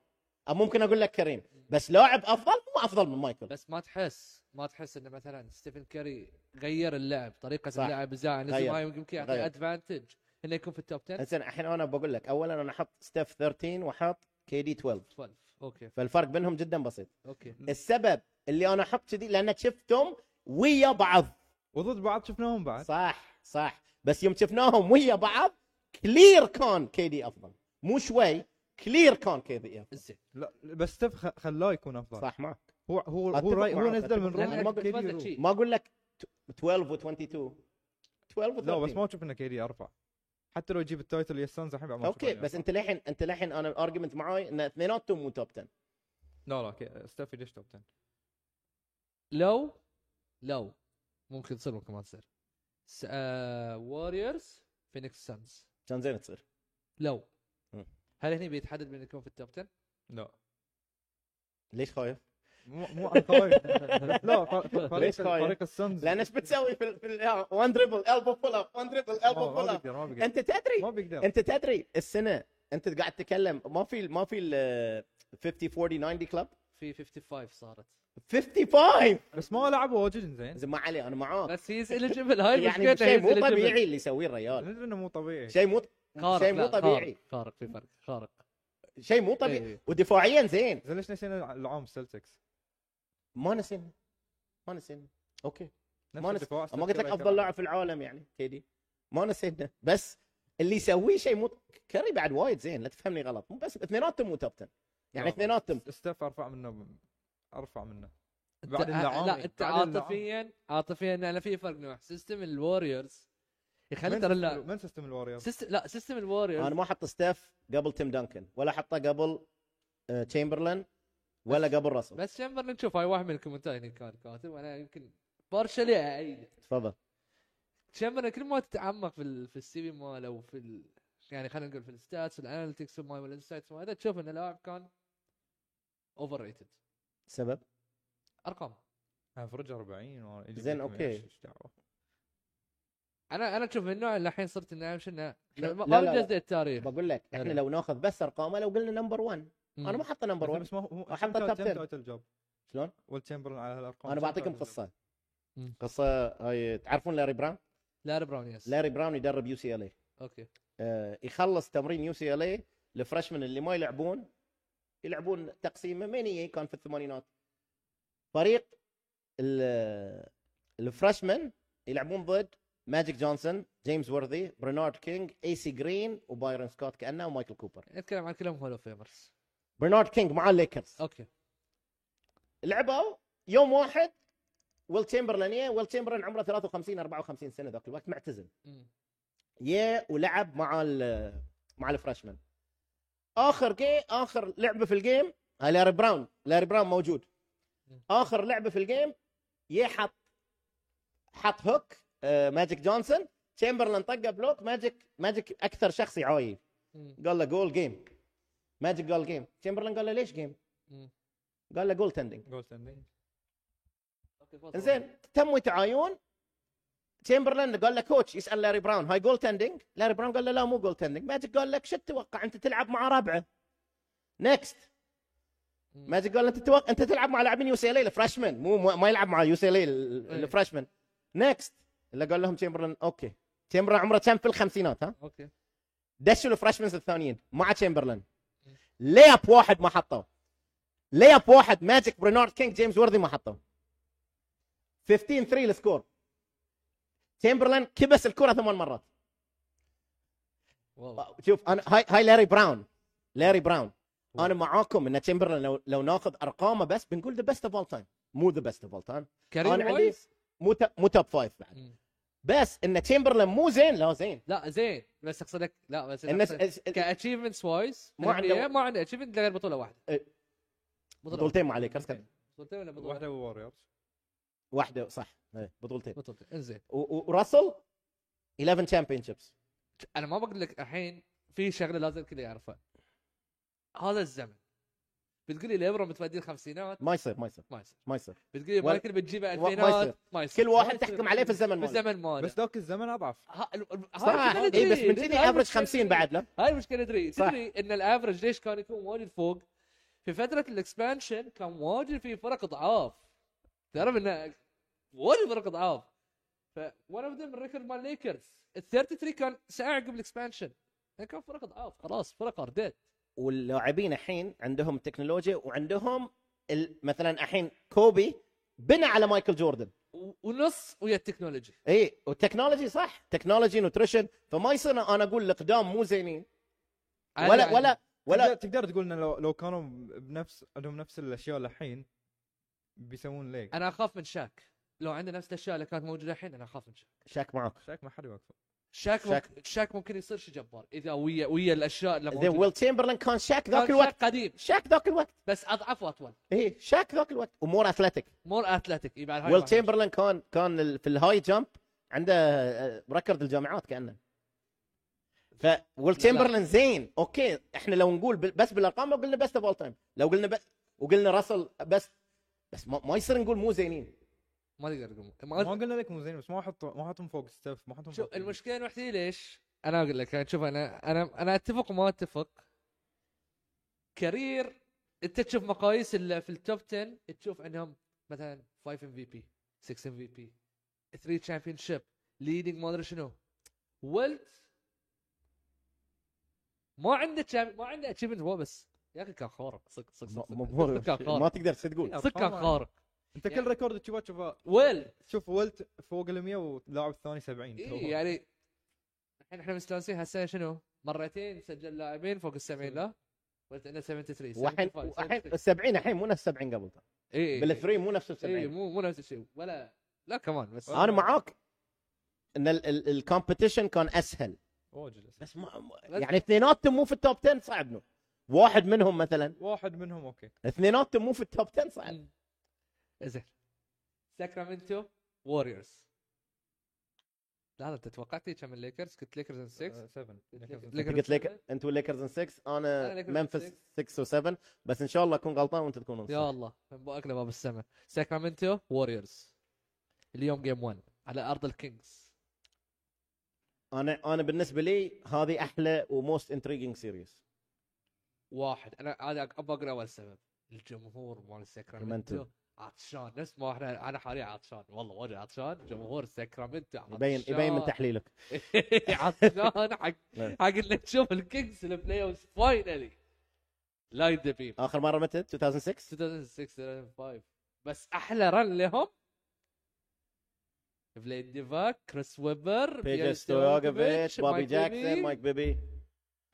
[SPEAKER 3] او ممكن اقول لك كريم بس لاعب افضل مو افضل من مايكل
[SPEAKER 1] بس ما تحس ما تحس انه مثلا ستيفن كاري غير اللعب طريقه
[SPEAKER 3] صح.
[SPEAKER 1] اللعب زعل لازم
[SPEAKER 3] غير.
[SPEAKER 1] هاي يمكن يعطي
[SPEAKER 3] غير.
[SPEAKER 1] ادفانتج انه يكون في التوب 10
[SPEAKER 3] زين الحين انا بقول لك اولا انا احط ستيف 13 واحط كي دي 12
[SPEAKER 1] 12 اوكي
[SPEAKER 3] فالفرق بينهم جدا بسيط
[SPEAKER 1] اوكي
[SPEAKER 3] السبب اللي انا احط كذي لانك شفتهم ويا بعض
[SPEAKER 2] وضد بعض شفناهم بعد
[SPEAKER 3] صح صح بس يوم شفناهم ويا بعض كلير كان كي دي افضل مو شوي كلير كان كي دي افضل
[SPEAKER 1] زين
[SPEAKER 2] لا بس ستيف خ- خلاه يكون افضل
[SPEAKER 3] صح معك
[SPEAKER 2] هو هو
[SPEAKER 3] أتفق
[SPEAKER 2] هو, راي هو
[SPEAKER 3] معك،
[SPEAKER 2] نزل من
[SPEAKER 3] أتفق معك.
[SPEAKER 1] لأن
[SPEAKER 3] ما
[SPEAKER 2] روحه
[SPEAKER 1] قلت
[SPEAKER 2] كيدي
[SPEAKER 1] ما
[SPEAKER 2] يروح.
[SPEAKER 1] شيء
[SPEAKER 3] ما اقول لك ت- 12 و 22 12
[SPEAKER 2] لا
[SPEAKER 3] و
[SPEAKER 2] بس
[SPEAKER 3] 13
[SPEAKER 2] ما اشوف انه كيدي يرفع حتى لو يجيب التايتل يا السانز الحين بعد ما أشوف
[SPEAKER 3] اوكي
[SPEAKER 2] إنه
[SPEAKER 3] بس
[SPEAKER 2] يرفع.
[SPEAKER 3] انت للحين انت للحين انا الارجيومنت معاي ان اثنيناتهم مو توب 10
[SPEAKER 2] لا لا كي- ستيف ليش توب 10
[SPEAKER 1] لو لو ممكن تصير ممكن ما تصير س- آه، ووريرز فينيكس سانز
[SPEAKER 3] كان زين تصير
[SPEAKER 1] لو
[SPEAKER 3] مم.
[SPEAKER 1] هل هنا بيتحدد من يكون في التوب 10؟
[SPEAKER 2] لا
[SPEAKER 3] ليش خايف؟
[SPEAKER 2] مو مو عن طريق- لا ف- ف- فريق
[SPEAKER 3] ليش خايف؟
[SPEAKER 2] فريق السانز
[SPEAKER 3] لان ايش بتسوي في ال- آه، في ال- وان دربل البو بول اب وان دربل البو
[SPEAKER 2] ما
[SPEAKER 3] بول اب
[SPEAKER 2] بيقدر آه، ما بيقدر
[SPEAKER 3] انت تدري
[SPEAKER 2] ما بيقدر
[SPEAKER 3] انت تدري السنه انت قاعد تتكلم ما في ما في ال- 50 40 90 كلب
[SPEAKER 1] في 55 صارت
[SPEAKER 3] 55
[SPEAKER 2] بس ما لعبوا واجد زين
[SPEAKER 3] زين ما عليه انا معاك
[SPEAKER 1] بس هي اليجبل هاي
[SPEAKER 3] يعني
[SPEAKER 1] مشكلته
[SPEAKER 3] شيء
[SPEAKER 1] هي
[SPEAKER 3] مو
[SPEAKER 1] eligible.
[SPEAKER 3] طبيعي اللي يسويه الرجال
[SPEAKER 2] ندري انه مو طبيعي
[SPEAKER 3] شيء مو
[SPEAKER 1] خارق
[SPEAKER 3] شيء مو
[SPEAKER 1] لا،
[SPEAKER 3] طبيعي
[SPEAKER 1] خارق خارق في فرق خارق
[SPEAKER 3] شيء مو طبيعي
[SPEAKER 1] إيه.
[SPEAKER 3] ودفاعيا زين
[SPEAKER 2] زين ليش نسينا العام السلتكس؟
[SPEAKER 3] ما نسينا ما نسينا اوكي
[SPEAKER 2] نفس
[SPEAKER 3] ما نس-
[SPEAKER 2] الدفاع،
[SPEAKER 3] ما قلت لك
[SPEAKER 2] السلتكس
[SPEAKER 3] افضل لاعب في العالم يعني كيدي ما نسينا بس اللي يسويه شيء مو كاري بعد وايد زين لا تفهمني غلط مو بس اثنيناتهم مو توب 10 يعني
[SPEAKER 2] لا.
[SPEAKER 3] اثنيناتهم
[SPEAKER 2] ستيف ارفع منه ارفع منه
[SPEAKER 1] أنت-
[SPEAKER 2] بعد اللعامي
[SPEAKER 1] لا انت
[SPEAKER 2] بعد اللعامي.
[SPEAKER 1] عاطفيا عاطفيا انا في فرق نوع سيستم الوريورز يخلي
[SPEAKER 2] من
[SPEAKER 1] ترى
[SPEAKER 2] سيستم-
[SPEAKER 1] اللاعب
[SPEAKER 2] من سيستم الوريورز؟
[SPEAKER 1] سيستم لا سيستم
[SPEAKER 3] انا
[SPEAKER 1] الوريورز
[SPEAKER 3] ما احط ستيف قبل تيم دانكن ولا احطه قبل آه، تشامبرلين ولا قبل راسل
[SPEAKER 1] بس شامبرلين شوف هاي واحد من الكومنتات اللي كان كاتب وانا يمكن بارشلي اعيد
[SPEAKER 3] تفضل
[SPEAKER 1] شامبرلين كل ما تتعمق في ال- في السي في ماله وفي ال... يعني خلينا نقول في الستاتس والاناليتكس والماي والانسايتس وهذا تشوف ان اللاعب كان اوفر ريتد
[SPEAKER 3] سبب
[SPEAKER 1] ارقام
[SPEAKER 2] افرج 40 و- اللي
[SPEAKER 3] زين،
[SPEAKER 2] بيكم
[SPEAKER 3] أوكي.
[SPEAKER 2] إيش- إيش دعوة.
[SPEAKER 1] انا انا اشوف النوع اللي الحين صرت انه امشي انه
[SPEAKER 3] لا-
[SPEAKER 1] ما
[SPEAKER 3] لا-
[SPEAKER 1] ما
[SPEAKER 3] لا.
[SPEAKER 1] بجزء التاريخ
[SPEAKER 3] بقول لك احنا
[SPEAKER 1] حلو.
[SPEAKER 3] لو ناخذ بس ارقامه لو قلنا نمبر 1 انا ما حاطه نمبر 1
[SPEAKER 2] بس ما هو
[SPEAKER 3] أحط التوب 10.
[SPEAKER 2] توتال جوب
[SPEAKER 3] شلون؟
[SPEAKER 2] والتشامبرلين على هالارقام
[SPEAKER 3] انا
[SPEAKER 2] كم
[SPEAKER 3] بعطيكم
[SPEAKER 2] توتال جوب؟
[SPEAKER 3] قصه
[SPEAKER 1] مم.
[SPEAKER 3] قصه هاي تعرفون لاري براون؟
[SPEAKER 1] لاري براون يس
[SPEAKER 3] لاري براون يدرب يو سي ال اي
[SPEAKER 1] اوكي
[SPEAKER 3] آه، يخلص تمرين يو سي ال اي الفرشمن اللي ما يلعبون يلعبون تقسيمه من هي كان في الثمانينات فريق ال- الفرشمن يلعبون ضد ماجيك جونسون جيمس وورثي برنارد كينج اي سي جرين وبايرن سكوت كانه ومايكل كوبر
[SPEAKER 1] نتكلم عن كلهم هولو فيمرز
[SPEAKER 3] برنارد كينج مع الليكرز
[SPEAKER 1] اوكي
[SPEAKER 3] لعبوا يوم واحد ويل تشامبرلين يا ويل تشامبرلين عمره 53 54 سنه ذاك الوقت معتزل
[SPEAKER 1] مم.
[SPEAKER 3] يا ولعب مع ال مع الفرشمان اخر جي اخر لعبه في الجيم هاي لاري براون لاري براون موجود اخر لعبه في الجيم يا حط حط هوك آه، ماجيك جونسون تشامبرلين طقه بلوك ماجيك ماجيك اكثر شخص يعايب
[SPEAKER 1] مم.
[SPEAKER 3] قال له جول جيم ماجيك قال جيم تشامبرلين قال له ليش جيم
[SPEAKER 1] مم.
[SPEAKER 3] قال له جول تندنج
[SPEAKER 2] جول ستاندينج
[SPEAKER 1] أوكي، فوز.
[SPEAKER 3] زين تموا يتعايون تشامبرلين قال له كوتش يسال لاري براون هاي جول تندنج لاري براون قال له لا مو جول تندنج ماجيك قال لك شو تتوقع انت تلعب مع ربعه نكست
[SPEAKER 1] مم.
[SPEAKER 3] ماجيك قال له، انت تتوقع انت تلعب مع لاعبين يو سي ال الفرشمان مو مو- ما يلعب مع يو سي ال
[SPEAKER 1] إيه.
[SPEAKER 3] الفرشمان نكست اللي قال لهم تشامبرلين اوكي تشامبرلين عمره كم في الخمسينات ها
[SPEAKER 1] اوكي
[SPEAKER 3] دشوا الفرشمنز الثانيين مع تشامبرلين لياب واحد ما حطوه لياب واحد ماجيك برينارد كينج جيمس وردي ما حطوه 15 3 السكور تشامبرلين كبس الكره ثمان مرات
[SPEAKER 1] واو
[SPEAKER 3] شوف انا هاي هاي لاري براون لاري براون انا معاكم ان تشامبرلين لو لو ناخذ ارقامه بس بنقول ذا بيست اوف اول تايم مو ذا بيست اوف اول تايم انا
[SPEAKER 1] كريم
[SPEAKER 3] عندي
[SPEAKER 1] وايز
[SPEAKER 3] مو ت- مو توب فايف بعد
[SPEAKER 1] مم.
[SPEAKER 3] بس ان تشامبرلين مو زين لا زين
[SPEAKER 1] لا زين بس اقصد لك لا بس
[SPEAKER 3] ان
[SPEAKER 1] أقصد- كاتشيفمنتس وايز
[SPEAKER 3] ما عنده-
[SPEAKER 1] ما عنده اتشيفمنت غير بطوله واحده
[SPEAKER 3] إيه.
[SPEAKER 1] بطوله
[SPEAKER 3] بطولتين ما عليك أسكت.
[SPEAKER 1] بطولتين ولا بطوله
[SPEAKER 2] واحده ووريرز
[SPEAKER 3] واحده صح إيه، بطولتين
[SPEAKER 1] بطولتين انزين
[SPEAKER 3] و- و- وراسل 11 تشامبيون شيبس
[SPEAKER 1] انا ما بقول لك الحين في شغله لازم الكل يعرفها هذا الزمن بتقول لي الابره متودي الخمسينات
[SPEAKER 3] ما يصير ما يصير
[SPEAKER 1] ما يصير
[SPEAKER 3] ما يصير
[SPEAKER 1] بتقول لي
[SPEAKER 3] ولا-
[SPEAKER 1] مايكل بتجيبها
[SPEAKER 3] ما
[SPEAKER 1] الفينات
[SPEAKER 3] يصير.
[SPEAKER 1] ما يصير
[SPEAKER 3] كل واحد
[SPEAKER 1] ما يصير.
[SPEAKER 3] تحكم عليه في الزمن
[SPEAKER 1] في
[SPEAKER 3] ماله
[SPEAKER 1] الزمن ماله
[SPEAKER 2] بس ذاك الزمن اضعف
[SPEAKER 1] ها... ال- ال- هاي
[SPEAKER 3] صح
[SPEAKER 1] المشكلة
[SPEAKER 3] اي إيه، بس
[SPEAKER 1] تدري.
[SPEAKER 3] من تجي
[SPEAKER 1] هاي
[SPEAKER 3] افرج
[SPEAKER 1] المشكلة
[SPEAKER 3] 50
[SPEAKER 1] تدري.
[SPEAKER 3] بعد لا
[SPEAKER 1] هاي المشكله تدري
[SPEAKER 3] صح.
[SPEAKER 1] تدري ان الافرج ليش كان يكون واجد فوق في فتره الاكسبانشن كان واجد في فرق ضعاف تعرف انه واجد فرق ضعاف ف ون اوف ذم الريكورد مال ليكرز ال 33 كان ساعه قبل الاكسبانشن كان فرق ضعاف خلاص فرق ار ديد
[SPEAKER 3] واللاعبين الحين عندهم تكنولوجيا وعندهم ال- مثلا الحين كوبي بنى على مايكل جوردن
[SPEAKER 1] و- ونص ويا التكنولوجي
[SPEAKER 3] اي والتكنولوجي صح تكنولوجي نوتريشن فما يصير انا اقول القدام مو زينين
[SPEAKER 1] يعني
[SPEAKER 3] ولا ولا
[SPEAKER 2] ولا
[SPEAKER 3] ولا
[SPEAKER 2] تقدر تقول انه لو لو كانوا بنفس عندهم نفس الاشياء الحين بيسوون ليج
[SPEAKER 1] انا اخاف من شاك لو عنده نفس الاشياء اللي كانت موجوده الحين انا اخاف من شاك
[SPEAKER 3] شاك معك
[SPEAKER 2] شاك ما حد يوقفه
[SPEAKER 1] شاك
[SPEAKER 3] شاك.
[SPEAKER 1] ممكن شاك ممكن يصير شي جبار اذا ويا ويا الاشياء اللي
[SPEAKER 3] زين
[SPEAKER 1] موجوده
[SPEAKER 3] ويل تشامبرلين كان شاك
[SPEAKER 1] كان
[SPEAKER 3] ذاك الوقت
[SPEAKER 1] شاك قديم
[SPEAKER 3] شاك ذاك الوقت
[SPEAKER 1] بس اضعف واطول
[SPEAKER 3] اي شاك ذاك الوقت ومور اثلتيك
[SPEAKER 1] مور اثلتيك اي بعد هاي
[SPEAKER 3] ويل
[SPEAKER 1] واحدة.
[SPEAKER 3] تشامبرلين كان كان ال- في الهاي جامب عنده آه، ركض الجامعات كانه ف ويل تشامبرلين زين اوكي احنا لو نقول بال- بس بالارقام لو قلنا بس اول تايم لو قلنا ب... وقلنا راسل بس بس ما, ما يصير نقول مو زينين
[SPEAKER 1] ما تقدر تقول
[SPEAKER 2] ما
[SPEAKER 1] ما
[SPEAKER 2] قلنا لك مو زين بس ما حطوا ما حطهم فوق ستيف ما حطهم
[SPEAKER 1] شوف
[SPEAKER 2] فوق-
[SPEAKER 1] المشكله الوحيده ليش انا اقول لك يعني شوف انا انا انا اتفق وما اتفق كارير انت تشوف مقاييس ال- في التوب 10 تشوف انهم مثلا 5 ام في بي 6 ام في بي 3 تشامبيون شيب ليدنج ما ادري شنو ولت ما عنده champ- ما عنده اتشيفمنت هو بس يا اخي كان خارق صدق صدق صدق
[SPEAKER 3] م-
[SPEAKER 1] صدق
[SPEAKER 3] مبهور
[SPEAKER 1] صدق كان
[SPEAKER 3] ما
[SPEAKER 1] خارق
[SPEAKER 3] تقدر تقول
[SPEAKER 1] صدق كان
[SPEAKER 2] طبعاً.
[SPEAKER 1] خارق
[SPEAKER 2] انت كل
[SPEAKER 1] يعني-
[SPEAKER 2] ريكورد تشوفه تشوفه
[SPEAKER 1] ويل
[SPEAKER 2] شوف ولت فوق ال 100 واللاعب الثاني 70
[SPEAKER 1] اي يعني الحين احنا مستانسين هالسنه شنو؟ مرتين سجل لاعبين فوق ال 70 لا ولت عندنا 73
[SPEAKER 3] والحين
[SPEAKER 1] 75,
[SPEAKER 3] والحين
[SPEAKER 1] 76.
[SPEAKER 3] 70 الحين مو نفس 70 قبل
[SPEAKER 1] اي
[SPEAKER 3] بالثري إيه، مو نفس
[SPEAKER 1] اي
[SPEAKER 3] 70
[SPEAKER 1] إيه، مو مو نفس الشيء ولا لا كمان بس
[SPEAKER 2] آه.
[SPEAKER 3] انا معاك ان الكومبetition كان اسهل
[SPEAKER 2] واجد
[SPEAKER 3] بس ما يعني اثنيناتهم مو في التوب 10 صعب نو. واحد منهم مثلا
[SPEAKER 2] واحد منهم اوكي
[SPEAKER 3] اثنيناتهم مو في التوب 10 صعب
[SPEAKER 1] مم. زين ساكرامنتو ووريرز لحظة انت توقعتي كم الليكرز؟ قلت ليكرز ان 6
[SPEAKER 2] 7
[SPEAKER 1] ليكرز
[SPEAKER 3] قلت لك انت والليكرز ان 6
[SPEAKER 1] أنا
[SPEAKER 3] انا
[SPEAKER 1] ليكرز
[SPEAKER 3] منفس 6 و7 بس ان شاء الله اكون غلطان وانت تكون
[SPEAKER 1] يا
[SPEAKER 3] صح.
[SPEAKER 1] الله من بوقنا باب السماء ساكرامنتو ووريرز اليوم جيم 1 على ارض الكينجز
[SPEAKER 3] انا انا بالنسبه لي هذه احلى وموست انتريجنج سيريز
[SPEAKER 1] واحد انا هذا ابغى اقرا اول سبب الجمهور مال ساكرامنتو
[SPEAKER 3] ساكرامنتو.
[SPEAKER 1] عطشان نفس ما احنا انا حاليا عطشان والله واجد عطشان جمهور ساكرامنتو عطشان
[SPEAKER 3] يبين يبين من تحليلك
[SPEAKER 1] عطشان حق
[SPEAKER 3] نعم.
[SPEAKER 1] حق انك تشوف الكينجز البلاي اوف فاينلي لا يدبيب
[SPEAKER 3] اخر مره متى 2006
[SPEAKER 1] 2006 2005 بس احلى رن لهم فليد ديفاك كريس
[SPEAKER 3] بيجر
[SPEAKER 1] ويبر بيال
[SPEAKER 3] ستوياغوفيتش
[SPEAKER 1] ستوياغوفيتش،
[SPEAKER 3] بابي
[SPEAKER 1] مايك
[SPEAKER 3] جاكسون
[SPEAKER 1] بيبي
[SPEAKER 3] مايك بيبي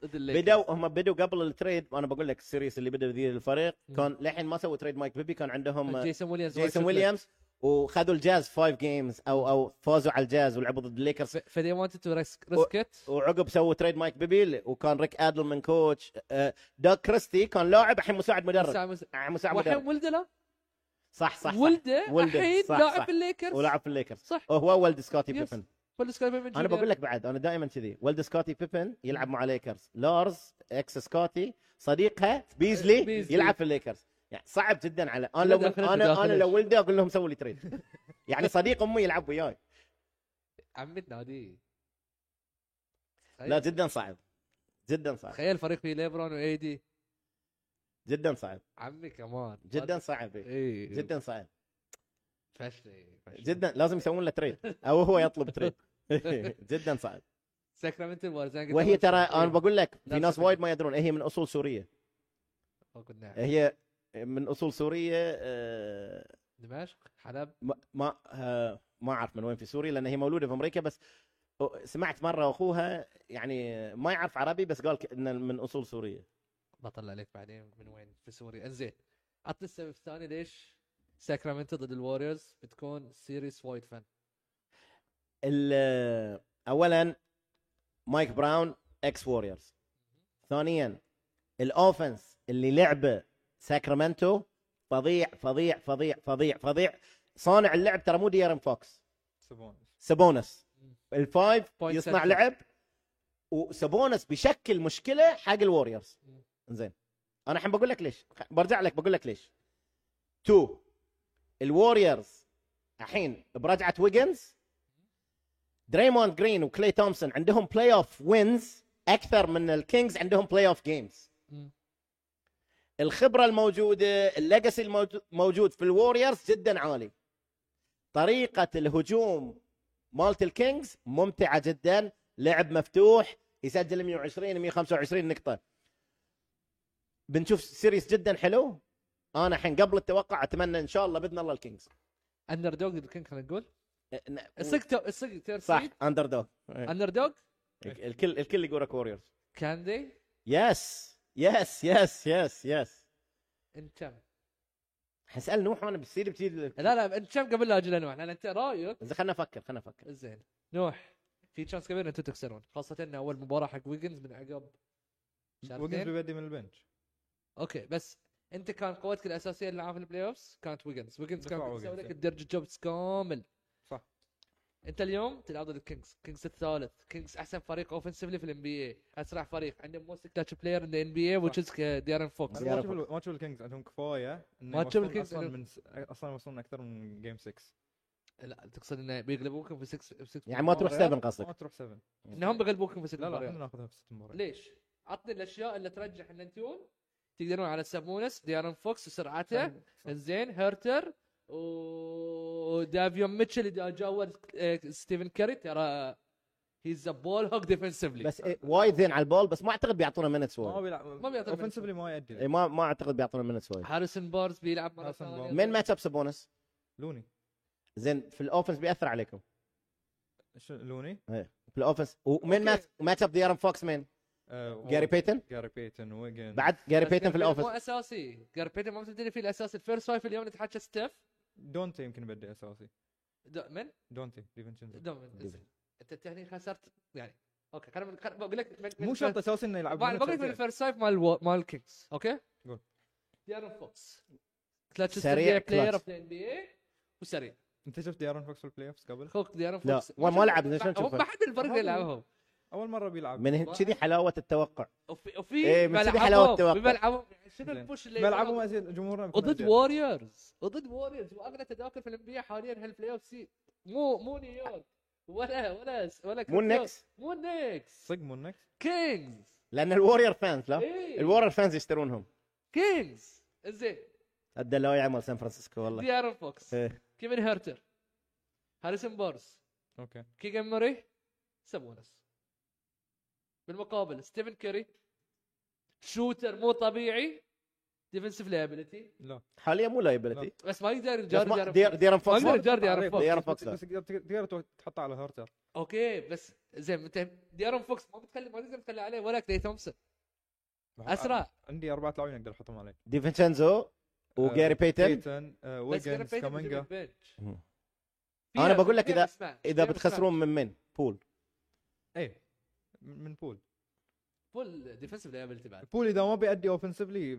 [SPEAKER 1] ضد الليكرز.
[SPEAKER 3] بدوا هم بدوا قبل التريد انا بقول لك السيريس اللي بدا ذي الفريق
[SPEAKER 1] مم.
[SPEAKER 3] كان للحين ما سووا تريد مايك بيبي كان عندهم
[SPEAKER 1] جيسون ويليامز
[SPEAKER 3] جيسون ويليامز وخذوا الجاز فايف جيمز او او فازوا على الجاز ولعبوا ضد الليكرز
[SPEAKER 1] فدي wanted تو ريسك ريسكت
[SPEAKER 3] وعقب سووا تريد مايك بيبي وكان ريك ادل من كوتش آه، دوغ كريستي كان لاعب الحين مساعد مدرب آه، مساعد مدرب
[SPEAKER 1] والحين ولده لا
[SPEAKER 3] صح صح, صح.
[SPEAKER 1] ولده
[SPEAKER 3] ولده،
[SPEAKER 1] الحين
[SPEAKER 3] صح، صح.
[SPEAKER 1] لاعب الليكرز
[SPEAKER 3] ولاعب في الليكرز
[SPEAKER 1] صح
[SPEAKER 3] وهو ولد سكوتي
[SPEAKER 1] يس.
[SPEAKER 3] بيبن
[SPEAKER 1] كل سكاي بيبن
[SPEAKER 3] انا
[SPEAKER 1] جونيور.
[SPEAKER 3] بقول لك بعد انا دائما كذي ولد سكوتي بيبن يلعب مع ليكرز لارز اكس سكوتي صديقها بيزلي,
[SPEAKER 1] بيزلي.
[SPEAKER 3] يلعب في الليكرز يعني صعب جدا على انا لو
[SPEAKER 1] لا داخلت،
[SPEAKER 3] انا انا
[SPEAKER 1] داخلت.
[SPEAKER 3] لو ولدي اقول لهم سووا لي تريد يعني صديق امي يلعب وياي
[SPEAKER 1] عم النادي أيوة.
[SPEAKER 3] لا جدا صعب جدا صعب
[SPEAKER 1] تخيل فريق فيه ليبرون وايدي
[SPEAKER 3] جدا صعب
[SPEAKER 1] عمي كمان
[SPEAKER 3] جدا صعب إيه.
[SPEAKER 1] اي
[SPEAKER 3] جدا صعب
[SPEAKER 1] فشلي فشلي.
[SPEAKER 3] جدا لازم يسوون له تريد او هو يطلب تريد جدا صعب
[SPEAKER 1] ساكرامنتو وارزان
[SPEAKER 3] وهي ترى انا بقول لك في
[SPEAKER 1] نفس
[SPEAKER 3] ناس
[SPEAKER 1] الفكرة.
[SPEAKER 3] وايد ما يدرون هي من اصول سوريه
[SPEAKER 1] بقول
[SPEAKER 3] هي من اصول سوريه آه،
[SPEAKER 1] دمشق حلب
[SPEAKER 3] ما- ما آه، ما اعرف من وين في سوريا لان هي مولوده في امريكا بس سمعت مره اخوها يعني ما يعرف عربي بس قال ك- انه من اصول سوريه
[SPEAKER 1] بطلع لك بعدين من وين في سوريا انزين عطني السبب الثاني ليش ساكرامنتو ضد الوريورز بتكون سيريس وايد فن
[SPEAKER 3] ال- اولا مايك براون اكس ووريرز ثانيا الاوفنس اللي لعبه ساكرامنتو فظيع فظيع فظيع فظيع فظيع صانع اللعب ترى مو ديارن فوكس سبونس الفايف
[SPEAKER 1] Point
[SPEAKER 3] يصنع
[SPEAKER 1] center.
[SPEAKER 3] لعب وسبونس بيشكل مشكله حق الوريورز
[SPEAKER 1] مم.
[SPEAKER 3] زين انا الحين بقول لك ليش خ- برجع لك بقول لك ليش تو الوريورز الحين برجعه ويجنز دريموند جرين وكلي تومسون عندهم بلاي اوف وينز اكثر من الكينجز عندهم بلاي اوف جيمز
[SPEAKER 1] مم.
[SPEAKER 3] الخبره الموجوده الليجاسي الموجو- موجود في الوريورز جدا عالي طريقه الهجوم مالت الكينجز ممتعه جدا لعب مفتوح يسجل 120 125 نقطه بنشوف سيريس جدا حلو انا الحين قبل التوقع اتمنى ان شاء الله باذن الله الكينجز أه،
[SPEAKER 1] اندر دوغ ضد الكينج خلينا نقول
[SPEAKER 3] ن-
[SPEAKER 1] الصق تو- الصق تير
[SPEAKER 3] صح
[SPEAKER 1] سيد.
[SPEAKER 3] اندر دوغ
[SPEAKER 1] اندر دوغ
[SPEAKER 3] الكل الكل يقولك ووريرز
[SPEAKER 1] كاندي
[SPEAKER 3] يس يس يس يس يس
[SPEAKER 1] ان كم
[SPEAKER 3] حسأل نوح وانا بصير بتجي
[SPEAKER 1] لا لا ان كم قبل لا اجي لنوح لان انت رايك
[SPEAKER 3] زين خلنا افكر خلنا افكر
[SPEAKER 1] زين نوح في تشانس كبير ان انتم تخسرون خاصه ان اول مباراه حق ويجنز من عقب
[SPEAKER 2] وقف
[SPEAKER 1] شهرين
[SPEAKER 2] بيبدي من البنش
[SPEAKER 1] اوكي بس انت كان قوتك الاساسيه اللي في البلاي اوفس كانت ويجنز ويجنز
[SPEAKER 2] دفاع
[SPEAKER 1] كان
[SPEAKER 2] ويجنز،
[SPEAKER 1] يسوي لك
[SPEAKER 2] إيه.
[SPEAKER 1] الدرج جوبز كامل
[SPEAKER 2] صح.
[SPEAKER 1] انت اليوم تلعب ضد الكينجز كينجز الثالث كينجز احسن فريق اوفنسفلي في الان بي اي اسرع فريق عندهم موست كلاتش بلاير ان ان بي اي
[SPEAKER 2] صح.
[SPEAKER 1] وتشز ديارن فوكس
[SPEAKER 2] أنا ما
[SPEAKER 3] زيارة
[SPEAKER 2] اشوف ال- ما اشوف الكينجز عندهم كفايه إنه
[SPEAKER 1] ما تشوف
[SPEAKER 2] يوصلون اصلا
[SPEAKER 1] الكينجز عندهم-
[SPEAKER 2] من س- اصلا يوصلون اكثر من جيم 6
[SPEAKER 1] لا تقصد انه بيغلبوكم في 6 في 6
[SPEAKER 3] يعني ما تروح 7 قصدك
[SPEAKER 2] ما تروح 7
[SPEAKER 1] انهم بيغلبوكم في 6
[SPEAKER 2] لا لا احنا
[SPEAKER 1] مباريات
[SPEAKER 2] ناخذها في 6 مباريات
[SPEAKER 1] ليش؟ عطني الاشياء اللي ترجح ان انتم تقدرون على سابونس ديارن فوكس وسرعته
[SPEAKER 2] طيب.
[SPEAKER 1] زين هيرتر ودافيون ميتشل اذا جاور آه، ستيفن كاري ترى هيز ا بول هوك ديفنسفلي
[SPEAKER 3] بس إيه، وايد زين على البول بس ما اعتقد بيعطونا منتس
[SPEAKER 2] ما
[SPEAKER 3] وايد
[SPEAKER 2] بيلعب
[SPEAKER 1] ما بيعطي
[SPEAKER 2] اوفنسفلي ما
[SPEAKER 3] إيه،
[SPEAKER 2] يأدي
[SPEAKER 3] ما ما اعتقد بيعطونا منتس وايد
[SPEAKER 1] هاريسون بارز بيلعب مره
[SPEAKER 2] هاريسون
[SPEAKER 1] ثانيه
[SPEAKER 2] بارز.
[SPEAKER 3] من ماتش اب سبونس
[SPEAKER 2] لوني
[SPEAKER 3] زين في الاوفنس بياثر عليكم
[SPEAKER 2] شو لوني؟
[SPEAKER 3] في الاوفنس ومن ماتش ماتش اب ديارن فوكس مين؟
[SPEAKER 2] آه،
[SPEAKER 3] جاري بيتن
[SPEAKER 2] جاري بيتن ويجن
[SPEAKER 3] بعد جاري بيتن في الاوفنس
[SPEAKER 1] مو اساسي جاربيتن ما بتبتدي فيه الاساسي الفيرست فايف اليوم نتحكى ستيف
[SPEAKER 2] دونتي يمكن بدي اساسي
[SPEAKER 1] د- من؟
[SPEAKER 2] دونتي ديفنشنزو
[SPEAKER 1] دومين
[SPEAKER 3] دومين.
[SPEAKER 1] انت أنت هني خسرت يعني اوكي خلينا من- خلينا- بقول لك من- من
[SPEAKER 2] مو
[SPEAKER 1] الفيرست-
[SPEAKER 2] شرط يعني. اساسي انه يلعب
[SPEAKER 1] بقول لك من الفيرست فايف مال الو- مال الكينجز اوكي؟
[SPEAKER 2] قول.
[SPEAKER 1] ديارن فوكس كلاتش
[SPEAKER 3] سريع
[SPEAKER 1] سريع بلاير
[SPEAKER 3] clutch.
[SPEAKER 1] اوف ذا ان بي اي وسريع
[SPEAKER 2] انت شفت ديارن فوكس في البلاي اوفز قبل؟
[SPEAKER 1] اخوك ديارن
[SPEAKER 3] لا،
[SPEAKER 1] فوكس
[SPEAKER 3] ما- ما لعب، ليش ما
[SPEAKER 1] هو
[SPEAKER 3] نشوفه؟
[SPEAKER 1] ما حد الفرق
[SPEAKER 2] ما-
[SPEAKER 1] يلعبهم
[SPEAKER 2] اول مره بيلعب
[SPEAKER 3] من كذي حلاوه التوقع
[SPEAKER 1] وفي
[SPEAKER 3] إيه،
[SPEAKER 1] وفي
[SPEAKER 3] من سيدي حلاوة
[SPEAKER 1] ملعبهم
[SPEAKER 3] التوقع.
[SPEAKER 1] بملعبهم شنو
[SPEAKER 2] زين.
[SPEAKER 1] البوش اللي
[SPEAKER 2] ملعبهم أزيد- جمهورنا بيكون
[SPEAKER 1] وضد
[SPEAKER 2] أزيد.
[SPEAKER 1] ووريرز وضد ووريرز واغلى تذاكر في الانبياء حاليا هالبلاي اوف سي مو مو نيويورك ولا ولا ولا
[SPEAKER 3] مو النكس
[SPEAKER 1] مو النكس
[SPEAKER 2] صدق مو النكس
[SPEAKER 1] كينجز
[SPEAKER 3] لان الوريور فانز لا
[SPEAKER 1] ايه
[SPEAKER 3] الوريور فانز يشترونهم
[SPEAKER 1] كينجز زين
[SPEAKER 3] الدلوية مال سان فرانسيسكو والله
[SPEAKER 1] ديارن فوكس
[SPEAKER 3] إيه.
[SPEAKER 1] كيفن هيرتر هاريسون بارس
[SPEAKER 2] اوكي
[SPEAKER 1] كيجن موري سابونس بالمقابل ستيفن كيري شوتر مو طبيعي ديفنسيف لايبيلتي
[SPEAKER 2] لا
[SPEAKER 3] حاليا مو لايبلتي
[SPEAKER 1] بس ما يقدر يجار
[SPEAKER 3] دير
[SPEAKER 1] ديارن
[SPEAKER 3] دير ديرن
[SPEAKER 1] فوكس. ما
[SPEAKER 3] فوكس
[SPEAKER 1] يقدر يجار ديارن
[SPEAKER 2] عارف.
[SPEAKER 1] فوكس
[SPEAKER 3] ديرن فوكس
[SPEAKER 2] طيب. بس بس تقدر تقدر تو- تحطه على هارتر
[SPEAKER 1] اوكي بس زين انت ديارن فوكس ما بتكلم ما تقدر تتكلم عليه ولا كلي تومسون
[SPEAKER 2] آه،
[SPEAKER 1] اسرع
[SPEAKER 2] عندي اربعة لاعبين اقدر احطهم عليك
[SPEAKER 3] ديفنشنزو وجاري بيتن
[SPEAKER 2] بيتن آه،
[SPEAKER 1] بس
[SPEAKER 2] ويجنز
[SPEAKER 1] جرافيتي بيجي
[SPEAKER 2] كامينجا
[SPEAKER 1] بالبنش.
[SPEAKER 3] مم.
[SPEAKER 1] فيها-
[SPEAKER 3] أنا بقول لك
[SPEAKER 1] فيها
[SPEAKER 3] إذا-
[SPEAKER 1] أسماء.
[SPEAKER 3] اذا
[SPEAKER 1] فيها أسماء.
[SPEAKER 3] بتخسرون من من بول
[SPEAKER 2] اي من من بول
[SPEAKER 1] فول ديفنسيف لايبلتي بعد
[SPEAKER 2] بول اذا ما بيأدي اوفنسفلي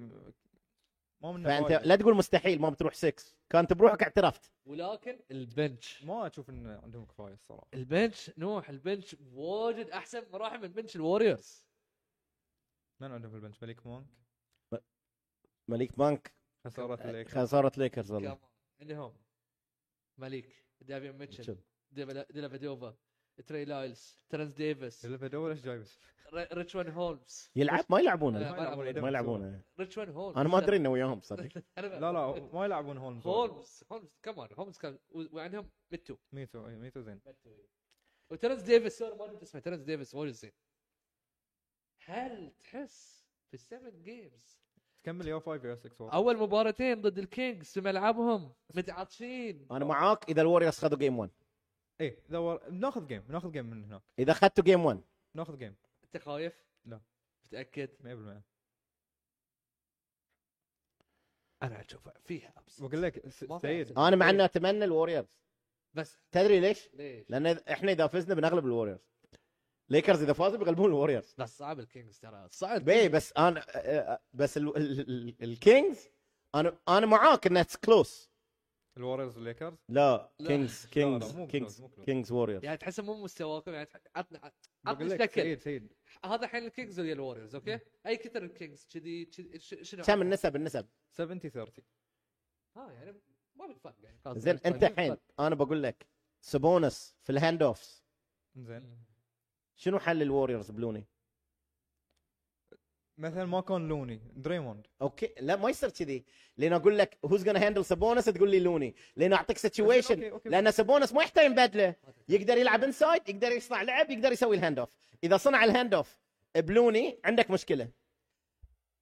[SPEAKER 2] ما منه
[SPEAKER 3] فانت
[SPEAKER 2] فايدة.
[SPEAKER 3] لا تقول مستحيل ما بتروح 6 كانت بروحك اعترفت
[SPEAKER 1] ولكن البنش
[SPEAKER 2] ما اشوف ان عندهم كفايه الصراحه
[SPEAKER 1] البنش نوح البنش واجد احسن مراحل من بنش الوريورز
[SPEAKER 2] من عندهم في البنش مليك مونك
[SPEAKER 3] مليك بانك
[SPEAKER 2] خسارات الليك
[SPEAKER 3] خساره ليكرز والله
[SPEAKER 1] كمان عندهم ماليك دافيون ميتشل
[SPEAKER 3] شوف.
[SPEAKER 1] ديلافادوفا تري لايلز ترنس ديفيس
[SPEAKER 2] دول ايش جايبس
[SPEAKER 1] ر- ريتشوان هولمز
[SPEAKER 3] يلعب ما يلعبونه
[SPEAKER 1] لا،
[SPEAKER 3] ما يلعبونه
[SPEAKER 1] ريتشوان هولمز
[SPEAKER 3] انا ما ادري انه وياهم صدق
[SPEAKER 2] لا لا ما يلعبون هولمز
[SPEAKER 1] هولمز هولمز كمان هولمز كان و- وعندهم ميتو
[SPEAKER 2] ميتو أي، ميتو زين
[SPEAKER 1] وترنس ديفيس سوري ما جبت اسمه ترنس ديفيس وايد زين هل تحس في السفن جيمز
[SPEAKER 2] تكمل يا 5 يا 6
[SPEAKER 1] اول مباراتين ضد الكينجز في ملعبهم متعطشين
[SPEAKER 3] انا معاك اذا الوريورز خذوا جيم 1
[SPEAKER 2] اي دور إيه، ناخذ جيم ناخذ جيم من هناك
[SPEAKER 3] اذا اخذتوا جيم 1
[SPEAKER 2] ناخذ جيم
[SPEAKER 1] انت خايف؟
[SPEAKER 2] لا.
[SPEAKER 1] متاكد؟
[SPEAKER 2] 100%
[SPEAKER 1] انا اشوف فيها أبس.
[SPEAKER 2] بقول لك س-
[SPEAKER 1] ما في
[SPEAKER 2] سيد
[SPEAKER 1] أحسن.
[SPEAKER 3] انا مع انه اتمنى الوريورز
[SPEAKER 1] بس
[SPEAKER 3] تدري ليش؟
[SPEAKER 1] ليش؟
[SPEAKER 3] لان إذا- احنا اذا فزنا بنغلب الوريورز ليكرز اذا فازوا بيغلبون الوريورز
[SPEAKER 1] بس صعب الكينجز ترى صعب
[SPEAKER 3] بي بس انا آه، آه، بس ال- ال- ال- الكينجز انا انا معاك انها كلوس
[SPEAKER 2] الوريرز والليكرز
[SPEAKER 3] لا
[SPEAKER 1] لا.
[SPEAKER 3] كينجز
[SPEAKER 2] لا،
[SPEAKER 3] كينجز
[SPEAKER 2] مو
[SPEAKER 3] كينجز
[SPEAKER 2] close، مو close.
[SPEAKER 3] كينجز ووريرز
[SPEAKER 1] يعني تحس مو مستواكم يعني تح- عطنا عط-
[SPEAKER 2] بقول
[SPEAKER 1] عطني
[SPEAKER 2] لك
[SPEAKER 1] شكل
[SPEAKER 2] سيد سيد
[SPEAKER 1] هذا الحين الكينجز ويا الوريورز اوكي؟ اي كثر الكينجز كذي كذي- ش- شنو
[SPEAKER 2] يعني
[SPEAKER 3] كم النسب النسب
[SPEAKER 2] 70 30
[SPEAKER 1] اه يعني ما بالفرق يعني
[SPEAKER 2] طيب،
[SPEAKER 1] خلاص
[SPEAKER 3] زين
[SPEAKER 1] بالفرق.
[SPEAKER 3] انت الحين انا بقول لك سبونس في الهاند اوفز
[SPEAKER 2] زين
[SPEAKER 3] شنو حل الوريورز بلوني؟
[SPEAKER 2] مثلا ما كان لوني دريموند
[SPEAKER 3] اوكي لا ما يصير كذي لان اقول لك هوز gonna هاندل سبونس تقول لي لوني لان اعطيك
[SPEAKER 2] أوكي،
[SPEAKER 3] سيتويشن
[SPEAKER 2] أوكي.
[SPEAKER 3] لان سبونس ما يحتاج بدله يقدر يلعب انسايد يقدر يصنع لعب يقدر يسوي الهاند اوف اذا صنع الهاند اوف بلوني عندك مشكله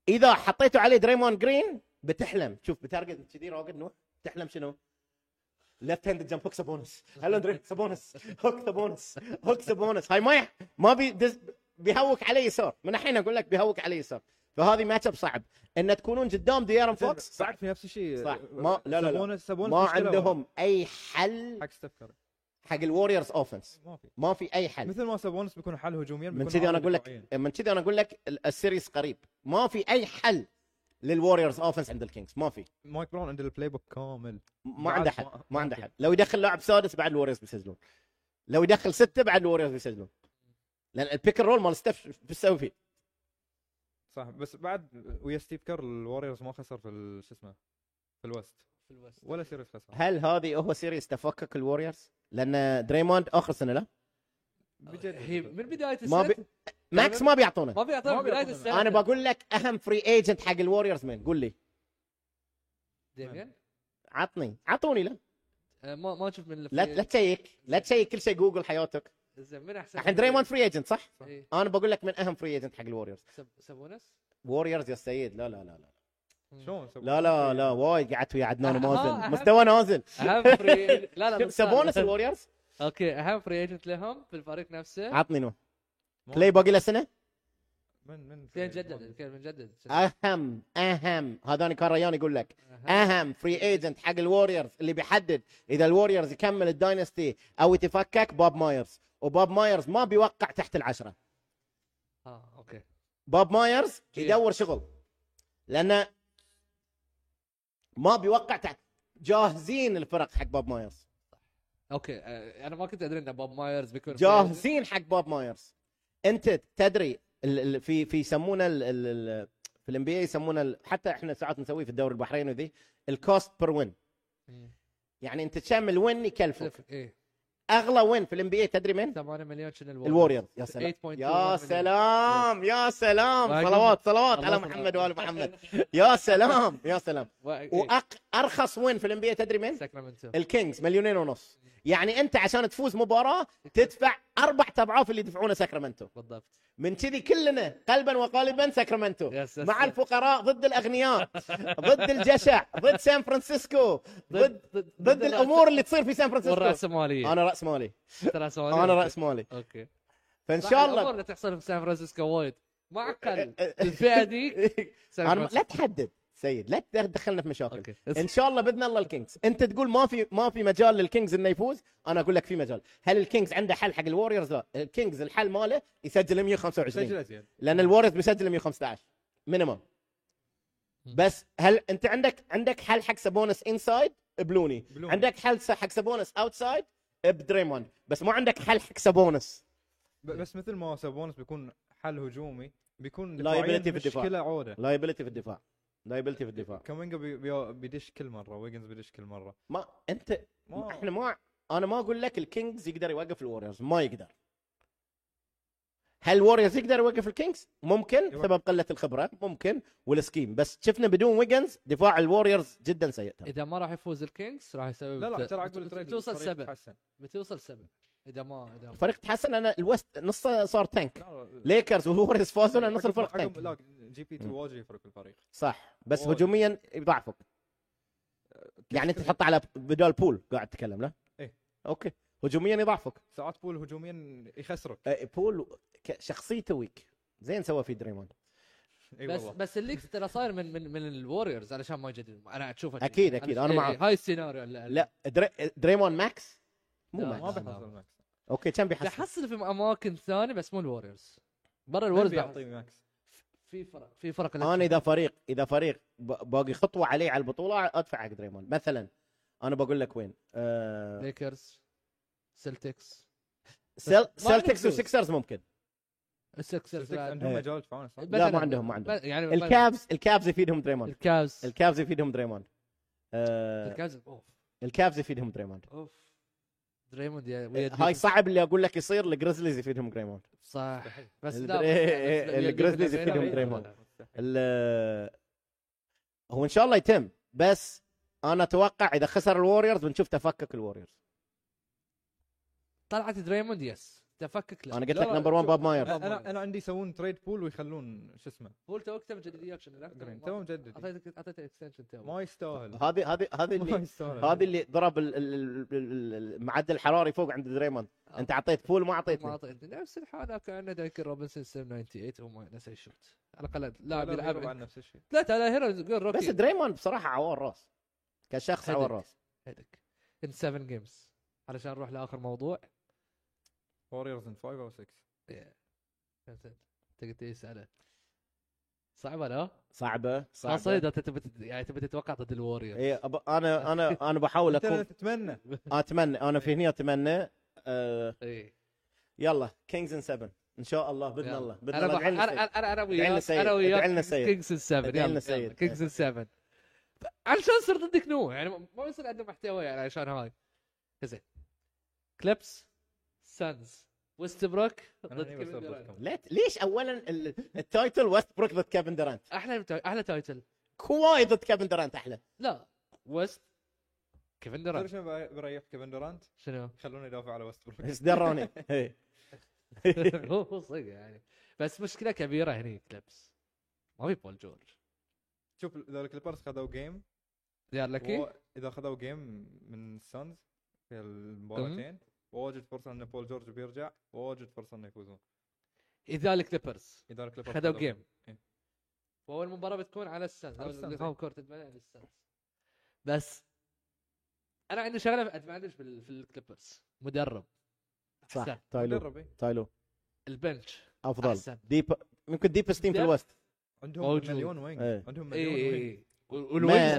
[SPEAKER 3] اذا حطيته عليه دريمون جرين بتحلم شوف بتارجت كذي راقد نوح تحلم شنو؟ ليفت هاند جمب هوك سبونس هلا دريم سبونس هوك سبونس هوك سبونس هاي ما يح- ما بي دز- بيهوك عليه يسار من الحين اقول لك بيهوك عليه يسار فهذه ماتش اب صعب ان تكونون قدام ديارن فوكس
[SPEAKER 2] بعد في نفس الشيء
[SPEAKER 3] صح. ما- لا، لا، لا.
[SPEAKER 2] سابونس سابونس
[SPEAKER 3] ما
[SPEAKER 2] مشكلة
[SPEAKER 3] عندهم اي حل
[SPEAKER 2] حق ستيف كاري
[SPEAKER 3] حق الوريورز اوفنس
[SPEAKER 2] ما في
[SPEAKER 3] ما في اي حل
[SPEAKER 2] مثل ما سابونس بيكون حل هجوميا
[SPEAKER 3] يعني من
[SPEAKER 2] بيكون
[SPEAKER 3] كذي انا
[SPEAKER 2] عامل
[SPEAKER 3] اقول لك
[SPEAKER 2] دفاعياً.
[SPEAKER 3] من كذي انا اقول لك ال- السيريز قريب ما في اي حل للوريورز اوفنس عند الكينجز ما في
[SPEAKER 2] مايك براون عنده البلاي بوك كامل
[SPEAKER 3] ما
[SPEAKER 2] بعد
[SPEAKER 3] عنده حل
[SPEAKER 2] ما-
[SPEAKER 3] ما عنده حل لو يدخل لاعب سادس بعد الوريورز بيسجلون لو يدخل سته بعد الوريورز بيسجلون لان البيك رول مال ستيف شو بيسوي فيه؟
[SPEAKER 2] صح بس بعد ويا ستيف كار الوريورز ما خسر في ال- شو اسمه في الوست
[SPEAKER 1] في الوست
[SPEAKER 2] ولا سيريس خسر
[SPEAKER 3] هل هذه هو سيريز تفكك الوريورز؟ لان دريموند اخر سنه لا
[SPEAKER 2] بجد
[SPEAKER 1] هي من بدايه السنه
[SPEAKER 3] ما بي... ماكس ما بيعطونه
[SPEAKER 1] ما بيعطونا
[SPEAKER 2] ما
[SPEAKER 1] من بدايه
[SPEAKER 2] بيعطونا.
[SPEAKER 1] السنه
[SPEAKER 3] انا بقول لك اهم فري ايجنت حق الوريورز من قول لي
[SPEAKER 1] ديميان
[SPEAKER 3] عطني عطوني له
[SPEAKER 1] آه، ما ما نشوف من
[SPEAKER 3] لا لا تشيك لا تشيك كل شيء جوجل حياتك
[SPEAKER 1] زين من احسن
[SPEAKER 3] الحين دريمون فري ايجنت صح؟
[SPEAKER 1] إيه.
[SPEAKER 3] انا بقول لك من اهم فري ايجنت حق الوريورز
[SPEAKER 1] سب- سبونس
[SPEAKER 3] ووريرز يا سيد لا لا لا لا
[SPEAKER 2] شلون سووا؟
[SPEAKER 3] لا لا لا وايد قعدت ويا عدنان
[SPEAKER 1] أها،
[SPEAKER 3] مازن
[SPEAKER 1] أهم.
[SPEAKER 3] مستوى نازل
[SPEAKER 1] اهم فري لا لا من
[SPEAKER 3] سبونس
[SPEAKER 1] السنة.
[SPEAKER 3] الوريورز
[SPEAKER 1] اوكي اهم فري ايجنت لهم في الفريق نفسه
[SPEAKER 3] عطني نو كلي باقي له سنه
[SPEAKER 2] من من
[SPEAKER 3] إيه،
[SPEAKER 1] كان جدد كان مجدد
[SPEAKER 3] آه، اهم اهم هذاني كان ريان يقول لك اهم فري ايجنت حق الوريورز اللي بيحدد اذا الوريورز يكمل الداينستي او يتفكك بوب مايرز وبوب مايرز ما بيوقع تحت العشره
[SPEAKER 1] اه اوكي
[SPEAKER 3] بوب مايرز
[SPEAKER 1] إيه.
[SPEAKER 3] يدور شغل لانه ما بيوقع تحت جاهزين الفرق حق بوب مايرز
[SPEAKER 1] اوكي آه، انا ما كنت ادري ان بوب مايرز بيكون free agent.
[SPEAKER 3] جاهزين حق بوب مايرز انت تدري ال- ال- في في يسمونه ال- ال- ال- في الام بي اي يسمونه ال- حتى احنا ساعات نسويه في الدوري البحريني وذي الكوست بير وين
[SPEAKER 1] مم.
[SPEAKER 3] يعني انت تشم الوين يكلفك
[SPEAKER 1] ايه
[SPEAKER 3] اغلى وين في الام بي اي تدري من
[SPEAKER 1] 8 مليون شنو
[SPEAKER 3] الوريورز يا سلام
[SPEAKER 1] 8.21
[SPEAKER 3] يا
[SPEAKER 1] مليون.
[SPEAKER 3] سلام يا
[SPEAKER 1] ما
[SPEAKER 3] سلام
[SPEAKER 1] يقول-
[SPEAKER 3] صلوات صلوات
[SPEAKER 1] الله
[SPEAKER 3] على
[SPEAKER 1] يسلمك.
[SPEAKER 3] محمد وال محمد يا سلام يا سلام
[SPEAKER 1] و- إيه،
[SPEAKER 3] وأق أرخص وين في الام بي تدري من؟
[SPEAKER 1] ساكرامنتو
[SPEAKER 3] الكينجز مليونين ونص يعني انت عشان تفوز مباراه تدفع اربع اضعاف اللي يدفعونه ساكرامنتو
[SPEAKER 1] بالضبط
[SPEAKER 3] من كذي كلنا قلبا وقالبا ساكرامنتو
[SPEAKER 1] يس، يس،
[SPEAKER 3] مع
[SPEAKER 1] يس.
[SPEAKER 3] الفقراء ضد الاغنياء ضد الجشع ضد سان فرانسيسكو ضد ضد الامور اللي تصير في سان فرانسيسكو
[SPEAKER 1] والراسماليه
[SPEAKER 3] انا راس مالي
[SPEAKER 1] أنت راسمالي
[SPEAKER 3] انا راس مالي
[SPEAKER 1] اوكي
[SPEAKER 3] فان شاء
[SPEAKER 1] الامور
[SPEAKER 3] الله
[SPEAKER 1] اللي تحصل في سان فرانسيسكو وايد معقل الفئه دي سان
[SPEAKER 3] انا لا
[SPEAKER 1] فرانسيسكو.
[SPEAKER 3] تحدد سيد لا تدخلنا في مشاكل
[SPEAKER 1] اوكي
[SPEAKER 3] ان شاء الله باذن الله الكينجز انت تقول ما في ما في مجال للكينجز انه يفوز انا اقول لك في مجال هل الكينجز عنده حل حق الوريورز لا الكينجز الحل ماله يسجل 125
[SPEAKER 2] سجل زين
[SPEAKER 3] لان الوريورز بيسجل 115 مينيمم بس هل انت عندك عندك حل حق سبونس انسايد بلوني
[SPEAKER 2] بلوني.
[SPEAKER 3] عندك حل س- حق سبونس اوتسايد بدريموند بس ما عندك حل حق سبونس
[SPEAKER 2] ب- بس مثل ما سابونس بيكون حل هجومي بيكون
[SPEAKER 3] لا
[SPEAKER 2] دفاعياً
[SPEAKER 3] يبيلتي في الدفاع.
[SPEAKER 2] مشكله عوده
[SPEAKER 3] لايبيلتي في الدفاع لايبيلتي في الدفاع
[SPEAKER 2] كومينجا بي- بي- بيدش كل مره ويجنز بيدش كل مره
[SPEAKER 3] ما انت
[SPEAKER 2] ما-
[SPEAKER 3] احنا ما انا ما اقول لك الكينجز يقدر يوقف الوريورز ما يقدر هل الوريورز يقدر يوقف الكينجز؟ ممكن
[SPEAKER 2] يوقف.
[SPEAKER 3] سبب قله الخبره ممكن والسكيم بس شفنا بدون ويجنز دفاع الوريورز جدا سيء ترى.
[SPEAKER 1] اذا ما راح يفوز الكينجز راح يسوي
[SPEAKER 2] لا لا
[SPEAKER 1] بت-
[SPEAKER 2] ترى
[SPEAKER 1] بت-
[SPEAKER 2] عقب التريد
[SPEAKER 1] بتوصل
[SPEAKER 2] الفريق
[SPEAKER 1] سبع
[SPEAKER 2] تحسن.
[SPEAKER 1] بتوصل سبع اذا ما اذا ما
[SPEAKER 3] الفريق تحسن انا الوست نصه صار تانك
[SPEAKER 2] لا، لا،
[SPEAKER 3] ليكرز والوريورز فازوا لان
[SPEAKER 2] عقب-
[SPEAKER 3] نص الفريق
[SPEAKER 2] عقب- لا
[SPEAKER 3] تانك
[SPEAKER 2] جي بي تو واجد يفرق الفريق
[SPEAKER 3] صح بس
[SPEAKER 2] وايد.
[SPEAKER 3] هجوميا يضعفك يعني انت تحطه على بدال بول قاعد تتكلم له
[SPEAKER 2] إيه.
[SPEAKER 3] اوكي هجوميا يضعفك
[SPEAKER 2] ساعات بول هجوميا يخسرك
[SPEAKER 3] أه، بول ك- شخصيته ويك زين سوى في دريمون
[SPEAKER 2] اي
[SPEAKER 1] بس
[SPEAKER 2] والله
[SPEAKER 1] بس الليكس ترى صاير من من من الوريورز علشان ما يجددون انا اشوفه
[SPEAKER 3] أكيد- أكيد، أنا معك.
[SPEAKER 1] إيه، هاي السيناريو اللي-
[SPEAKER 3] لا دري... دريمون ماكس مو
[SPEAKER 1] لا،
[SPEAKER 2] ما
[SPEAKER 3] ماكس
[SPEAKER 2] بيحصل ماكس
[SPEAKER 3] اوكي كم بيحصل
[SPEAKER 1] تحصل يعني في اماكن ثانيه بس مو الوريورز برا
[SPEAKER 2] ما
[SPEAKER 1] الوريورز
[SPEAKER 2] بيعطي ماكس
[SPEAKER 1] في فرق في فرق
[SPEAKER 3] انا اذا فريق اذا فريق ب... باقي خطوه عليه على البطوله ادفع حق دريمون مثلا انا بقول لك وين آه...
[SPEAKER 1] ليكرز سلتكس
[SPEAKER 3] سيل...
[SPEAKER 1] ما عندهم
[SPEAKER 3] سيلتكس
[SPEAKER 1] فلوس.
[SPEAKER 3] وسكسرز ممكن
[SPEAKER 1] السكسرز
[SPEAKER 2] سلتكس
[SPEAKER 1] بعد.
[SPEAKER 2] عندهم
[SPEAKER 3] إيه.
[SPEAKER 2] مجال يدفعون صح؟
[SPEAKER 1] مثلاً-
[SPEAKER 3] ما عندهم- ما عندهم.
[SPEAKER 1] بس- يعني
[SPEAKER 3] الكابز الكابز يفيدهم دريمون
[SPEAKER 1] الكابز
[SPEAKER 3] الكابز يفيدهم دريمون آه...
[SPEAKER 1] الكابز اوف
[SPEAKER 3] الكابز يفيدهم دريمون
[SPEAKER 1] اوف دريموند يا ويا
[SPEAKER 3] هاي صعب اللي اقول لك يصير الجريزليز يفيدهم دريمون
[SPEAKER 1] صح بس
[SPEAKER 3] الدري-
[SPEAKER 1] لا
[SPEAKER 3] إيه، الجريزليز
[SPEAKER 2] إيه،
[SPEAKER 1] إيه،
[SPEAKER 3] يفيدهم دريموند. ال- هو ان شاء الله يتم بس انا اتوقع اذا خسر الوريورز بنشوف تفكك الوريورز
[SPEAKER 1] طلعت دريموند يس تفكك لا
[SPEAKER 3] انا قلت
[SPEAKER 2] لا،
[SPEAKER 3] لك
[SPEAKER 2] لا،
[SPEAKER 3] نمبر 1
[SPEAKER 2] شوف.
[SPEAKER 3] باب ماير
[SPEAKER 2] انا انا عندي يسوون تريد بول ويخلون شو اسمه
[SPEAKER 1] هو توك تم جديد وياك شنو لا؟
[SPEAKER 2] جرين تو مجدد
[SPEAKER 1] اعطيتك اعطيتك اكستنشن تو
[SPEAKER 2] ما يستاهل
[SPEAKER 3] هذه هذه هذه
[SPEAKER 2] ما
[SPEAKER 3] اللي
[SPEAKER 2] يستاهل
[SPEAKER 3] هذه اللي ضرب ال- ال- ال- ال- المعدل الحراري فوق عند دريموند انت اعطيت بول ما
[SPEAKER 1] ما
[SPEAKER 3] اعطيتني
[SPEAKER 1] اعطيتني نفس الحاله كان دايكن روبنسون سم 98 وما نسى يشوت على الاقل لاعب
[SPEAKER 2] لا، بيلعب
[SPEAKER 1] يلعب
[SPEAKER 2] عن نفس الشيء
[SPEAKER 1] لا ترى هيروز جول روكي
[SPEAKER 3] بس دريموند بصراحه عوار راس كشخص عوار
[SPEAKER 1] هدك.
[SPEAKER 3] راس
[SPEAKER 1] هيدك ان 7 جيمز علشان نروح لاخر موضوع
[SPEAKER 2] ووريرز ان 5 او 6
[SPEAKER 1] تقدر تساله صعبه لا؟
[SPEAKER 3] صعبه
[SPEAKER 1] خاصه
[SPEAKER 3] صعبه
[SPEAKER 1] اذا أنت تبي تت- يعني تبي تتوقع ضد الوريورز
[SPEAKER 3] إيه، أب- انا انا انا بحاول
[SPEAKER 2] انت
[SPEAKER 3] اكون
[SPEAKER 2] تتمنى
[SPEAKER 3] اتمنى انا في هنا اتمنى آه،
[SPEAKER 1] اي
[SPEAKER 3] يلا كينجز ان 7 ان شاء الله باذن
[SPEAKER 1] يلا.
[SPEAKER 3] الله باذن
[SPEAKER 1] انا
[SPEAKER 3] الله
[SPEAKER 1] بح-
[SPEAKER 3] ادعي لنا
[SPEAKER 1] انا
[SPEAKER 3] سيد.
[SPEAKER 1] انا انا انا
[SPEAKER 3] ادعي لنا
[SPEAKER 1] وياك
[SPEAKER 3] سيد.
[SPEAKER 1] انا
[SPEAKER 3] ادعي لنا
[SPEAKER 1] وياك
[SPEAKER 3] سيد.
[SPEAKER 1] كينجز 7
[SPEAKER 3] ادعي لنا سيد.
[SPEAKER 1] كينجز 7 علشان يصير ضدك نوع يعني ما- ما يصير عنده محتوى يعني عشان هاي زين كليبس سانز وستبروك
[SPEAKER 2] أنا
[SPEAKER 1] ضد
[SPEAKER 2] هني
[SPEAKER 1] كيفن
[SPEAKER 2] بصير
[SPEAKER 1] دورانت
[SPEAKER 2] ضدكم.
[SPEAKER 3] لا ت- ليش اولا ال- التايتل ويست بروك ضد كيفن دورانت
[SPEAKER 1] احلى احلى تايتل
[SPEAKER 3] كواي ضد كيفن دورانت احلى
[SPEAKER 1] لا ويست كيفن
[SPEAKER 2] تدري
[SPEAKER 1] دورانت
[SPEAKER 2] شنو بري- بريح كيفن دورانت؟
[SPEAKER 1] شنو
[SPEAKER 2] خلونا يدافع على وست بروك
[SPEAKER 3] بس دروني إيه.
[SPEAKER 1] هو هو صدق يعني بس مشكله كبيره هني كلبس ما في بول جورج
[SPEAKER 2] شوف اذا الكليبرز خذوا جيم
[SPEAKER 1] ديار لكي
[SPEAKER 2] و- اذا خذوا جيم من السانز في المباراتين واجد فرصه ان بول جورج بيرجع واجد فرصه انه يفوزون
[SPEAKER 1] اذا الكليبرز
[SPEAKER 2] اذا الكليبرز
[SPEAKER 1] خذوا جيم
[SPEAKER 2] إيه.
[SPEAKER 1] واول مباراه بتكون على السنز
[SPEAKER 2] على
[SPEAKER 1] لو
[SPEAKER 2] السنز،
[SPEAKER 1] اللي هوم كورت اتمنى على السنز بس انا عندي شغله ما عنديش بال- في الكليبرز مدرب أحسن.
[SPEAKER 3] صح تايلو
[SPEAKER 2] مدرب، إيه.
[SPEAKER 3] تايلو
[SPEAKER 1] البنش
[SPEAKER 3] افضل
[SPEAKER 1] أحسن.
[SPEAKER 3] ديب ممكن ديبست تيم في الوست
[SPEAKER 2] عندهم
[SPEAKER 1] موجود.
[SPEAKER 2] مليون وينج
[SPEAKER 3] إيه.
[SPEAKER 2] عندهم
[SPEAKER 1] اي
[SPEAKER 2] مليون وينج
[SPEAKER 1] اي والوينجز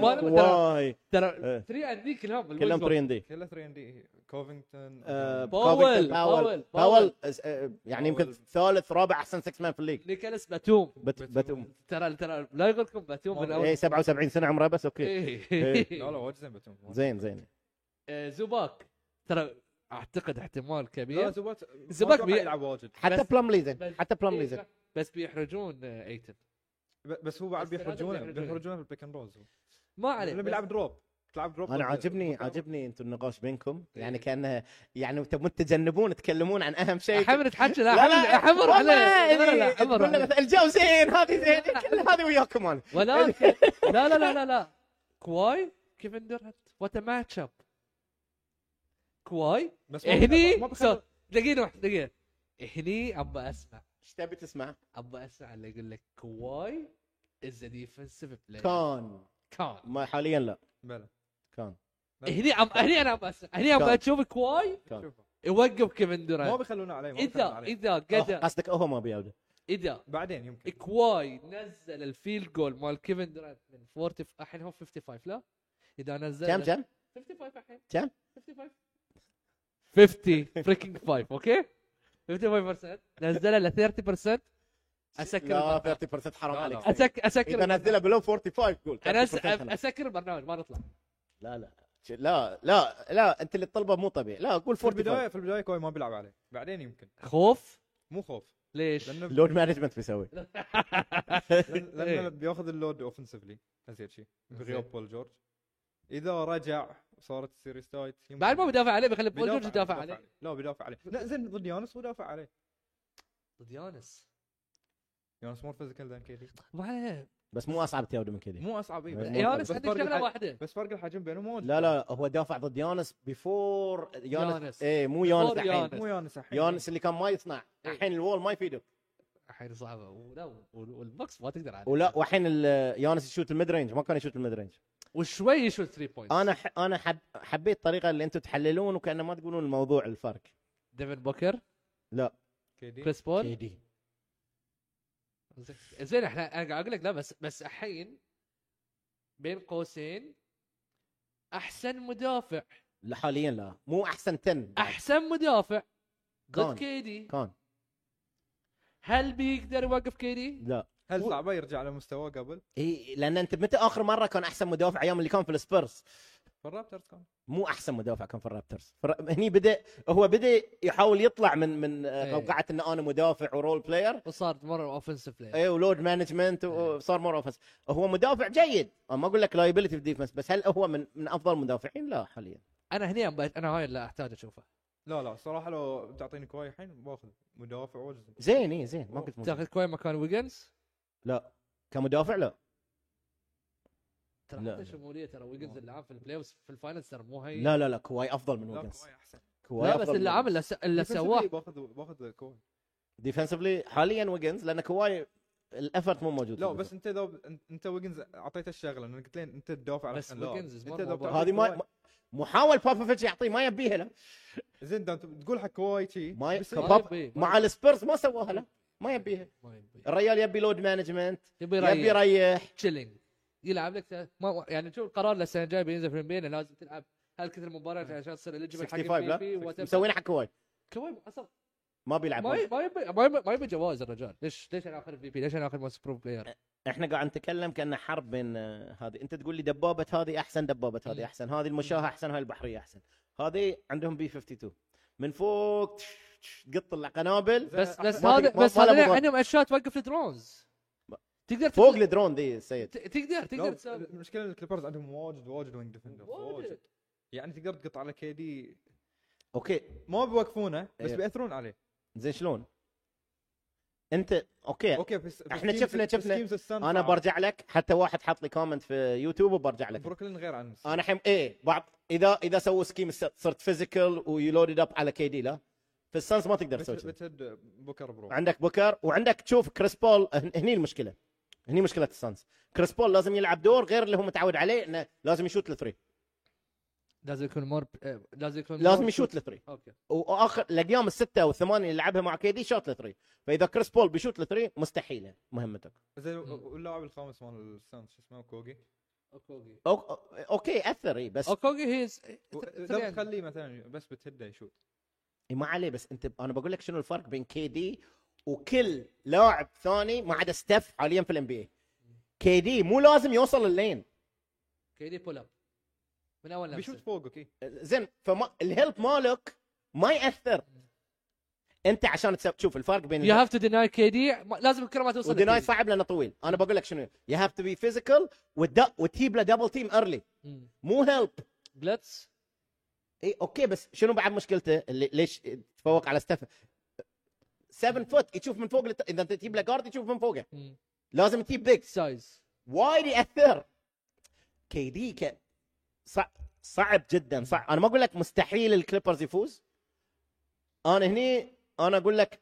[SPEAKER 3] مان،
[SPEAKER 1] مالهم ترى
[SPEAKER 3] واي
[SPEAKER 1] ترى
[SPEAKER 3] إيه.
[SPEAKER 1] 3 اند دي كلهم بالوينجز
[SPEAKER 3] كلهم
[SPEAKER 1] مالهم.
[SPEAKER 3] 3 دي
[SPEAKER 2] كلها 3 ان دي كوفينغتون
[SPEAKER 3] آه،
[SPEAKER 2] عندهم-
[SPEAKER 1] باول،
[SPEAKER 3] كوفينغتون،
[SPEAKER 1] باول،
[SPEAKER 3] باول
[SPEAKER 1] باول.
[SPEAKER 3] باول أس- آه، يعني يمكن
[SPEAKER 2] باول.
[SPEAKER 3] ثالث رابع احسن 6 مان في الليج
[SPEAKER 1] نيكلاس باتوم
[SPEAKER 3] بت
[SPEAKER 2] باتوم.
[SPEAKER 3] بتوم
[SPEAKER 1] ترى ترى لا يقول لكم باتوم من
[SPEAKER 2] إيه،
[SPEAKER 1] اول
[SPEAKER 3] اي 77 سنه عمره بس اوكي
[SPEAKER 1] إيه.
[SPEAKER 2] لا لا واجد زين بتهم
[SPEAKER 3] زين زين
[SPEAKER 1] آه، زوباك ترى اعتقد احتمال
[SPEAKER 2] لا
[SPEAKER 1] كبير
[SPEAKER 2] زبات
[SPEAKER 1] زباك
[SPEAKER 2] زباك
[SPEAKER 1] بي-
[SPEAKER 2] بيلعب واجد
[SPEAKER 3] حتى
[SPEAKER 1] بس-
[SPEAKER 3] بلملي زين
[SPEAKER 1] بس-
[SPEAKER 3] حتى بلملي
[SPEAKER 1] إيه،
[SPEAKER 3] زين
[SPEAKER 1] بس بيحرجون آه، ايتن
[SPEAKER 2] ب- بس هو بعد
[SPEAKER 1] بس هذا
[SPEAKER 2] بيحرجونه
[SPEAKER 1] بيحرجونه.
[SPEAKER 2] بيحرجونه في البيك اند رولز
[SPEAKER 1] ما عليه
[SPEAKER 2] لانه
[SPEAKER 1] بس-
[SPEAKER 2] بيلعب دروب تلعب دروب
[SPEAKER 3] انا
[SPEAKER 2] ضد-
[SPEAKER 3] عاجبني
[SPEAKER 2] ضد-
[SPEAKER 3] عاجبني انتم النقاش بينكم يعني
[SPEAKER 1] إيه.
[SPEAKER 3] كانها يعني تبون تتجنبون تتكلمون عن اهم شيء
[SPEAKER 1] حمر تحكي لا حمر حمر
[SPEAKER 3] والله
[SPEAKER 1] عليه لا لا
[SPEAKER 3] إذا
[SPEAKER 1] حمر
[SPEAKER 3] قلنا
[SPEAKER 1] عليه.
[SPEAKER 3] مثلا الجو زين هذه زين كل هذه وياكم انا
[SPEAKER 1] ولكن لا لا لا لا لا كواي كيفن دورانت وات ماتش اب كواي
[SPEAKER 2] بس ما بيخرب- ما
[SPEAKER 1] هني
[SPEAKER 2] بيخرب-
[SPEAKER 1] سو- دقيقة واحدة دقيقة هني ابى اسمع
[SPEAKER 3] ايش تبي تسمع؟
[SPEAKER 1] ابى اسمع اللي يقول لك كواي از ديفنسيف بلاير
[SPEAKER 3] كان
[SPEAKER 1] كان
[SPEAKER 3] ما حاليا لا
[SPEAKER 2] بلى
[SPEAKER 3] كان
[SPEAKER 1] هني أب... هني انا ابى اسمع هني ابى
[SPEAKER 3] كان.
[SPEAKER 1] اشوف كواي
[SPEAKER 3] كان
[SPEAKER 2] شوف.
[SPEAKER 1] يوقف كيفن
[SPEAKER 2] ما
[SPEAKER 1] دورانت
[SPEAKER 2] بيخلونا عليه ما بيخلونا
[SPEAKER 1] اذا
[SPEAKER 2] عليه
[SPEAKER 1] اذا
[SPEAKER 3] أوه،
[SPEAKER 1] قدر
[SPEAKER 3] قصدك هو ما بيعوده
[SPEAKER 1] اذا
[SPEAKER 2] بعدين يمكن
[SPEAKER 1] كواي نزل الفيلد جول مال كيفن دورانت من 40 ف- الحين هو 55 لا اذا نزل
[SPEAKER 3] كم كم؟
[SPEAKER 1] 55 الحين
[SPEAKER 3] كم؟
[SPEAKER 1] 55 50 فريكينج 5 اوكي 55% نزلها ل 30% اسكر
[SPEAKER 3] لا
[SPEAKER 1] البرنامج.
[SPEAKER 3] 30% حرام
[SPEAKER 2] لا، لا.
[SPEAKER 3] عليك
[SPEAKER 1] اسكر اسكر
[SPEAKER 3] اذا
[SPEAKER 1] البرنامج.
[SPEAKER 3] نزلها بلو 45 قول
[SPEAKER 1] انا
[SPEAKER 3] 30%
[SPEAKER 1] أس-
[SPEAKER 3] حرام.
[SPEAKER 1] اسكر البرنامج ما نطلع
[SPEAKER 3] لا لا ش- لا لا لا انت اللي تطلبه مو طبيعي لا قول
[SPEAKER 2] في البدايه
[SPEAKER 3] 45
[SPEAKER 2] في البدايه كوي ما بيلعب عليه بعدين يمكن
[SPEAKER 1] خوف
[SPEAKER 2] مو خوف
[SPEAKER 1] ليش؟
[SPEAKER 2] لانه
[SPEAKER 3] لود مانجمنت بيسوي
[SPEAKER 2] لأن-
[SPEAKER 1] إيه.
[SPEAKER 2] لانه بياخذ اللود اوفنسفلي زين شيء بغياب
[SPEAKER 1] زين.
[SPEAKER 2] بول جورج اذا رجع صارت السيريس تايت يمكن.
[SPEAKER 1] بعد ما بدافع عليه بخلي بول
[SPEAKER 2] بيدافع
[SPEAKER 1] جورج يدافع
[SPEAKER 2] بيدافع
[SPEAKER 1] عليه
[SPEAKER 2] لا بيدافع عليه لا زين ضد يانس ودافع عليه
[SPEAKER 1] ضد يونس
[SPEAKER 2] يانس مور فيزيكال ذان كيدي
[SPEAKER 1] ما عليه
[SPEAKER 3] بس مو اصعب تياودو من كذي
[SPEAKER 2] مو اصعب إيه، بس-
[SPEAKER 3] إيه،
[SPEAKER 1] يونس
[SPEAKER 2] بس
[SPEAKER 1] عنده
[SPEAKER 2] فرق
[SPEAKER 1] شغله
[SPEAKER 2] الحج-
[SPEAKER 1] واحده
[SPEAKER 2] بس فرق الحجم بينهم واجد.
[SPEAKER 3] لا لا هو دافع ضد يانس بيفور
[SPEAKER 1] يانس.
[SPEAKER 3] يانس ايه مو يانس
[SPEAKER 1] Before
[SPEAKER 3] الحين
[SPEAKER 1] يانس.
[SPEAKER 2] مو يانس الحين
[SPEAKER 3] يانس اللي كان ما يصنع
[SPEAKER 1] إيه.
[SPEAKER 3] الحين الوول ما يفيده
[SPEAKER 1] الحين صعبه ولا وال- والبوكس ما تقدر عليه
[SPEAKER 3] ولا والحين ال- يانس يشوت الميد رينج ما كان يشوت الميد رينج
[SPEAKER 1] وشوي يشوت 3 بوينت
[SPEAKER 3] انا ح... انا حب... حبيت الطريقه اللي انتم تحللون وكانه ما تقولون الموضوع الفرق
[SPEAKER 1] ديفن بوكر
[SPEAKER 2] كيدي
[SPEAKER 1] كريس بول
[SPEAKER 3] KD.
[SPEAKER 1] زين- زين احنا انا قاعد اقول لك لا بس بس الحين بين قوسين احسن مدافع
[SPEAKER 3] لا حاليا لا مو احسن 10
[SPEAKER 1] احسن مدافع
[SPEAKER 3] كان.
[SPEAKER 1] ضد كيدي
[SPEAKER 3] كان
[SPEAKER 1] هل بيقدر يوقف كيدي؟
[SPEAKER 3] لا
[SPEAKER 2] هل صعبه يرجع لمستواه قبل؟
[SPEAKER 3] إيه لان انت متى اخر مره كان احسن مدافع ايام اللي كان في السبيرز
[SPEAKER 2] فالرابترز كان
[SPEAKER 3] مو احسن مدافع كان في الرابترز فر... هني بدا هو بدا يحاول يطلع من من
[SPEAKER 1] إيه.
[SPEAKER 3] آه، قوقعه ان انا مدافع ورول بلاير
[SPEAKER 1] وصار مره اوفنسيف بلاي
[SPEAKER 3] اي ولود مانجمنت وصار مور اوفنس هو مدافع جيد أنا ما اقول لك لايبيلتي في ديفنس بس هل هو من من افضل المدافعين لا حاليا
[SPEAKER 1] انا هني أبا- انا هاي اللي احتاج اشوفه
[SPEAKER 2] لا لا صراحه لو بتعطيني كواي الحين باخذ مدافع واجد زين.
[SPEAKER 3] زين اي زين ما قلت مو زين.
[SPEAKER 1] تاخذ كوي مكان ويجنز
[SPEAKER 3] لا كمدافع لا
[SPEAKER 1] ترى
[SPEAKER 3] لا،
[SPEAKER 1] حتى
[SPEAKER 3] لا.
[SPEAKER 1] شموليه ترى ويجنز
[SPEAKER 2] ما-
[SPEAKER 1] اللي عام في البلاي اوف في الفاينلز ترى مو هي
[SPEAKER 3] لا لا لا كواي افضل من
[SPEAKER 2] لا
[SPEAKER 3] ويجنز
[SPEAKER 2] كواي احسن
[SPEAKER 3] كواي
[SPEAKER 1] لا بس
[SPEAKER 3] أفضل من
[SPEAKER 1] اللي عام
[SPEAKER 3] ويجنز.
[SPEAKER 1] اللي, س... اللي
[SPEAKER 2] Defensively
[SPEAKER 1] سواه
[SPEAKER 2] باخذ باخذ كواي
[SPEAKER 3] ديفنسفلي حاليا ويجنز لان كواي الافرت مو موجود
[SPEAKER 2] لا
[SPEAKER 3] في
[SPEAKER 2] بس انت لو ب- انت ويجنز اعطيته الشغله انك قلت لين انت تدافع على
[SPEAKER 1] بس
[SPEAKER 2] اللاعب.
[SPEAKER 1] ويجنز is more
[SPEAKER 2] انت لو
[SPEAKER 1] mobile.
[SPEAKER 2] بتعطيه
[SPEAKER 3] هذه ما
[SPEAKER 2] كواي-
[SPEAKER 3] ما- محاول بابوفيتش يعطيه ما يبيها له
[SPEAKER 2] زين ده انت بتقول حق كواي شي
[SPEAKER 3] ما ي...
[SPEAKER 2] بيصير.
[SPEAKER 1] ما
[SPEAKER 3] باب...
[SPEAKER 1] يبيه.
[SPEAKER 3] مع السبيرز ما سواها له ما يبيها
[SPEAKER 1] ما يبي
[SPEAKER 3] الرجال يبي لود مانجمنت
[SPEAKER 1] يبي
[SPEAKER 3] يبي
[SPEAKER 1] يريح
[SPEAKER 3] يريح
[SPEAKER 1] تشيلينج يلعب لك ت- ما يعني شوف القرار للسنه الجايه بينزل في البين لازم تلعب هالكثر مباريات عشان تصير اليجبل حق
[SPEAKER 3] 65 نعم. لا؟ مسوينها حق كواي
[SPEAKER 1] كوي اصلا
[SPEAKER 3] ما بيلعب
[SPEAKER 1] ما يبي ما يبي ما يبي, ما يبي جوائز الرجال ليش ليش انا اخذ في بي ليش انا اخذ موست بروف
[SPEAKER 3] إيه،
[SPEAKER 1] بلاير
[SPEAKER 3] احنا قاعد نتكلم كان حرب بين آه، هذه انت تقول لي دبابه هذه احسن دبابه
[SPEAKER 1] مم.
[SPEAKER 3] هذه احسن هذه المشاهه احسن هاي البحريه احسن هذه عندهم بي 52 من فوق تش- تش- تقط القنابل
[SPEAKER 1] بس بس
[SPEAKER 3] إيه، ما
[SPEAKER 1] هذا
[SPEAKER 3] تق- ما-
[SPEAKER 1] بس
[SPEAKER 3] ما له
[SPEAKER 1] هذا
[SPEAKER 3] مضر.
[SPEAKER 1] عندهم اشياء توقف الدرونز تقدر
[SPEAKER 3] فوق
[SPEAKER 1] تقدر
[SPEAKER 3] الدرون ذي سيد
[SPEAKER 1] تقدر تقدر تسوي
[SPEAKER 2] المشكله إن الكليبرز عندهم واجد واجد وينج ديفندرز واجد يعني تقدر تقطع على كي دي
[SPEAKER 3] اوكي
[SPEAKER 2] ما بيوقفونه بس
[SPEAKER 3] إيه.
[SPEAKER 2] بياثرون عليه
[SPEAKER 3] زين شلون؟ انت اوكي
[SPEAKER 2] اوكي بس بس
[SPEAKER 3] إيه. إحنا
[SPEAKER 2] schemes-
[SPEAKER 3] شفنا-
[SPEAKER 2] بس
[SPEAKER 3] شفنا.
[SPEAKER 2] schemes السن
[SPEAKER 3] انا
[SPEAKER 2] صعب.
[SPEAKER 3] برجع لك حتى واحد حط لي كومنت في يوتيوب وبرجع لك
[SPEAKER 2] بروكلين غير عن السن.
[SPEAKER 3] انا حم... ايه بعض اذا اذا سووا سكيم س- صرت فيزيكال ويلودد اب على كي دي لا في السانز ما تقدر تسوي
[SPEAKER 2] بت-
[SPEAKER 3] كذي.
[SPEAKER 2] بتهد بوكر برو
[SPEAKER 3] عندك بوكر وعندك تشوف كريس بول هن- هني المشكله هني مشكله السانز كريس بول لازم يلعب دور غير اللي هو متعود عليه انه لازم يشوت الثري
[SPEAKER 1] لازم يكون مور آه، لازم يكون
[SPEAKER 3] لازم
[SPEAKER 1] more-
[SPEAKER 3] يشوت الثري
[SPEAKER 1] اوكي
[SPEAKER 3] واخر الايام السته والثمانيه اللي لعبها مع كي دي شوت الثري فاذا كريس بول بيشوت الثري مستحيله مهمتك
[SPEAKER 2] زين
[SPEAKER 1] مم.
[SPEAKER 2] واللاعب الخامس مال السانز شو اسمه كوجي
[SPEAKER 1] اوكوغي
[SPEAKER 3] أو... أو- اوكي اثر إيه، بس
[SPEAKER 1] اوكوغي هي
[SPEAKER 2] لازم تخليه مثلا بس بتهده يشوت
[SPEAKER 3] إيه، ما عليه بس انت انا بقول لك شنو الفرق بين كي دي وكل لاعب ثاني ما عدا ستيف حاليا في الام بي اي كي دي مو لازم يوصل اللين
[SPEAKER 1] كيدي بول اب من اول
[SPEAKER 2] بيشوت
[SPEAKER 1] نفسه
[SPEAKER 2] فوقك اي
[SPEAKER 3] زين فما الهيلب مالك ما ياثر انت عشان تسوي شوف الفرق بين
[SPEAKER 1] يو هاف تو ديناي كيدي لازم الكره ما توصل
[SPEAKER 3] وديناي
[SPEAKER 1] لكيدي.
[SPEAKER 3] صعب لانه طويل انا بقول لك شنو يو هاف تو بي فيزيكال وتجيب له دبل تيم ايرلي
[SPEAKER 1] مم.
[SPEAKER 3] مو هيلب
[SPEAKER 1] بلتس
[SPEAKER 3] اي اوكي إيه، بس شنو بعد مشكلته اللي ليش تفوق على ستيف 7 فوت يشوف من فوق لت... اذا انت تجيب له جارد يشوف من فوقه
[SPEAKER 1] مم.
[SPEAKER 3] لازم تجيب بيكس
[SPEAKER 1] سايز
[SPEAKER 3] وايد ياثر كي دي ك... صع... صعب جدا صعب انا ما اقول لك مستحيل الكليبرز يفوز انا هني انا اقول لك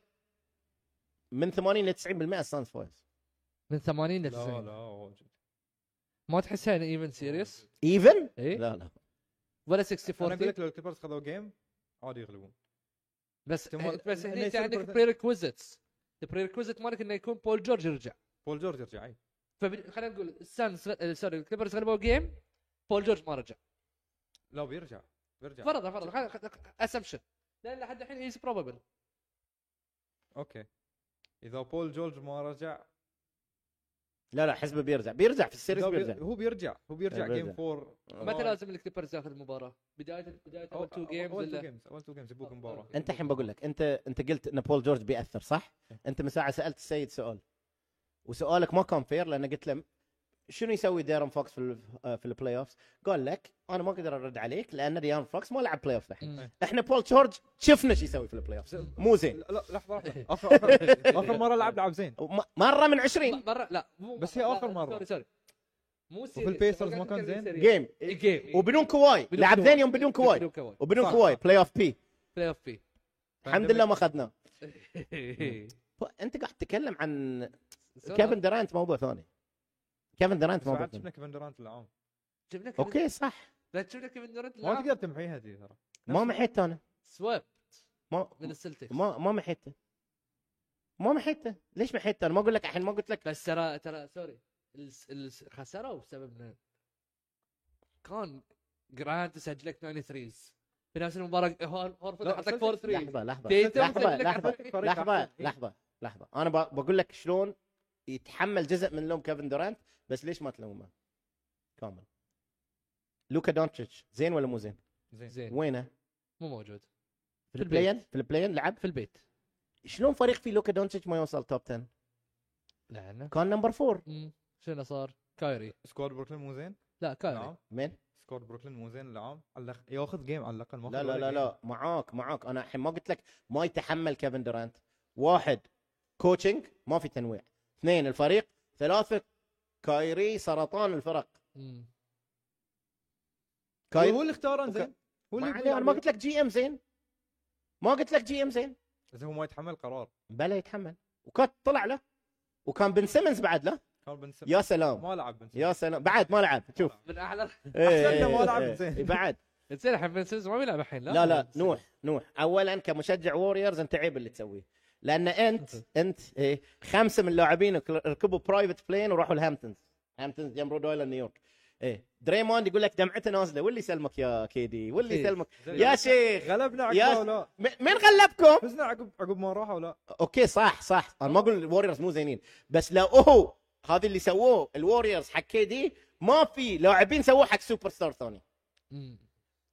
[SPEAKER 3] من 80 ل 90% السانز فوز
[SPEAKER 1] من 80 ل
[SPEAKER 2] لا
[SPEAKER 1] 90
[SPEAKER 2] لا واجد
[SPEAKER 1] ما تحسها ايفن سيريس
[SPEAKER 2] إيه؟
[SPEAKER 3] ايفن؟
[SPEAKER 1] اي
[SPEAKER 3] لا لا
[SPEAKER 1] ولا
[SPEAKER 2] انا
[SPEAKER 1] 60
[SPEAKER 2] اقول
[SPEAKER 1] 40
[SPEAKER 2] لك لو الكليبرز خذوا جيم عادي يغلبون
[SPEAKER 1] بس
[SPEAKER 2] احتمال-
[SPEAKER 1] بس هني
[SPEAKER 2] إنه
[SPEAKER 1] انت
[SPEAKER 2] يصير
[SPEAKER 1] عندك
[SPEAKER 2] برد-
[SPEAKER 1] بري ريكويزيتس البري ريكويزيت مالك انه يكون بول جورج يرجع
[SPEAKER 2] بول جورج يرجع اي
[SPEAKER 1] فب- خلينا نقول السانز آه، سوري الكليبرز غلبوا جيم بول جورج ما رجع
[SPEAKER 2] لا بيرجع بيرجع
[SPEAKER 1] فرضا فرضا اسامبشن لان لحد الحين هيز بروبابل
[SPEAKER 2] اوكي اذا بول جورج ما رجع
[SPEAKER 3] لا لا حسبه بيرجع بيرجع في السيريز
[SPEAKER 2] لا، بي-
[SPEAKER 3] بيرجع
[SPEAKER 2] هو بيرجع هو بيرجع
[SPEAKER 3] بيرجع.
[SPEAKER 2] جيم 4
[SPEAKER 1] متى لازم الكليبرز ياخذ المباراه؟ بدايه بدايه اول تو جيمز
[SPEAKER 2] اول تو
[SPEAKER 1] ولا
[SPEAKER 2] جيمز اول تو جيمز يبوك مباراه
[SPEAKER 3] انت الحين بقول لك انت انت قلت ان بول جورج بياثر صح؟ انت من ساعه سالت السيد سؤال وسؤالك ما كان فير لان قلت له شنو يسوي ديرن فوكس في ال- في البلاي اوفز؟ قال لك انا ما اقدر ارد عليك لان ديرن فوكس ما لعب بلاي اوف الحين
[SPEAKER 1] مم.
[SPEAKER 3] احنا بول جورج شفنا شو يسوي في البلاي اوف مو زين
[SPEAKER 2] لا لا، لحظه لحظه اخر آخر- اخر مره لعب لعب زين
[SPEAKER 3] وم- مره من 20
[SPEAKER 1] مره لا مو
[SPEAKER 2] بس هي
[SPEAKER 1] لا،
[SPEAKER 2] آخر مرة.
[SPEAKER 1] سوري سوري مو سيريس
[SPEAKER 2] البيسرز ما كان زين؟
[SPEAKER 3] جيم
[SPEAKER 1] جيم
[SPEAKER 3] وبدون كواي لعب ثاني يوم بدون
[SPEAKER 1] بدون
[SPEAKER 3] كواي
[SPEAKER 1] كواي
[SPEAKER 3] وبدون
[SPEAKER 2] صح.
[SPEAKER 3] كواي بلاي اوف بي
[SPEAKER 1] بلاي اوف بي
[SPEAKER 3] الحمد لله ما اخذناه ف- انت قاعد تتكلم عن كيفن دورانت موضوع ثاني كيفن دورانت
[SPEAKER 2] بس
[SPEAKER 3] موضوع
[SPEAKER 2] بعد
[SPEAKER 3] ثاني
[SPEAKER 2] شفنا كيفن دورانت العام
[SPEAKER 1] جبنا كيفن-
[SPEAKER 3] اوكي صح
[SPEAKER 1] لا تشوفنا كيفن دورانت
[SPEAKER 2] ما
[SPEAKER 1] لا،
[SPEAKER 2] تقدر تمحيها دي ترى
[SPEAKER 3] ما محيت انا
[SPEAKER 1] سواب
[SPEAKER 3] ما
[SPEAKER 1] من السلتكس
[SPEAKER 3] ما ما محيته ما محيته ليش محيته انا ما اقول لك الحين ما قلت لك
[SPEAKER 1] بس ترى ترى سوري الس- الس- خسروا بسبب إنه كان جرانت سجل لك 9 ثريز في نفس المباراه هور- هورفورد
[SPEAKER 2] لا،
[SPEAKER 1] حط لك
[SPEAKER 2] سجل-
[SPEAKER 1] 4 ثريز
[SPEAKER 3] لحظه لحظه
[SPEAKER 1] تيتم
[SPEAKER 3] لحظه
[SPEAKER 1] سجل طيب. لك
[SPEAKER 3] لحظه
[SPEAKER 1] أربعين.
[SPEAKER 2] فريق
[SPEAKER 3] لحظه
[SPEAKER 1] إيه.
[SPEAKER 2] أحسن.
[SPEAKER 3] لحظه لحظه انا ب- بقول لك شلون يتحمل جزء من لوم كيفن دورانت بس ليش ما تلومه كامل لوكا دونتش زين ولا مو زين؟
[SPEAKER 2] زين
[SPEAKER 1] زين
[SPEAKER 3] وينه؟
[SPEAKER 1] مو موجود
[SPEAKER 3] في
[SPEAKER 1] إيه. في
[SPEAKER 3] البلاين
[SPEAKER 1] البيت.
[SPEAKER 3] في البلاين لعب
[SPEAKER 1] في البيت
[SPEAKER 3] شلون فريق في لوكا دونتش ما يوصل توب 10
[SPEAKER 1] لعنه
[SPEAKER 3] كان نمبر 4
[SPEAKER 1] أمم، شنو صار؟ كايري
[SPEAKER 2] سكواد بروكلين مو زين نعم.
[SPEAKER 1] لا كايري
[SPEAKER 2] العام
[SPEAKER 3] مين؟
[SPEAKER 2] سكواد بروكلين مو زين العام على الأخ- ياخذ جيم على الاقل ما
[SPEAKER 3] لا
[SPEAKER 2] أخذ
[SPEAKER 3] لا
[SPEAKER 2] ولا إيه؟
[SPEAKER 3] لا
[SPEAKER 2] جيم.
[SPEAKER 3] لا معاك معاك انا الحين ما قلت لك ما يتحمل كيفن دورانت واحد كوتشنج ما في تنويع اثنين الفريق ثلاثه كايري سرطان الفرق
[SPEAKER 1] أمم.
[SPEAKER 2] هو
[SPEAKER 3] كايري
[SPEAKER 2] اللي اختاره زين هو
[SPEAKER 3] ما
[SPEAKER 2] اللي
[SPEAKER 3] عليه، انا ما قلت لك جي ام زين ما قلت لك جي ام زين
[SPEAKER 2] اذا هو ما يتحمل قرار
[SPEAKER 3] بلا يتحمل وكان طلع له وكان بن سيمنز بعد له
[SPEAKER 2] كان بن سيمنز
[SPEAKER 3] يا سلام
[SPEAKER 2] ما لعب بن
[SPEAKER 3] يا سلام بعد ما لعب شوف
[SPEAKER 1] من احلى
[SPEAKER 3] إيه،
[SPEAKER 2] أحسن إنه ما لعب
[SPEAKER 3] إيه،
[SPEAKER 2] زين.
[SPEAKER 3] إيه، بعد
[SPEAKER 1] زين الحين بن سيمنز ما بيلعب الحين لا
[SPEAKER 3] لا لا نوح نوح اولا كمشجع ووريرز انت عيب اللي تسويه لان انت انت إيه خمسه من لاعبينك ركبوا برايفت بلين وراحوا الهامبتونز هامبتونز جنب رود ايلاند نيويورك ايه دريموند يقول لك دمعته نازله واللي يسلمك يا كيدي واللي
[SPEAKER 1] إيه.
[SPEAKER 3] يسلمك
[SPEAKER 2] زين.
[SPEAKER 3] يا شيخ
[SPEAKER 2] غلبنا
[SPEAKER 3] يا-
[SPEAKER 2] عقبه ولا
[SPEAKER 3] م- مين غلبكم؟
[SPEAKER 2] فزنا عقب عقب ما راح ولا
[SPEAKER 3] اوكي صح صح انا ما اقول الوريورز مو زينين بس لو هو هذا اللي سووه الوريورز حق كي دي ما في لاعبين سووه حق سوبر ستار ثاني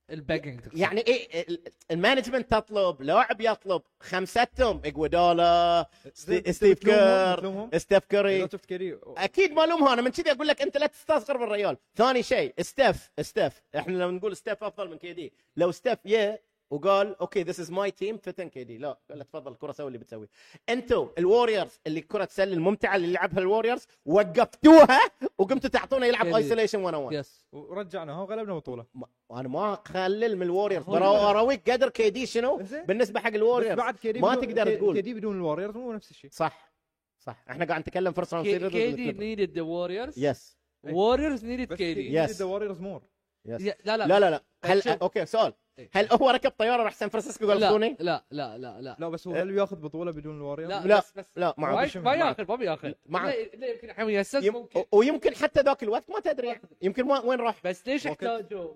[SPEAKER 1] الباجنج تقصد.
[SPEAKER 3] يعني إيه ال- المانجمنت تطلب لاعب يطلب خمستهم اجوادولا ستي- ستيف
[SPEAKER 2] تلومهم-
[SPEAKER 3] كير
[SPEAKER 2] تلومهم؟
[SPEAKER 3] ستيف
[SPEAKER 2] اذا
[SPEAKER 3] كوري
[SPEAKER 2] شفت كيري
[SPEAKER 3] اكيد ما الومها انا من كذي اقول لك انت لا تستصغر من الريال ثاني شيء ستيف ستيف احنا لو نقول ستيف افضل من كي دي لو ستيف يا وقال اوكي ذيس از ماي تيم فتن كي دي لا قال له تفضل الكره سوي اللي بتسويه انتوا الوريورز اللي كره سله الممتعه اللي لعبها الوريورز وقفتوها وقمتوا تعطونا يلعب
[SPEAKER 1] KD.
[SPEAKER 3] ايسوليشن 1 1
[SPEAKER 1] يس
[SPEAKER 2] ورجعنا هو غلبنا بطوله
[SPEAKER 3] ما- وانا ما اقلل من الوريورز
[SPEAKER 2] هو
[SPEAKER 3] برا-
[SPEAKER 2] يبقى-
[SPEAKER 3] اراويك قدر كي دي شنو
[SPEAKER 2] زين.
[SPEAKER 3] بالنسبه حق
[SPEAKER 2] بس
[SPEAKER 3] الوريورز
[SPEAKER 2] بعد كيري
[SPEAKER 3] ما
[SPEAKER 2] بدون-
[SPEAKER 3] تقدر
[SPEAKER 2] كي-
[SPEAKER 3] تقول.
[SPEAKER 2] كيري بدون الوريرز مو نفس الشيء
[SPEAKER 3] صح صح احنا قاعد نتكلم فرصه مصيرة ضد
[SPEAKER 1] كي دي
[SPEAKER 3] الكليبرز.
[SPEAKER 1] نيدد ذا ووريرز
[SPEAKER 3] يس
[SPEAKER 1] ووريرز نيدد
[SPEAKER 2] بس
[SPEAKER 1] كي دي
[SPEAKER 3] Yes.
[SPEAKER 2] يس الوريرز مور
[SPEAKER 3] يس
[SPEAKER 1] لا لا
[SPEAKER 3] لا لا لا هل
[SPEAKER 1] شوف.
[SPEAKER 3] اوكي سؤال
[SPEAKER 1] إيه.
[SPEAKER 3] هل هو ركب طياره راح سان فرانسيسكو قال خذوني؟
[SPEAKER 1] لا لا لا لا
[SPEAKER 2] لا بس هو هل بياخذ بطوله بدون الوريرز؟
[SPEAKER 1] لا.
[SPEAKER 3] Eh. لا
[SPEAKER 1] بس- بس-
[SPEAKER 3] لا ما
[SPEAKER 2] معك.
[SPEAKER 1] ما
[SPEAKER 2] معك.
[SPEAKER 1] ياخذ ما ياخذ ما بياخذ
[SPEAKER 3] معك.
[SPEAKER 1] لا- لا يمكن الحين ياسس
[SPEAKER 3] يم...
[SPEAKER 1] ممكن
[SPEAKER 3] ويمكن حتى ذاك الوقت ما تدري يعني. يمكن ما- وين راح
[SPEAKER 1] بس ليش
[SPEAKER 3] ممكن.
[SPEAKER 1] احتاجوا؟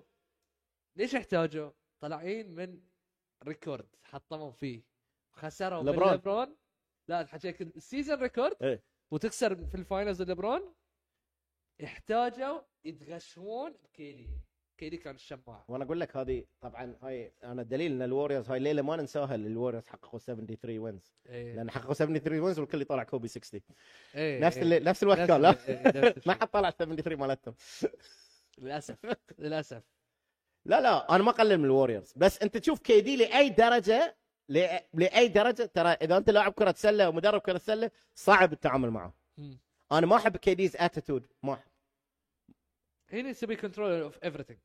[SPEAKER 1] ليش احتاجوا؟ طالعين من ريكورد حطموا فيه خسروا من
[SPEAKER 3] لبرون.
[SPEAKER 1] لبرون لا حكيت السيزون ريكورد
[SPEAKER 3] إيه.
[SPEAKER 1] وتكسر في الفاينلز لبرون احتاجوا يتغشمون بكيدي كيدي كان الشماعه
[SPEAKER 3] وانا اقول لك هذه طبعا هاي انا الدليل ان الوريوز هاي الليله ما ننساها الوريوز حققوا 73 وينز
[SPEAKER 1] ايه
[SPEAKER 3] لان حققوا 73 وينز والكل يطلع كوبي 60
[SPEAKER 1] ايه
[SPEAKER 3] نفس
[SPEAKER 1] إيه.
[SPEAKER 3] اللي... نفس الوقت
[SPEAKER 1] نفس
[SPEAKER 3] كان لا
[SPEAKER 1] اللي- إيه، نفس
[SPEAKER 3] ما
[SPEAKER 1] الشيء.
[SPEAKER 3] حد طلع 73 مالتهم
[SPEAKER 1] للاسف للاسف
[SPEAKER 3] لا لا انا ما اقلل من الوريورز بس انت تشوف كي دي لاي درجه لأ- لاي درجه ترى اذا انت لاعب كره سله ومدرب كره سله صعب التعامل معه
[SPEAKER 1] مم.
[SPEAKER 3] انا ما احب كي ديز اتيتود ما احب
[SPEAKER 1] هنا يسوي كنترول اوف ايفريثينج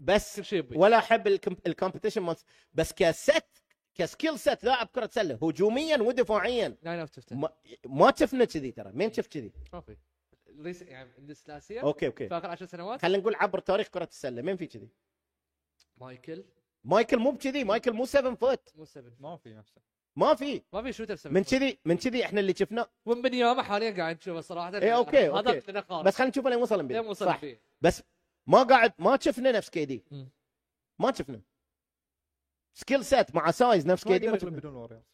[SPEAKER 3] بس
[SPEAKER 1] كل شيء يبي
[SPEAKER 3] ولا احب الكومبetition مالت بس كست كسكيل ست لاعب كره سله هجوميا ودفاعيا
[SPEAKER 1] 9 اوف 15
[SPEAKER 3] ما, ما شفنا كذي ترى مين شفت كذي
[SPEAKER 1] ما في الريس- يعني الناس لاسيا
[SPEAKER 3] اوكي اوكي
[SPEAKER 1] في اخر 10 سنوات
[SPEAKER 3] خلينا نقول عبر تاريخ كره السله مين في كذي
[SPEAKER 1] مايكل
[SPEAKER 3] مايكل مو بكذي مايكل مو 7 فوت
[SPEAKER 1] مو 7
[SPEAKER 2] ما في نفسه
[SPEAKER 3] ما في
[SPEAKER 1] ما في شوتر 7
[SPEAKER 3] من كذي من كذي احنا اللي شفناه
[SPEAKER 1] ومبنياما حاليا قاعد نشوفه صراحه
[SPEAKER 3] إيه، أوكي،
[SPEAKER 1] هذا
[SPEAKER 3] أوكي.
[SPEAKER 1] من خالص
[SPEAKER 3] بس خلينا نشوف لين وصل
[SPEAKER 1] لين
[SPEAKER 3] امبيد
[SPEAKER 1] وصل
[SPEAKER 3] صح
[SPEAKER 1] إيه، فيه
[SPEAKER 3] بس ما قاعد ما شفنا نفس كي دي
[SPEAKER 1] مم.
[SPEAKER 3] ما شفنا سكيل سيت مع سايز نفس
[SPEAKER 2] ما
[SPEAKER 3] كي دي
[SPEAKER 2] يقدر
[SPEAKER 3] ما
[SPEAKER 2] يغلب
[SPEAKER 3] شفنا
[SPEAKER 2] بدون الوريرز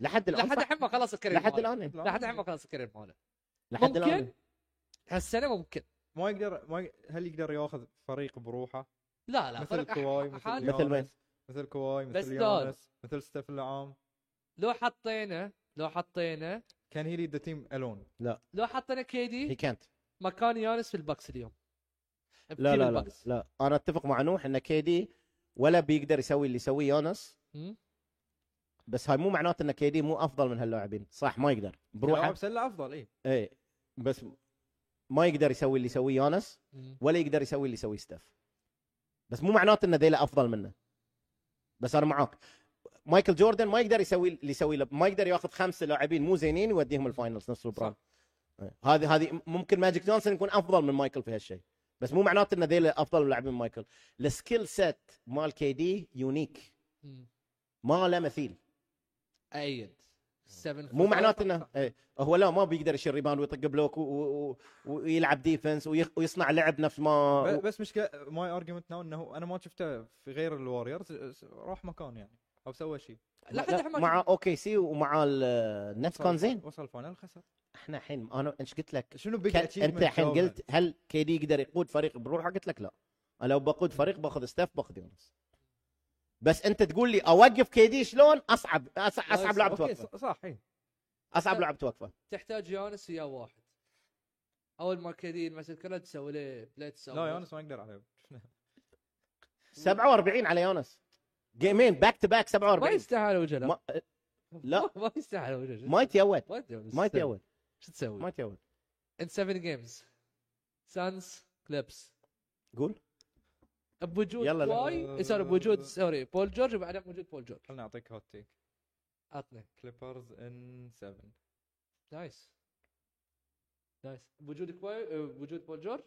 [SPEAKER 3] لحد الان
[SPEAKER 1] لحد
[SPEAKER 3] صح.
[SPEAKER 1] الحين ما خلص الكارير
[SPEAKER 3] لحد
[SPEAKER 1] ماله.
[SPEAKER 3] الان
[SPEAKER 2] لا.
[SPEAKER 1] لحد الحين ما خلص الكارير ماله
[SPEAKER 3] لحد الان
[SPEAKER 1] ممكن هالسنه ممكن
[SPEAKER 2] ما يقدر ما ي- هل يقدر ياخذ فريق بروحه
[SPEAKER 1] لا لا
[SPEAKER 2] مثل
[SPEAKER 1] فرق
[SPEAKER 2] كواي
[SPEAKER 1] أح-
[SPEAKER 2] مثل
[SPEAKER 1] حال
[SPEAKER 3] مثل
[SPEAKER 2] مثل
[SPEAKER 3] وين؟
[SPEAKER 2] مثل كواي
[SPEAKER 1] بس
[SPEAKER 2] مثل
[SPEAKER 1] دول.
[SPEAKER 2] يانس مثل ستيف العام
[SPEAKER 1] لو حطينا لو حطينا
[SPEAKER 2] كان هي ليد ذا تيم الون
[SPEAKER 1] لو حطينا
[SPEAKER 3] هي
[SPEAKER 1] كيدي
[SPEAKER 3] كانت
[SPEAKER 1] مكان يانس في البكس اليوم
[SPEAKER 3] لا
[SPEAKER 1] بتيم
[SPEAKER 3] لا لا
[SPEAKER 1] البكس.
[SPEAKER 3] لا انا اتفق مع نوح ان كي دي ولا بيقدر يسوي اللي يسويه يونس
[SPEAKER 1] مم.
[SPEAKER 3] بس هاي مو معناته ان كي دي مو افضل من هاللاعبين صح ما يقدر بروحه
[SPEAKER 1] يعني
[SPEAKER 2] لاعب سله افضل اي
[SPEAKER 3] اي إيه، بس ما يقدر يسوي اللي يسويه يونس
[SPEAKER 1] مم.
[SPEAKER 3] ولا يقدر يسوي اللي يسويه ستيف بس مو معناته ان ذيلا افضل منه بس انا معاك مايكل جوردن ما يقدر يسوي اللي يسوي له ما يقدر ياخذ خمسه لاعبين مو زينين ويوديهم الفاينلز نفس لبران إيه. هذه هذه ممكن ماجيك جونسون يكون افضل من مايكل في هالشيء بس مو معناته ان ذيلا افضل لاعبين من مايكل السكيل سيت مال كي دي يونيك
[SPEAKER 1] مم.
[SPEAKER 3] ما له مثيل
[SPEAKER 1] ايد 7
[SPEAKER 3] مو معناته انه إيه. هو لا ما بيقدر يشيل ريباوند ويطق بلوك و... و... ويلعب ديفنس ويخ- ويصنع لعب نفس ما
[SPEAKER 2] ب- بس مشكله ماي ارجيومنت ناو انه انا ما شفته في غير الوريرز س- راح مكان يعني او سوى شيء
[SPEAKER 1] لحد الحين ما
[SPEAKER 3] مع اوكي سي ومع النت
[SPEAKER 2] وصل-
[SPEAKER 3] كان زين
[SPEAKER 2] وصل الفاينل خسر
[SPEAKER 3] احنا الحين انا ايش قلت لك
[SPEAKER 2] شنو
[SPEAKER 3] ك-
[SPEAKER 2] بيج achievement
[SPEAKER 3] انت الحين
[SPEAKER 2] جاوبها؟
[SPEAKER 3] قلت هل كي دي يقدر يقود فريق بروحه قلت لك لا أنا لو بقود فريق باخذ ستاف باخذ يونس بس انت تقول لي اوقف كي دي شلون اصعب أصعب, أصعب لعب
[SPEAKER 2] اوكي
[SPEAKER 3] توقفه
[SPEAKER 2] ص- صح اي
[SPEAKER 3] اصعب لعب توقفه
[SPEAKER 1] إيه. تحتاج يانس ويا واحد اول ما كيدي مسك الكره تسوي له بليتس
[SPEAKER 2] لا يونس ما يقدر عليه
[SPEAKER 3] 47 على يونس جيمين باك تو باك
[SPEAKER 1] ما
[SPEAKER 3] 47
[SPEAKER 1] يستاهل وجه لا
[SPEAKER 3] ما, لا.
[SPEAKER 1] ما يستاهل وجه
[SPEAKER 3] ما يتيود
[SPEAKER 1] ما يتجوز.
[SPEAKER 3] ما يتيود
[SPEAKER 1] شو تسوي؟
[SPEAKER 3] ما يتيود
[SPEAKER 1] ان 7 جيمز سانز كليبس
[SPEAKER 3] قول
[SPEAKER 1] بوجود
[SPEAKER 3] يلا،
[SPEAKER 1] يلا
[SPEAKER 3] لا.
[SPEAKER 2] Eh,
[SPEAKER 1] واي سوري بوجود سوري بول جورج وبعدين بوجود بول جورج
[SPEAKER 2] خلنا اعطيك هوت تيك
[SPEAKER 1] عطني
[SPEAKER 2] كليبرز ان 7
[SPEAKER 1] نايس نايس بوجود
[SPEAKER 2] eh,
[SPEAKER 1] كواي بوجود بول جورج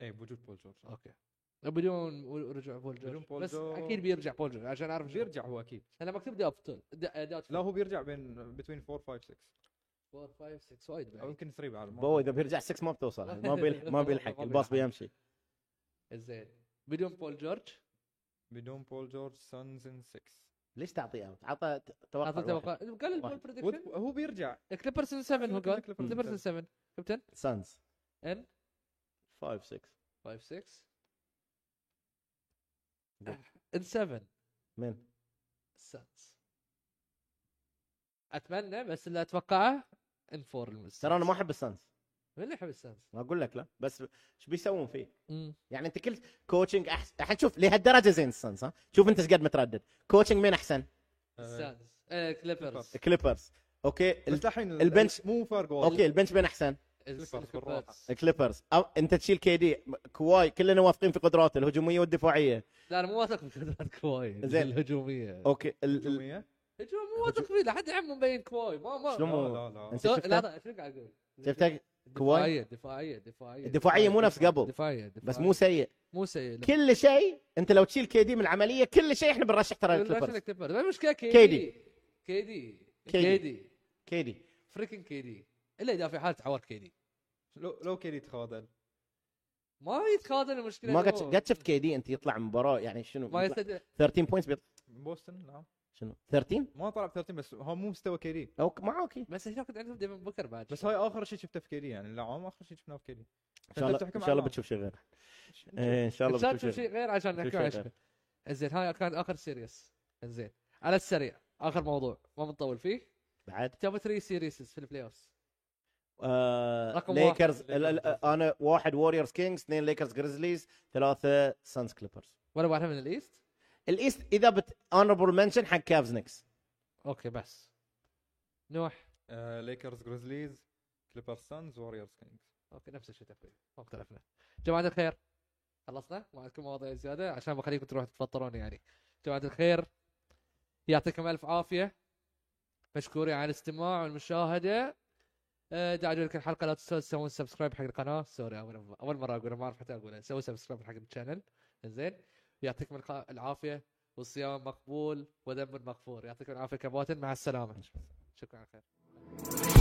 [SPEAKER 2] اي إيه، بوجود بول جورج
[SPEAKER 1] اوكي بدون رجوع بول جورج
[SPEAKER 2] بدون بول
[SPEAKER 1] بس
[SPEAKER 2] جورج.
[SPEAKER 1] اكيد بيرجع بول جورج عشان اعرف شو-
[SPEAKER 2] بيرجع هو اكيد
[SPEAKER 1] انا مكتوب دافتول دافتول
[SPEAKER 2] لا هو بيرجع بين بين 4 5 6
[SPEAKER 1] 4 5 6 وايد
[SPEAKER 2] او
[SPEAKER 1] بعيد
[SPEAKER 2] يمكن 3 بعد ما
[SPEAKER 3] بو اذا بيرجع 6 ما بتوصل ما بيلحق ما بيلحق الباص بيمشي
[SPEAKER 1] زين بدون بول جورج
[SPEAKER 2] بدون بول جورج سانز ان 6
[SPEAKER 3] ليش تعطيه اوت عطى توقع
[SPEAKER 1] اعطى
[SPEAKER 3] توقع
[SPEAKER 1] توقع قال البول
[SPEAKER 3] واحد.
[SPEAKER 1] بريدكشن
[SPEAKER 2] هو بيرجع
[SPEAKER 1] كليبرز 7 هو قال
[SPEAKER 2] Eh, Clippers in
[SPEAKER 1] كليبرز 7 كابتن
[SPEAKER 3] سانز
[SPEAKER 1] ان
[SPEAKER 3] 5 6
[SPEAKER 1] 5 6 ان 7
[SPEAKER 3] من
[SPEAKER 1] السانز اتمنى بس اللي اتوقعه ان 4 المستر
[SPEAKER 3] ترى انا ما احب السانز
[SPEAKER 1] من اللي يحب السانز؟
[SPEAKER 3] ما اقول لك لا بس ايش بيسوون فيه؟
[SPEAKER 1] مم.
[SPEAKER 3] يعني انت كل كوتشنج احسن الحين شوف لهالدرجه زين السانز ها شوف انت ايش قد متردد كوتشنج مين احسن؟
[SPEAKER 1] السانز آه، كليبرز
[SPEAKER 3] كليبرز اوكي ال-
[SPEAKER 2] بس الحين
[SPEAKER 3] البنش-
[SPEAKER 2] مو فرق وايد
[SPEAKER 3] اوكي البنش مين احسن؟
[SPEAKER 1] الس-
[SPEAKER 2] كليبرز بالراحة.
[SPEAKER 1] الكليبرز.
[SPEAKER 3] الكليبرز أو انت تشيل كي دي كواي كلنا واثقين في قدراته الهجوميه والدفاعيه
[SPEAKER 1] لا انا مو واثق من قدرات كواي
[SPEAKER 3] زين.
[SPEAKER 1] الهجوميه
[SPEAKER 3] اوكي ال... ال...
[SPEAKER 2] هجومية؟
[SPEAKER 1] هجوم مو واثق فيه لحد عمه مبين كواي ما ما
[SPEAKER 3] شلون مو-
[SPEAKER 2] لا لا
[SPEAKER 3] انت
[SPEAKER 1] سو- لا
[SPEAKER 3] شفته؟
[SPEAKER 1] لا شنو قاعد اقول؟
[SPEAKER 3] شفته
[SPEAKER 1] دفاعيه دفاعيه دفاعيه
[SPEAKER 3] الدفاعية مو نفس قبل.
[SPEAKER 1] دفاعيه دفاعية.
[SPEAKER 3] بس مو سيء
[SPEAKER 1] مو سيء لا.
[SPEAKER 3] كل شيء انت لو تشيل كي دي من العمليه كل شيء احنا بنرشح ترى
[SPEAKER 1] الكليبرز
[SPEAKER 3] الكليبرز
[SPEAKER 1] الكليبرز ما المشكله كي
[SPEAKER 3] كي
[SPEAKER 1] دي كي دي
[SPEAKER 3] كي دي.
[SPEAKER 1] كي دي
[SPEAKER 3] كي دي
[SPEAKER 1] فريكن كي دي الا اذا في حاله تعور كي دي
[SPEAKER 2] لو لو كيري تخاذل
[SPEAKER 1] ما يتخاذل المشكله
[SPEAKER 3] ما
[SPEAKER 1] إنه
[SPEAKER 3] قد قد شفت كي دي انت يطلع من مباراه يعني شنو
[SPEAKER 1] ما
[SPEAKER 3] يطلع
[SPEAKER 1] يستدعي
[SPEAKER 3] 13 بوينتس بيطلع
[SPEAKER 2] بوسطن نعم
[SPEAKER 3] شنو 13
[SPEAKER 2] ما طلع ب 30 بس هو مو مستوى كيري
[SPEAKER 3] اوكي ما اوكي
[SPEAKER 1] بس هناك كنت عندهم ديفن بوكر بعد
[SPEAKER 2] بس هاي اخر شيء شفته في كيري يعني اللعام اخر شيء شفناه في كيري
[SPEAKER 3] ان شاء الله ان شاء الله بتشوف شيء غير إيه، ان شاء
[SPEAKER 1] ان شاء
[SPEAKER 3] الله
[SPEAKER 1] الله
[SPEAKER 3] بتشوف
[SPEAKER 1] تشوف
[SPEAKER 3] شيء
[SPEAKER 1] شيء غير عشان نحكي
[SPEAKER 3] شيء
[SPEAKER 1] عن
[SPEAKER 3] غير.
[SPEAKER 1] شيء. زين هاي كان اخر سيريس زين على السريع اخر موضوع ما بنطول فيه
[SPEAKER 3] بعد
[SPEAKER 1] توب 3 سيريسز في البلاي اوف
[SPEAKER 3] آه
[SPEAKER 1] رقم واحد.
[SPEAKER 3] ليكرز ال- ال- انا واحد ووريرز كينجز اثنين ليكرز جريزليز ثلاثه سانز كليبرز
[SPEAKER 1] ولا واحده من الايست
[SPEAKER 3] الايست اذا بت اونربل منشن حق كافز نكس
[SPEAKER 1] اوكي بس نوح
[SPEAKER 2] ليكرز جريزليز كليبرز سانز ووريرز كينجز
[SPEAKER 1] اوكي نفس الشيء تقريبا ما اختلفنا جماعه الخير خلصنا ما عندكم مواضيع زياده عشان بخليكم تروحوا تتفطرون يعني جماعه الخير يعطيكم الف عافيه مشكورين على الاستماع والمشاهده آه، اذا عجبتك الحلقه لا تنسوا تسوون سبسكرايب حق القناه سوري اول اول مره اقولها ما اعرف حتى اقولها سووا سبسكرايب حق الشانل زين يعطيكم الق- العافيه والصيام مقبول وذنب مغفور يعطيكم العافيه كباتن مع السلامه شكرا على الخير